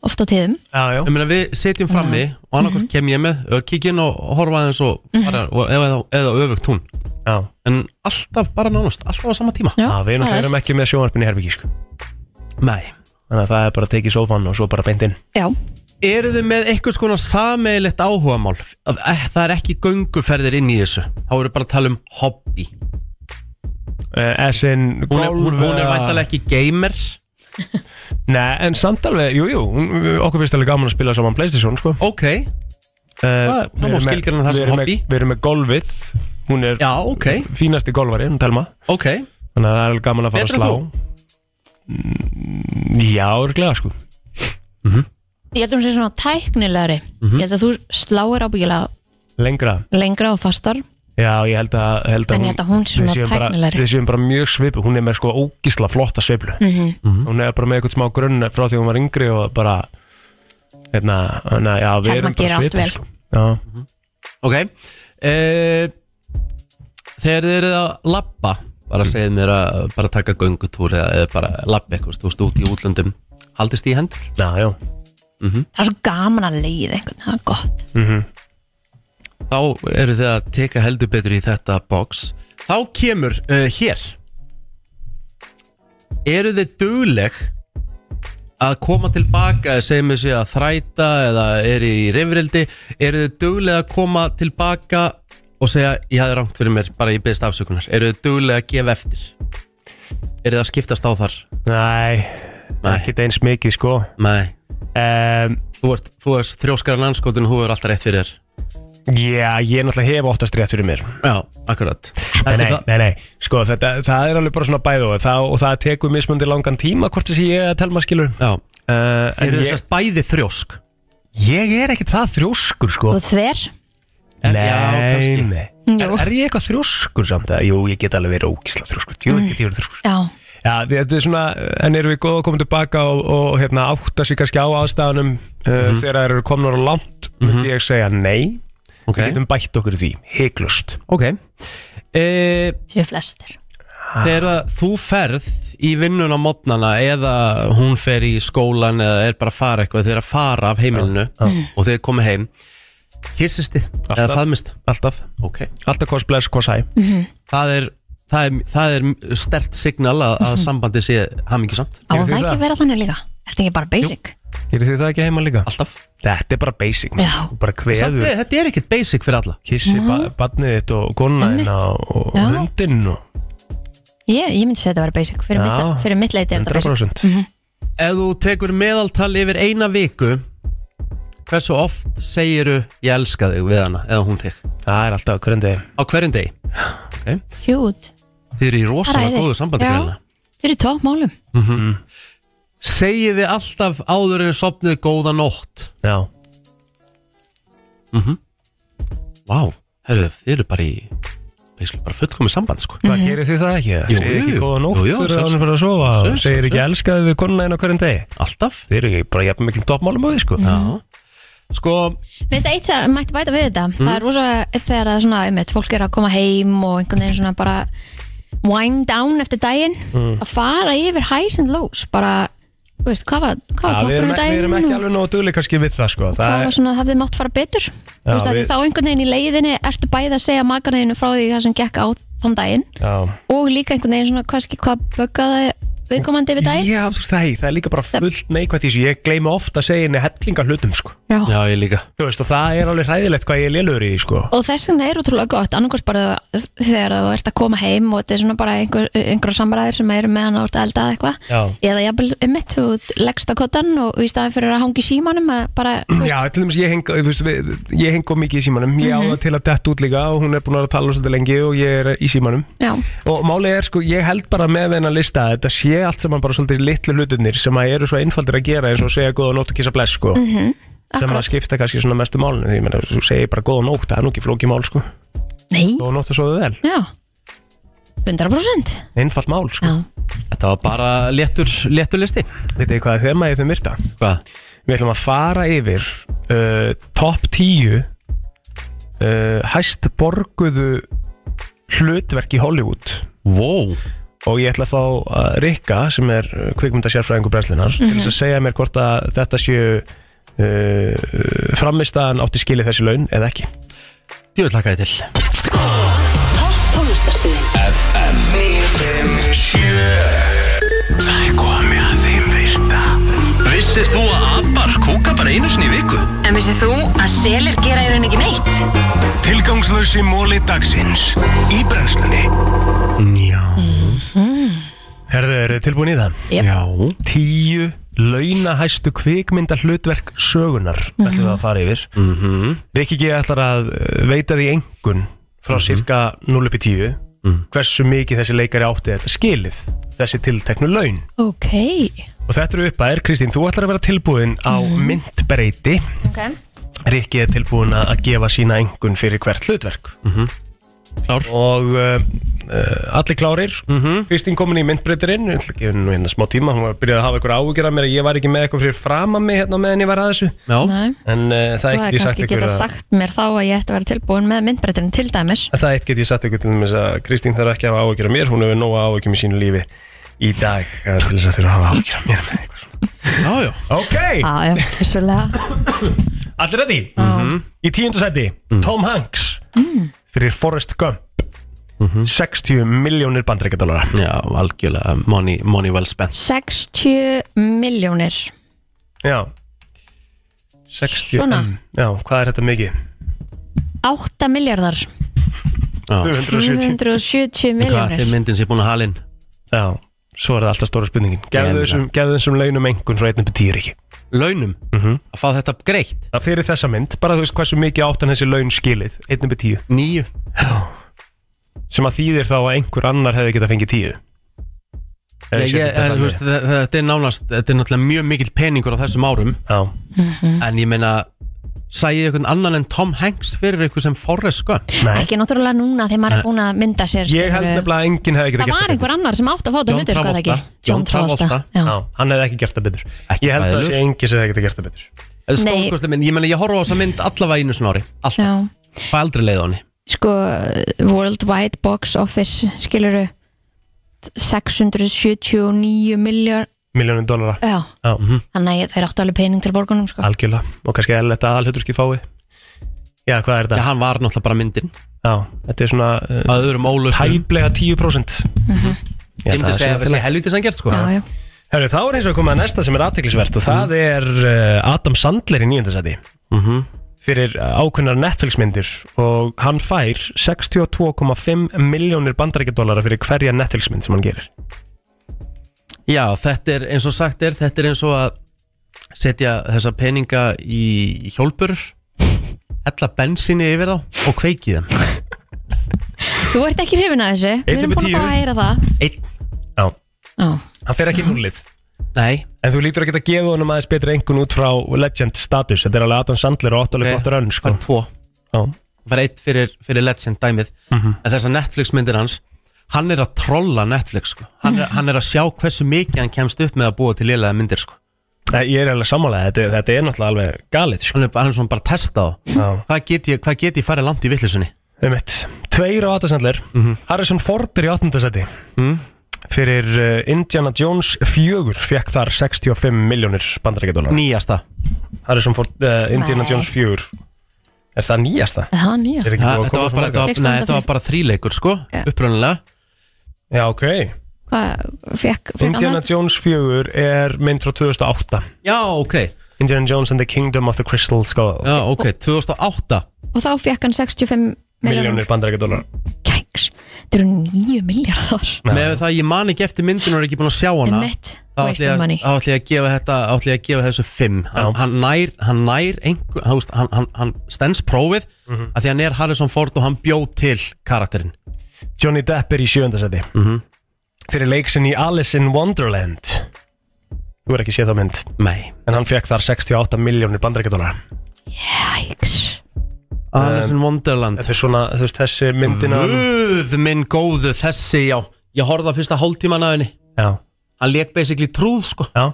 C: oft á tíðum
B: Já, já,
F: Um-
A: Ég meina við setjum frammi og annarkvæmt kem ég með og kík inn og horfa aðeins og fara og eða, eða öfugt hún
B: já
A: En alltaf bara nánast, alltaf á sama tíma
C: Já,
B: Já, við
C: það er
B: náttúrulega erum
C: allt.
B: ekki með sjónvarpinni herbyggi sko.
A: Nei
B: Þannig að það er bara að tekið sófan og svo bara beint inn
C: Já,
A: Eru þið með eitthvað svona sameigilegt áhugamál að eh, það er ekki gönguferðir inn í þessu þá eru bara að tala um hobby
B: uh, As in
A: hún er, hún,
B: golf
A: hún er
B: eða-
A: væntalega ekki gamer
B: Nei, en samt alveg, jú, jú, hún- okkur finnst alveg gaman að spila saman Playstation, sko Eh, uh,
A: ok, það má skilgreina það sem hobby.
B: Við erum með golfið, hún er
A: já ok,
B: fínasti golfari, hún telma
A: ok
B: Þannig að það er alveg gaman að fara
A: Betri en
B: að slá Mm, Já, örglega, sko
C: ég held að hún sé svona tæknilegri
B: Mhm.
C: Ég held að þú sláir ábyggilega
B: Lengra,
C: lengra og fastar
B: já, ég held að, held að
C: En ég held að hún sé
B: við
C: svona
B: séum bara-
C: tæknilegri.
B: Við séum bara mjög svipu, hún er með sko ógisla flotta sviplu
C: Mhm.
B: Hún er bara með eitthvað smá grunn frá því hún var yngri og bara Hérna, hérna, já, við
C: Telma
B: erum
C: gerir
B: bara
C: allt
B: svipu
C: vel.
B: sko. Já,
A: ok uh, þegar þið eruð að labba bara segið mér að bara taka göngutúr eða, eða bara labba eitthvað þú veist út í útlöndum haldist því í hendur
B: já, já
C: Það er svo gaman að leiða einhvern, það er gott
A: þá eru þið að teka heldur betur í þetta box þá kemur uh, hér eru þið dugleg að koma tilbaka segjum við sig að þræta eða eru í reyfrildi eru þið dugleg að koma tilbaka og segja ég hafði rangt fyrir mér bara ég byrðist afsökunar eru þið dugleg að gefa eftir eru þið að skiptast á þar
B: Næ,
A: Nei.
B: ekki eins mikið sko
A: nei
B: um,
A: þú ert, þú ert þrjóskaran anskotin hún er alltaf rétt fyrir þér
B: Já, ég náttúrulega hef oftast rétt fyrir mér
A: já, akkurat
B: Nei,
A: Þetta er
B: nei,
A: það-
B: nei, nei, sko þetta, það er alveg bara svona bæð og það, og það tekur mismundi langan tíma hvort þessi ég að telma skilur uh,
A: já,
B: En
A: eru þið
B: ég,
A: sérst bæði þrjósk
B: ég er ekkit það þrjóskur sko
C: Og þver,
A: Er-
B: Nei,
A: já, kannski.
B: nei.
C: Jú.
B: Er, er ég eitthvað þrjóskur samt? að- Jú, ég get alveg verið ógísla þrjóskur Jú, ég get ég verið þrjóskur
C: já,
B: Já, því þetta er svona, en erum við góð að koma tilbaka og, og hérna, átta sig kannski á aðstæðanum uh, þegar þeir eru komnar á langt myndi ég segja nei
A: ok,
B: Við getum bætt okkur í því, heiklust
A: ok e,
C: séu flestir
A: Þegar að þú ferð í vinnun á mótnana eða hún fer í skólan eða er bara að fara eitthvað þeir að fara af heimilinu og þeir komið heim kissist þið eða
B: Alltaf.
A: faðmist
B: Alltaf,
A: okay.
B: alltaf hvors bless, hvors hæ
A: það, er, það, er, það er stert signal að, að sambandi sé hamingisamt
B: Gerið
C: Á það
B: þið
C: ekki
B: það?
C: vera þannig líka, er þetta ekki bara basic?
B: Gerir þið það ekki heima líka?
A: alltaf
B: Þetta er bara basic, man.
C: Já.
B: Þú bara
A: Samt,
B: kveður
A: er- Þetta er ekkert basic fyrir alla
B: Kissi ba badnið þitt og konaðina og, og
C: Já.
B: hundinn og
C: Ég, ég myndi segja þetta að vera basic, fyrir,
B: Já.
C: mitt, fyrir mitt leiti er þetta basic Mhm.
B: 100%
A: Ef þú tekur meðaltal yfir eina viku hversu oft segiru ég elska þig við hana eða hún þig
B: Það er alltaf hverjandi
A: á hverjum degi
C: Hjút,
A: Þið eru í rosalega
C: Ræði.
A: góðu sambandi
C: Já.
A: greinlega.
C: þau eru í topp málum
A: Segið þið alltaf áður en sopnið góða nótt
B: Já,
A: Vá, herru, þið eru bara í basically bara fullkomið samband
C: Mm.
A: sko
B: Hvað gerir þið það ekki?
A: Jú,
B: segir ekki
A: jú,
B: góða nótt
A: jú, jú,
B: fyrir
A: sjálfsagt.
B: ánum fyrir að sofa
A: Sjálfsagt,
B: og segir ekki elskaði við konuna einu á hverjum degi
A: alltaf
B: Þið eru ekki bara jafn miklum toppmálum á því sko
A: sko,
C: Mér finnst eitt að mætti bæta við þetta
B: Mhm.
C: Það er rosa þegar það er svona um fólk er að koma heim og einhvern veginn svona bara wind down eftir daginn
B: Mhm.
C: að fara yfir highs and lows bara, þú veist, hvað var, hvað var
B: Ja, við,
C: toppurinn
B: erum ekki,
C: við
B: við
C: daginn
B: erum ekki alveg nógu duglega kannski við það sko
C: hvað
B: það
C: var svona, hafði mátt fara betur þú veist, við...
B: við-
C: þá einhvern veginn í leiðinni ertu bæði að segja makarðinu frá því hvað sem gekk á þann daginn
B: Já.
C: og líka einhvern veginn svona kannski hvað böggaði viðkomandi við daginn
B: Já, þú veist það, það er líka bara fullt neikvætt í þessu Ég gleyma ofta að segja henni hellinga hlutum sko
A: já ég líka
B: Þú veist, og það er alveg hræðilegt hvað ég er lélur í því sko
C: og þess vegna er útrúlega gott annarkvæmst bara þegar þú ert að koma heim og þetta er svona bara einhver, einhver samræður sem eru meðan þú ert að elda
B: Já.
C: eða eitthvað eða jafnvel um mitt, þú leggst á kottan og í staðin fyrir að hangi símanum að bara,
B: Já,
C: þú veist, Mhm.
B: til dæmis ég heng, þú veist, við, ég heng of mikið í símanum Ég á það til að dett út líka og hún er búin að vera að tala svolítið lengi og ég er í símanum
C: já,
B: Og málið er sko, ég held bara með þennan lista að Þetta sé allt saman bara svolítið litlu hlutunir sem að eru svo einfaldir að gera eins og segja góða nótt og kissa bless sko sem að
C: Mhm, akkurat
B: skipta kannski svona mestu málinu því ég meina, þú segir bara góða nótt, það er nú ekki flókið mál sko
C: nei,
B: góða nótt og svoðu vel,
C: já 100%
B: einfalt mál sko
C: já,
A: þetta var bara léttur, léttur listi
B: veit þið hvað er þema í þeim virta
A: hvað?
B: við ætlum að fara yfir uh, top 10 uh, hæst borguðu hlutverk í Hollywood
A: wow
B: og ég ætla að fá uh, Rikka sem er uh, kvikmyndasérfræðingur brenslinar til þess að segja mér hvort að þetta séu uh, framistaðan átti skilið þessi laun eða ekki
A: Ég vil taka þið til
G: Það er komið að þeim virta Vissir þú að abar kúka bara einu sinni í viku?
H: En vissið þú að selir gera í raun ekki neitt?
G: Tilgangslösi móli dagsins Í brennslunni
B: Mhm. Herðu, eru þið tilbúin í það?
C: Jep.
B: Já Tíu launahæstu kvikmynda hlutverk sögunar ætlum við að fara yfir mm -hmm. Rikki G. ætlar að uh, veita því engun frá cirka 0 upp í 10 hversu mikið þessi leikari átti þetta skilið þessi tilteknu laun
C: ok
B: og þetta eru uppæðir, Kristín, þú ætlar að vera tilbúin á myndbreyti
C: Mhm. ok,
B: Rikki er tilbúin að að gefa sína engun fyrir hvert hlutverk
A: Klár.
B: og uh, uh, allir klárir Kristín komin í myndbreytirinn ég ætla að gefa henni nú hérna smá tíma hún var að byrja að hafa eitthvað ágjör af mér að ég var ekki með eitthvað fyrir fram að mig hérna á meðan ég var að þessu
A: já,
C: næ
B: en uh, það
C: Þú
B: eitt
C: hefði
B: get ég sagt
C: kannski
B: ykkur
C: geta
B: að
C: sagt mér þá að ég ætti að vera tilbúin með myndbreytirinn til dæmis
B: en það eitt get ég sagt ykkur til dæmis að Kristín þarf ekki að hafa ágjör af mér hún hefur nóga ágjör í sínu lífi í dag uh, til þess að þurfa að hafa ágjör af mér með eitthvað svona.
A: já, já.
B: ok,
C: Já, já, vissulega
B: allir ready í tíundu seti Tom Hanks fyrir Forrest Gump Mhm. 60 miljónir bandreikadólara
A: já algjörlega money, money well spent
C: 60 miljónir
B: Já 60
C: Svona.
B: mm, Já, hvað er þetta mikið?
C: 8 miljardar
B: 270
C: 270
A: hvað
C: miljónir
A: er myndin sem er búin að halin
B: Já, svo er það alltaf stóra spurningin Gefðu
A: Gerðu
B: þessum, gefðu þessum launum engun frá 1 til 10 ekki
A: launum
B: Mhm.
A: að fá þetta greitt
B: Það fyrir þessa mynd, bara þú veist hversu mikið áttan þessi laun skilið 1 til 10
A: nýju
B: Sem að þýðir þá að einhver annar hefði getað fengið 10 Ef
A: Ég,
B: ég seti
A: ég,
B: þetta
A: en, þú veist,
B: þannig.
A: þe- þetta er nánast, þetta er náttúrulega mjög mikill peningur á þessum árum
B: Já,
A: En ég meina, sæði eitthvað annan en Tom Hanks fyrir eitthvað sem Forrest Gump
B: nei
C: Ekki náttúrulega núna þegar maður er búin að mynda sér
B: Ég held
C: skilurðu.
B: nefnilega að enginn hefði
C: Það
B: getað
C: var
B: gert
C: einhver annar sem átti að fá þetta
A: John
C: hlutur, hvað það
A: Travolta.
C: ekki?
A: John Travolta.
C: Já.
B: Já, hann hefði ekki gert það betur
A: Ekki
B: Ég held að það sé
A: fræðilegur.
B: engi sem hefði getað gert það betur
A: Þetta er
C: Nei.
A: stórkostlega mynd, ég meina, ég horfa á þessa mynd allavega einu svona ári
C: Já.
A: Alltaf, fæ aldrei leið á henni
C: Sko, Worldwide Box Office skiluru 679 miljard
B: Miljónum dólara,
C: Já,
B: já,
C: þannig að þeir áttu alveg pening til borgunum sko.
B: algjörlega Og kannski eða þetta alhuturki fái Já, hvað er þetta?
A: Já, hann var náttúrulega bara myndin
B: Já, þetta er svona uh,
A: Að öðrum ólustum
B: tæplega 10% Ég
A: Ég
B: held að
A: myndi
B: það sé
A: segja að það sé
B: alveg-
A: helvítið sem gert, sko
C: Já, já,
B: Herru, þá er eins og komið að næsta sem er aðteklisvert og það er uh, Adam Sandler í nýjöndasæti
A: Mhm.
B: fyrir ákunnar Netflixmyndir og hann fær 62,5 miljónir bandarækjadólara fyrir hverja Netflixmynd sem hann gerir
A: Já, þetta er eins og sagt er, þetta er eins og að setja þessa peninga í hjólpur hella bensinni yfir þá og kveikið þeim
C: Þú ert ekki hrifin að þessu Við
B: Einn
C: erum
B: upp í
C: búin að fá
B: tíu.
C: að heyra það
A: Einn,
B: Já,
C: Já,
B: hann fer ekki í núlið
A: nei,
B: En þú lítur að geta gefið honum aðeins betri engun út frá legend status Þetta er alveg Adam Sandler og óttalega
A: Ok,
B: gott rönn sko.
A: fær tvo
B: Já.
A: var eitt fyrir, fyrir Legend dæmið en þessar Netflix myndir hans hann er að trolla Netflix sko. hann, er, hann er að sjá hversu mikið hann kemst upp með að búa til lélega myndir sko.
B: Nei, Ég er alveg sammálaðið, þetta, er- þetta er náttúrulega alveg galið sko.
A: hann er, bara- hann er svona bara að testa á
B: Já.
A: hvað get, ég, hvað get ég farið langt í vittlisunni
B: Einmitt. Um Tveir á aðtasendlir
A: Mhm.
B: Harrison Ford er í 8. seti Fyrir uh, Indiana Jones 4 Fekk þar 65 miljónir bandarækjadólar
A: nýjasta
B: Harrison Ford, uh, Indiana
C: Nei.
B: Jones 4 Er það nýjasta?
C: Það er nýjast
B: Er ekki
A: Ha,
B: búið að
A: þetta
B: koma
A: var bara, þetta
B: svo margar?
A: var,
C: Fékkst
A: nei,
C: handa
A: þetta var
C: fyrst.
A: bara þríleikur sko,
C: Já.
A: upprunalega
B: Já, ok
C: Hvað, fekk, fekk
B: Indiana
C: annað?
B: Jones 4 er mynd frá 2008
A: já, ok,
B: Indiana Jones and the Kingdom of the Crystal Skull
A: já, ok 2008
C: Og þá fekk hann 65
B: Miljónir
C: miljónir
B: bandarækjadólar
C: Kæks, þetta eru 9 miljardar
A: með það að ég man ekki eftir myndin og er ekki búin að sjá hana
C: Emmett,
A: þá ætla
C: wasting
A: ég að-
C: money
A: þá ætla ég að gefa þetta þá ætla ég að gefa þessu 5 hann,
B: Já.
A: hann nær, hann nær einhver, hann, hann, hann, hann stens prófið af því hann er Harrison Ford og hann bjóð til karakterinn
B: Johnny Depp er í sjöndasæti mm -hmm. Fyrir leiksin í Alice in Wonderland Þú er ekki séð þá mynd
A: nei,
B: En hann fekk þar 68 miljónir bandarækjadólar
C: Kæks,
A: Alice in Wonderland
B: Þetta er svona, þú veist, þessi myndina
A: Mhm. Guð minn góðu þessi, já Ég horfði á fyrsta hálftíman af henni
B: Já,
A: Hann leik basically trúð, sko
B: já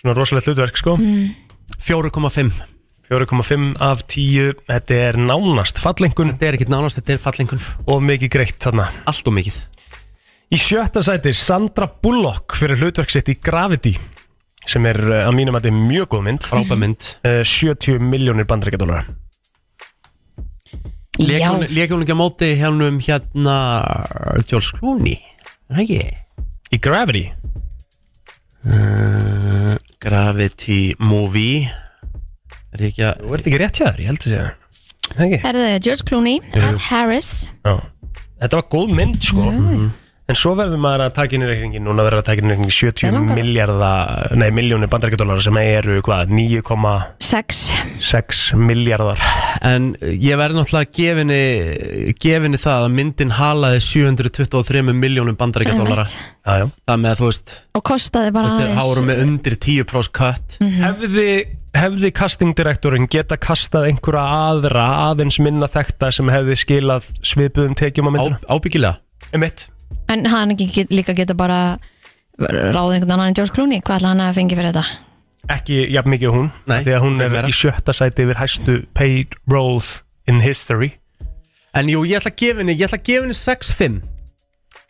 B: Svona rosalegt hlutverk, sko
A: 4,5
B: 4,5 af 10 Þetta er nánast fallengun
A: Þetta er ekkit nánast, þetta er fallengun
B: og mikið greitt þarna
A: Allt og mikið
B: Í sjötta sæti Sandra Bullock fyrir hlutverk sitt í Gravity sem er eh, að mínum að þetta er mjög góð mynd
A: Frábæ mynd
B: Eh, 70 miljónir bandarækjadólar
A: Leik
C: já
A: hún, lék hún ekki á móti hérnum hérna George Clooney Er það Ekki
B: Í Gravity?
A: Gravity Movie Er ekki að
B: Þú ert ekki rétt hjá þér, ég held að segja Það ekki?
C: Herðu, George Clooney, Ed Harris
B: Já, þetta var góð mynd sko En svo verður maður að taka inn í reikningin Núna verður að taka inn í reikningin
C: Mig
B: 70
C: langar.
B: miljardar Nei, miljónir bandarækjadólar sem eru hvað 9,6
C: 6
B: miljardar
A: En ég verði náttúrulega gefinni, gefinni það að myndin halaði 723 miljónum bandaríkjadólara
B: Já, já
A: Það með að þú veist
C: og kostaði bara
A: Þetta er hárum
C: aðeins Mm.
A: með undir 10% cut
C: Mhm.
B: hefði, hefði castingdirektorin geta kastað einhverja aðra aðeins minna þekta sem hefði skilað svipuðum tekjum á myndina
A: Á- Ábyggilega
B: um eitt
C: en hann ekki get, líka geta bara ráðið einhvern annan en George Clooney hvað ætla hann að fengi fyrir þetta
B: ekki jafn mikið og hún
A: Nei,
B: því að hún
A: þeim
B: er
A: meira.
B: í sjötta sæti yfir hæstu paid roles in history
A: En jú, ég ætla að gefa henni, ég ætla að gefa henni 6-5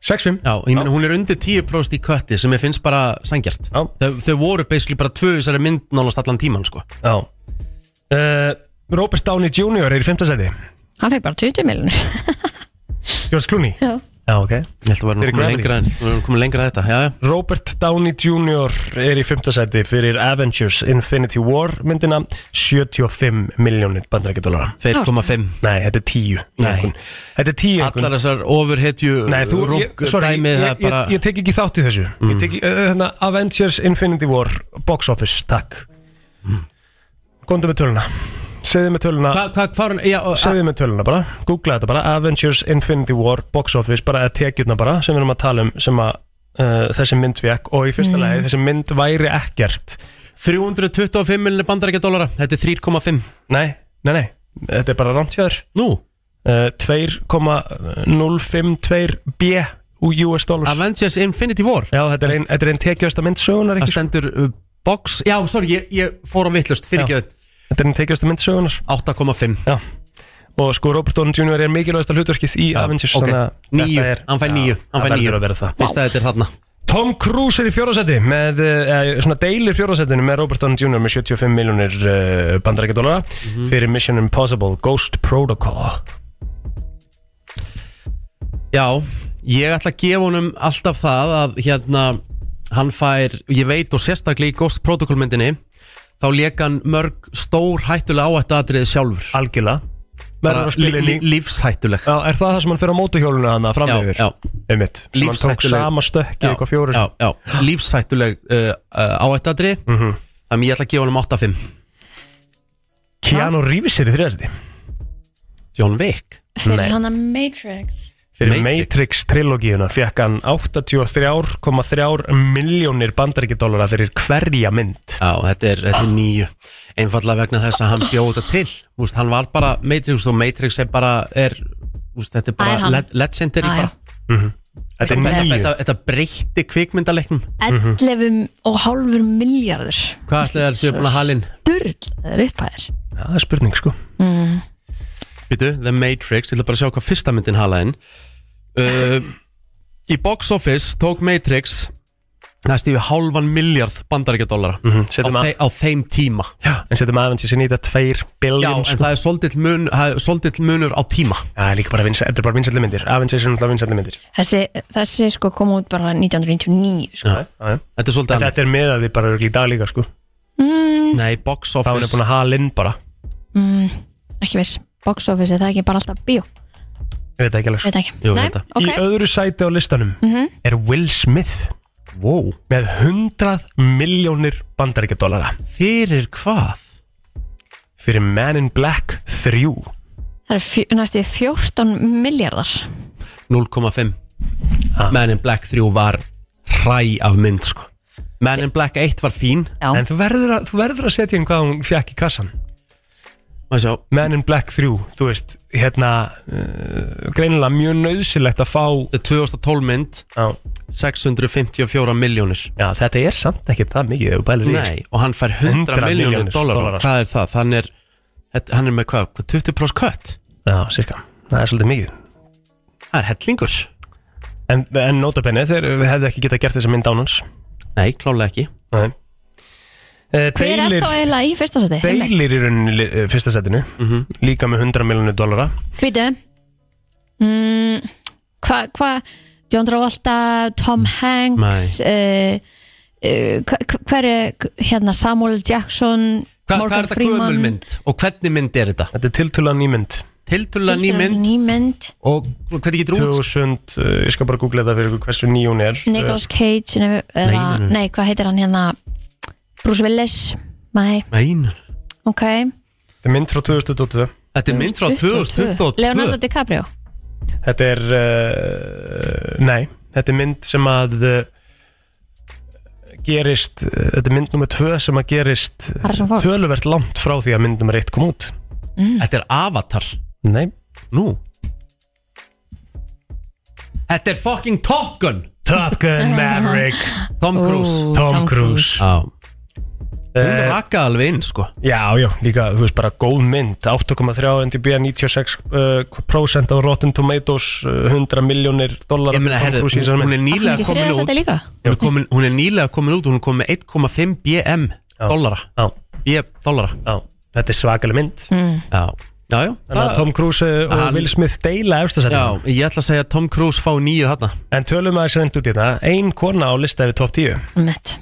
B: 6-5
A: Já, ég meina hún er undir 10% í kötti sem ég finnst bara sangjart
B: Já.
A: þau, þau voru basically bara tvö í þessari mynd nánast allan tíman sko
B: Já uh, Robert Downey Jr. er í fymta sæti
C: hann fekk bara 20 miljonir
B: George Clooney
C: Já.
B: Já, ok
A: Ég ætla að vera nú
B: Fyrir
A: komin
B: Gravity.
A: lengra, en- nú erum við komin lengra að þetta Já, já
B: Robert Downey Jr. er í fymta sæti fyrir Avengers Infinity War myndina 75 miljónir bandarækjadólara
A: 2,5
B: Nei, þetta er tíu í
A: Nei.
B: einkunn. Þetta er tíu í einkunn.
A: Allar þessar ofurhetju
B: Nei, þú, ég, sorry,
A: dæmi,
B: ég,
A: það
B: ég,
A: er bara Mm.
B: ég, ég tek ekki þátt í þessu Ég tek ekki, uh, hérna, Avengers Infinity War Box Office, takk mm. Góndum með töluna Segðu með töluna
A: Hvað, hvað, hvað, já, og-
B: Segðu með töluna bara, googla þetta bara Avengers Infinity War Box Office bara eða tekjurna bara sem við erum að tala um sem að uh, þessi mynd fekk og í fyrsta lagi þessi mynd væri ekkert
A: 325 miljonir bandarækja dólara Þetta er 3,5
B: Nei, nei, nei, þetta er bara rámt hjá þér
A: Nú,
B: uh, 2,052 B úr US dollars
A: Avengers Infinity War
B: Já, þetta er ein, þetta er ein tekjasta mynd sögunar
A: Það
B: ekki?
A: stendur uh, box Já, sorry, ég, ég fór á vittlust Fyrir ekki
B: Þetta er ein tekjasta mynd sögunar
A: 8,5
B: Já Og sko Robert Downey Jr. er mikilvægasta hlutverkið í Avengers
A: ok.
B: þannig að þetta
A: Níu,
B: er-
A: hann fær
B: Já,
A: níu, hann fær
B: það
A: níu.
B: verður að vera það
A: Fyrst að þetta er þarna
B: Tom Cruise er í fjóraðsæti með, eh, svona deilir fjóraðsætinu með Robert Downey Jr. með 75 miljónir uh, bandarækjadólara
A: Mhm.
B: fyrir Mission Impossible Ghost Protocol
A: Já, ég ætla að gefa honum alltaf það að hérna hann fær, ég veit og sérstaklega í Ghost Protocol myndinni þá lék hann mörg stór hættulega áættu atriði sjálfur
B: Algjörlega Verður að spila inn
A: lí,
B: í
A: lífshættuleg
B: Já, er það það sem hann fyrir á mótuhjóluna hann fram
A: Já,
B: yfir?
A: já.
B: Einmitt. Sem Hann tók
A: Lífshættuleg-
B: sama stökki
A: Já,
B: eitthvað fjóru
A: já, já, lífshættuleg uh, uh, áættu atriði
B: Mhm.
A: þannig ég ætla að gefa honum 8,5
B: Keanu Reeves er í þriðasæti
A: John Wick
C: fyrir
B: Nei.
C: hann að Matrix
B: Fyrir
A: Matrix.
B: Matrix trilogíuna fekk hann 83,3 miljónir bandaríkjadólara fyrir hverja mynd
A: Já, þetta er, þetta er nýju einfallega vegna þess að hann bjóð þetta til Úst, hann var bara Matrix og Matrix er bara er, úst, þetta er
C: Það er
A: bara
C: hann.
A: le legendary
C: Já, já.
A: bara.
B: Þetta er
A: Þetta,
B: nýju
A: þetta, þetta breytti kvikmyndaleiknum
C: 11 og hálfur miljardur
A: Hvað ætlaði það að séu búin að halinn?
C: Durlaður upphæðir
B: Já, Það er spurning sko
A: Býtu, The Matrix, ég ætla bara að sjá hvað fyrsta myndin halaðin uh, Í box office tók Matrix næst yfir hálfan miljard bandaríkja dollara
B: Mhm, setjum
A: á,
B: að-
A: þe á þeim tíma
B: Já, En setjum aðeins í sinni í þetta 2
A: Já,
B: biljón
A: en það er svolítill mun, það er svolítill munur á tíma
B: Það er líka bara vinsæ, þetta er bara vinsælli myndir Avengers er náttúrulega vinsælli myndir
C: Þessi, þessi sko kom út bara 1999 sko.
B: Já, já.
A: Þetta er svolítið annað
B: Þetta er meðað við bara örugglega í dag líka sko
A: Nei, box
B: Þá er
A: office
B: búin að hala inn bara
C: Ekki viss, box office, er það ekki bara alltaf bíó
B: Ég veit það ekki alveg sko
C: Veit ekki,
A: Jú,
C: nei,
A: veit það.
C: ok
B: Í öðru sæti á listanum er Will Smith
A: Wow,
B: með 100 miljónir bandaríkjadólara
A: fyrir hvað?
B: fyrir Man in Black 3
C: Það er fjö, næstu 14 miljardar
A: 0,5
B: Ah.
A: Man in Black 3 var hræ af mynd sko Man in Black 1 var fín
C: Já,
B: En þú verður, að, þú verður að setja inn hvað hún fjakk í kassan
A: Maður sjá,
B: Man in Black 3, þú veist hérna, uh, greinilega mjög nöðsilegt að fá
A: þetta er 2012 mynd
B: á,
A: 654 miljónir
B: já, þetta er samt ekki það mikið ef þú bælir í því,
A: Nei, og hann fær 100,
B: 100 milljónir
A: miljónir dólar
B: dollara.
A: Hvað er það? Hann er, þetta- hann er með hvað? hvað, 20% kött?
B: sko. já, cirka, það er svolítið mikið
A: Það er hellingur
B: en, en notabenni, þeir hefðu ekki getað gert þessa mynd án hans
A: Nei, klálega ekki
B: Nei. Eh,
C: hver er
B: deilir,
C: þá eiginlega í fyrsta seti? Einmitt.
B: deilir í rauninni li- eh, fyrsta setinu
A: Mhm.
B: líka með 100 miljonir dollara
C: Hvítu mm, Hvað hva, John Travolta, Tom Hanks uh, uh, Hver er hérna Samuel Jackson
A: Hva, Hvað
C: Morgan
A: er þetta
C: Freeman
A: gömul mynd? Og hvernig mynd er þetta?
B: þetta er tiltöla nýmynd
A: Tiltulega ný
C: Ísland,
A: mynd
C: ný mynd.
A: og hvernig getur út?
B: 2000, eh, ég skal bara googla þetta fyrir ykkur hversu ný hún er
C: Nicolas Cage nef, eða,
A: nei,
C: nei,
A: nei.
C: hvað heitir hann hérna Bruce Willis Nei,
A: Nein
C: ok
B: Eh, Þetta er mynd frá 2022
A: Þetta er mynd frá 2022
C: Leonardo DiCaprio
B: Þetta er uh, Nei, þetta er mynd sem að uh, gerist uh, þetta er mynd nummer 2 sem að gerist uh,
C: Harrison Ford.
B: töluvert langt frá því að mynd nummer 1 kom út
A: Þetta er Avatar
B: Nei,
A: Nú Þetta er fucking Top Gun
B: Top Gun Maverick
A: Tom Cruise
C: Ú,
B: Tom Cruise
A: Já, hún
B: uh,
A: rakkaði alveg inn sko
B: Já, já, líka, þú veist bara góð mynd 8,3 NDB, 96% á uh, Rotten Tomatoes uh, 100 miljónir dólar
A: Ég meina, herri,
B: Cruise í
A: hún,
B: þessari
A: hún er
B: mynd
A: nýlega
C: Ekki
A: komin
C: þriða
A: út
C: sæti líka
A: hún er, komin, hún er nýlega komin út og Hún er komin með 1,5 BM dollara
B: Já,
A: BM dollara
B: já, þetta er svakaleg mynd
A: Já, já, já
B: Þannig að
A: það-
B: Tom Cruise uh, og
A: hann-
B: Will Smith deila
A: Já,
B: efstasættum
A: ég ætla að segja að Tom Cruise fá nýju þarna
B: En tölum aðeins reynd út í þetta Ein kona á lista yfir top 10
C: Mitt.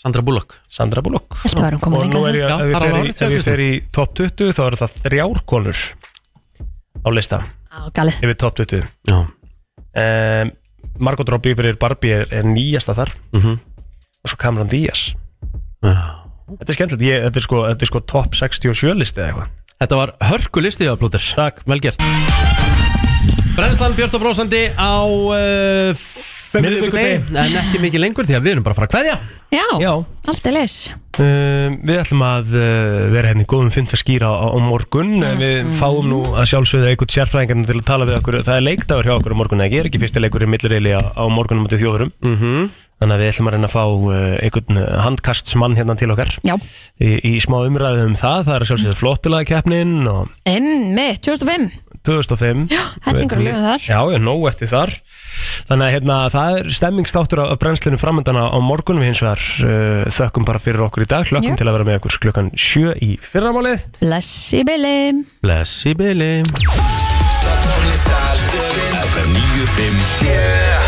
A: Sandra Bullock
B: Sandra Bullock
C: Ég held að við værum komin
B: Og nú
C: lengra
B: er ég,
A: Já,
B: ef ég
A: það er
B: fer í-
A: alveg
B: ef ég fer í top 20 Þá eru það þrjár konur Á lista
C: Á, galið
B: yfir top 20
A: Já,
B: um, Margot Robbie fyrir Barbie er, er nýjasta þar
A: Mhm.
B: Og svo Cameron Diaz
A: Já.
B: Þetta er skemmtilegt, ég, þetta, er sko, þetta er sko top 67 listi eða eitthvað
A: þetta var hörku listi á plóter
B: Takk.
A: Vel gert Brennslan Björn og Brósandi á uh, Miðvikudegi
B: Miðvikudegi.
A: En ekki mikið lengur því að við erum bara að fara að kveðja
C: Já,
B: Já,
C: allt er leis
B: Um, við ætlum að uh, vera hérna í góðum fynda skýra á, á morgun mm. Við fáum nú að sjálfsögðu einhvern sérfræðingarnir til að tala við okkur Það er leikdagur hjá okkur á morgun eða ekki, er ekki fyrsti leikur í millirili á, á morgunum út í þjóðurum
A: -hmm.
B: Þannig að við ætlum að reyna að fá uh, einhvern handkastsmann hérna til okkar
C: Já,
B: Í, í smá umræðu um það, það er að sjálfsögðu flottulega og
C: emmi, 2005
B: 2005 Já,
C: hellingur af lögum þar.
B: Já, já, nóg eftir þar Þannig að hérna, það er stemmingstáttur af af brennslunum framöndana á morgun Við hins vegar uh, þökkum bara fyrir okkur í dag Hlökkum
C: Já.
B: til að vera með okkur klukkan 7 í fyrramálið
C: Bless í byli
A: Bless í bylið
G: FM 957